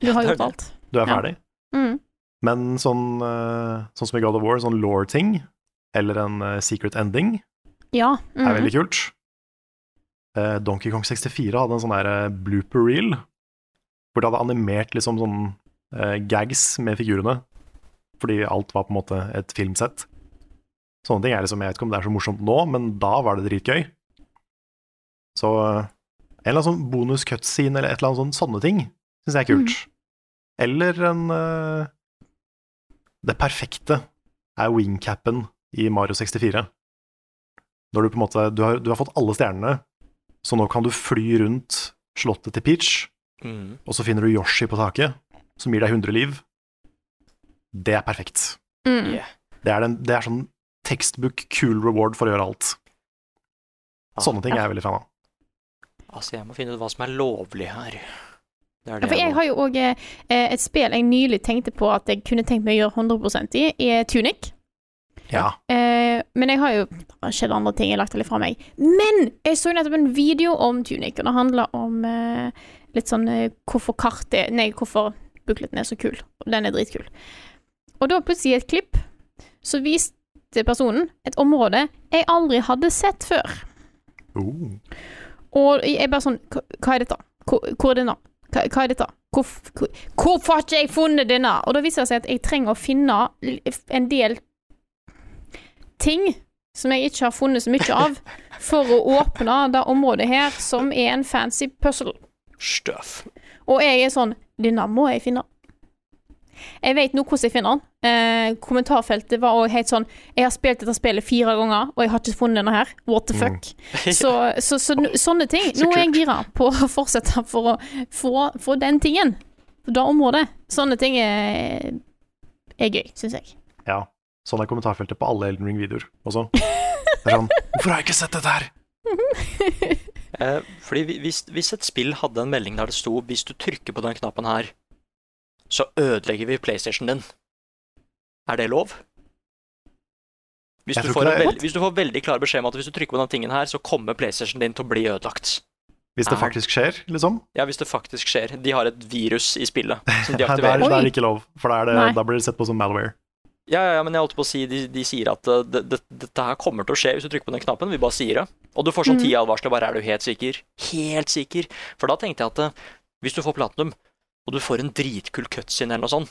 A: Du har
B: det er
A: gjort alt.
C: Du er
A: Ja.
C: ferdig.
A: Mm.
C: Men sånn, eh, sånn som i God of War, sånn law-ting, eller en eh, secret ending,
A: Ja.
C: er
A: Mm.
C: veldig kult. Eh, Donkey Kong 64 hadde en sånn der eh, blooper reel, hvor det hadde animert liksom sånn eh, gags med figurene, fordi alt var på en måte et filmsett. Sånne ting er liksom, jeg vet ikke om det er så morsomt nå, men da var det dritgøy. Så eh, en eller annen sånn bonus cutscene eller et eller annet sånn, sånne ting syns jeg er kult. Eller en eh, Det perfekte er wingcapen i Mario 64. Når du på en måte du har, du har fått alle stjernene, så nå kan du fly rundt slottet til Peach,
B: Mm.
C: og så finner du Yoshi på taket, som gir deg 100 liv. Det er perfekt.
A: Mm.
B: Yeah.
C: Det er, den, det er sånn tekstbook cool reward for å gjøre alt.
B: Ah,
C: Sånne ting er jeg veldig fan av.
B: Altså, jeg må finne ut hva som er lovlig her. Det er
A: Ja, for jeg
B: må-
A: har jo òg et spill jeg nylig tenkte på at jeg kunne tenkt meg å gjøre 100 i, er Tunic.
C: Ja.
A: Eh, men jeg har jo det har skjedd andre ting jeg har lagt det litt fra meg. Men jeg så nettopp en video om Tunic, og det handler om eh, litt sånn eh, hvorfor kartet Nei, hvorfor bukleten er så kul. Og den er dritkul. Og da plutselig i et klipp så viste personen et område jeg aldri hadde sett før.
C: Oh.
A: Og jeg er bare sånn Hva hva er dette? Hvor, hvor er denne? Hva, hva er dette? Hvorf- hvor- Hvorfor har ikke jeg funnet denne? Og da viser det seg at jeg trenger å finne l- en del ting som jeg ikke har funnet så mye av, for å åpne det området her, som er en fancy puzzle.
B: Støff.
A: Og jeg er sånn Denne må jeg finne. Jeg vet nå hvordan jeg finner den. Eh, kommentarfeltet var òg helt sånn Jeg har spilt dette spillet fire ganger, og jeg har ikke funnet denne her. What the fuck? (laughs) Så, så, så, n- sånne ting.
B: Så
A: Nå er jeg gira på å fortsette for å få, få den tingen. For det området. Sånne ting er, er gøy, syns
C: (laughs)
A: jeg.
C: Ja. Sånn er kommentarfeltet på alle Elden Ring-videoer også. Det er sånn Hvorfor har jeg ikke sett dette her?
B: (laughs) Eh, fordi vi- hvis, hvis et spill hadde en melding der det sto 'hvis du trykker på den knappen her, så ødelegger vi PlayStation din', er det lov? Hvis
C: Jeg
B: du,
C: tror
B: får
C: ikke
B: en
C: det-
B: veld, hvis du får veldig klar beskjed om at hvis du trykker på den tingen her, så kommer PlayStation din til å bli ødelagt.
C: Hvis det
B: Er-
C: faktisk skjer, liksom.
B: Ja, hvis det faktisk skjer. De har et virus i spillet
C: (laughs)
B: som de
C: Da er, da
B: aktiverer.
C: er
A: Oi.
C: det ikke lov, for da, er
A: Nei.
C: det, da blir det sett på som malware.
B: Ja, ja, ja, men jeg holdt på å si, de, de sier at eh, det, det, dette her kommer til å skje hvis du trykker på den knappen, vi bare sier det. Og du får sånn
A: Mhm.
B: ti advarsler, bare er du helt sikker? Helt sikker? For da tenkte jeg at eh, hvis du får platinum, og du får en dritkul cutscene eller noe sånt,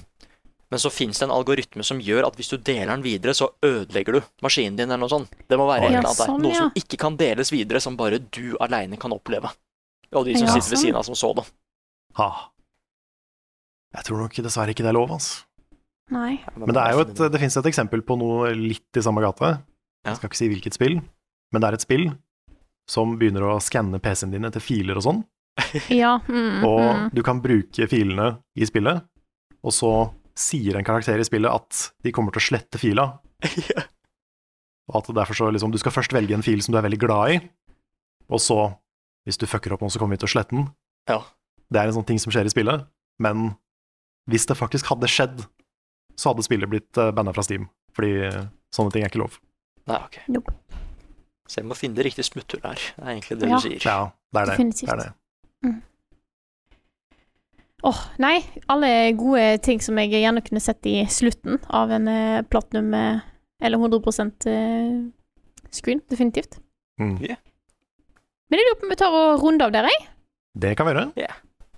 B: men så fins det en algoritme som gjør at hvis du deler den videre, så ødelegger du maskinen din eller noe sånt. Det må være et
A: Ja,
B: eller annet der.
A: sånn,
B: Noe
A: ja.
B: som ikke kan deles videre, som bare du aleine kan oppleve. Og de som
A: Ja,
B: sitter ved
A: sånn.
B: siden av som så det.
C: Ha. Jeg tror nok dessverre ikke det er lov, altså.
A: Nei.
C: Men det, er jo et, det finnes et eksempel på noe litt i samme gate.
B: Ja.
C: Jeg skal ikke si hvilket spill, men det er et spill som begynner å skanne PC-en din etter filer og sånn,
A: Ja. Mm, mm.
C: og du kan bruke filene i spillet, og så sier en karakter i spillet at de kommer til å slette fila,
B: (laughs) Ja.
C: og at derfor så liksom, du skal først velge en fil som du er veldig glad i, og så, hvis du fucker opp noe, så kommer vi til å slette den.
B: Ja.
C: Det er en sånn ting som skjer i spillet, men hvis det faktisk hadde skjedd, så hadde spillet blitt eh, banna fra Steam, fordi eh, sånne ting er ikke lov.
B: Nei, ok.
A: Nope.
B: Så jeg må finne det riktige smutthullet her. Det er egentlig det
A: Ja.
B: du sier.
C: Ja, det er det.
A: Definitivt.
C: det, er det.
A: Åh, nei. Alle gode ting som jeg gjerne kunne sett i slutten av en eh, platinum eh, eller 100 eh, screen, definitivt.
C: Mm.
B: Ja.
A: Men jeg lurer på om vi tar og runder av der, jeg.
C: det kan vi gjøre.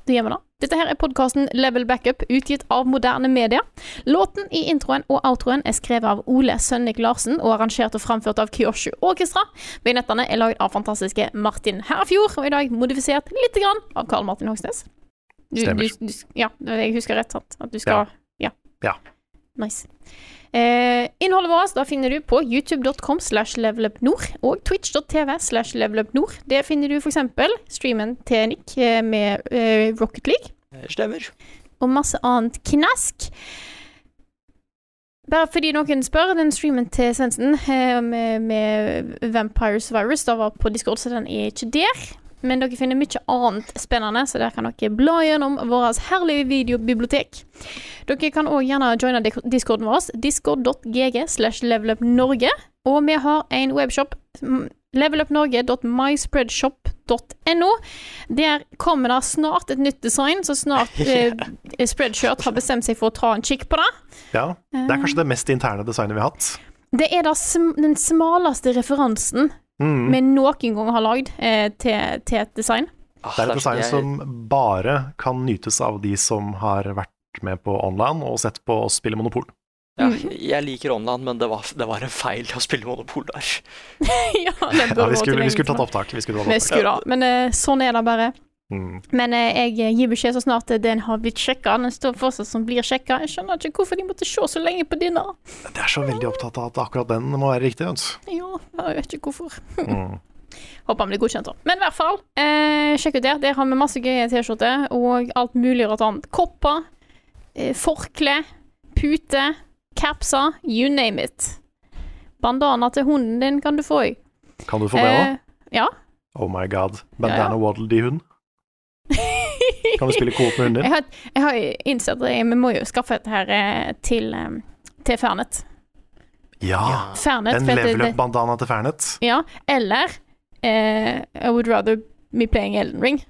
A: Det gjør vi da. Dette her er podkasten Level Backup, utgitt av moderne media. Låten i introen og outroen er skrevet av Ole Sønnik Larsen og arrangert og framført av Kyoshu Orkestra. Vignettene er lagd av fantastiske Martin Herfjord, og i dag modifisert lite grann av Karl Martin Hogsnes. Du,
C: Stemmer.
A: du, du, ja, jeg husker rett, sant? At du skal Ja.
C: Ja.
A: Nice. Eh, innholdet vårt da finner du på youtube.com slash levelupnord og twitch.tv slash levelupnord. Der finner du f.eks. streamen til Nick eh, med eh, Rocket League
B: Stemmer.
A: og masse annet knask. Bare fordi noen spør, den streamen til Svendsen eh, med, med Vampires Virus da var på Discord, så den er ikke der. Men dere finner mye annet spennende, så der kan dere bla gjennom vårt herlige videobibliotek. Dere kan òg gjerne joine dik- discorden vår, discord.gg slash levelupnorge. Og vi har en webshop, mm, levelupnorge.myspreadshop.no. Der kommer det snart et nytt design, så
C: (laughs)
A: snart eh, Spreadshirt har bestemt seg for å ta en kikk på det.
C: Ja, Det er kanskje det mest interne designet vi har hatt.
A: Det er da sm den smaleste referansen
C: Mm.
A: vi noen gang har lagd eh, til, til et design. (laughs)
B: Ah,
C: Det er et design som bare kan nytes av de som har vært med på online og sett på oss spille Monopol.
B: ja, Jeg liker online, men det var, det var en feil å spille Monopol der.
A: ja, det
C: Ja,
A: bør
C: vi,
A: gå til
C: skulle, vi
A: lenge
C: skulle
A: siden.
C: tatt opptak. Vi skulle
A: Vi
C: tatt
A: skulle
C: opptak.
A: da, men eh, sånn er det bare.
C: Mm.
A: Men eh, jeg gir beskjed så snart eh, den har blitt sjekka. Den står fortsatt som blir sjekka. Jeg skjønner ikke hvorfor de måtte se så lenge på denne.
C: Det er så veldig opptatt av at akkurat den må være riktig. vet
A: Ja, jeg vet ikke hvorfor.
C: du. Mm.
A: Håper han blir godkjent, da. Men i hvert fall, eh, sjekk ut der. Der har vi masse gøye T-skjorter og alt mulig rart annet. Kopper, eh, forkle, pute, capser, you name it. Bandana til hunden din kan du få òg.
C: Kan du få det òg?
A: ja.
C: Oh my god. Bandana Waddle de hund. Kan du spille koop med hunden
A: Eh, (laughs) Jeg
C: din?
A: har, jeg har innsett at jeg- vi må jo skaffe dette her eh, til, eh, til Fernet.
C: (laughs) Ja.
A: Fernet
C: En
A: for at det-
C: level up-bandana til Fernet.
A: Ja, eller eh, I would rather me playing Elden Ring.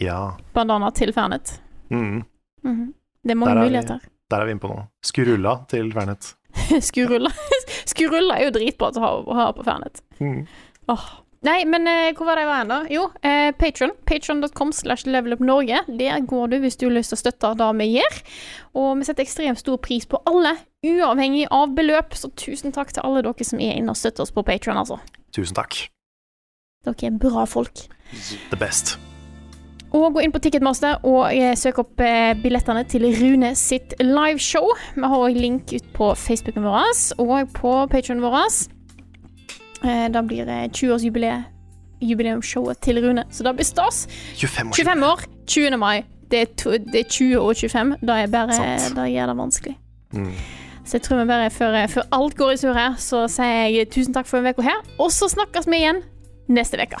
C: Ja.
A: Bandana til Fernet.
C: Mm.
A: Mhm. Det er mange
C: Der er vi.
A: muligheter.
C: Der er vi inne på noe. Skurulla til Fernet.
A: (laughs) Skurulla. Skurulla er jo dritbra til å ha, å ha på Fernet.
C: Mm.
A: Åh. Nei, men eh, hvor var det jeg var hen, da? Jo, eh, Patron. Patron.com slash levelupnorge. Der går du hvis du har lyst til å støtte det vi gjør. Og vi setter ekstremt stor pris på alle, uavhengig av beløp. Så tusen takk til alle dere som er inne og støtter oss på Patron, altså.
C: Tusen takk.
A: Dere er bra folk.
C: The best.
A: Og gå inn på Ticketmaster og eh, søk opp eh, billettene til Rune sitt liveshow. Vi har òg link ut på Facebooken vår og på Patreon vår. Eh, Da blir det 20-årsjubileumsshowet til Rune, så det blir stas.
C: 25 år.
A: 25 år, 20. mai. Det er, to, det er 20 og 25. Da er bare
C: Sant.
A: Da gjør det vanskelig.
C: Mm.
A: Så jeg tror vi bare før, før alt går i surr her, så sier jeg tusen takk for en uke her. Og så snakkes vi igjen neste uke.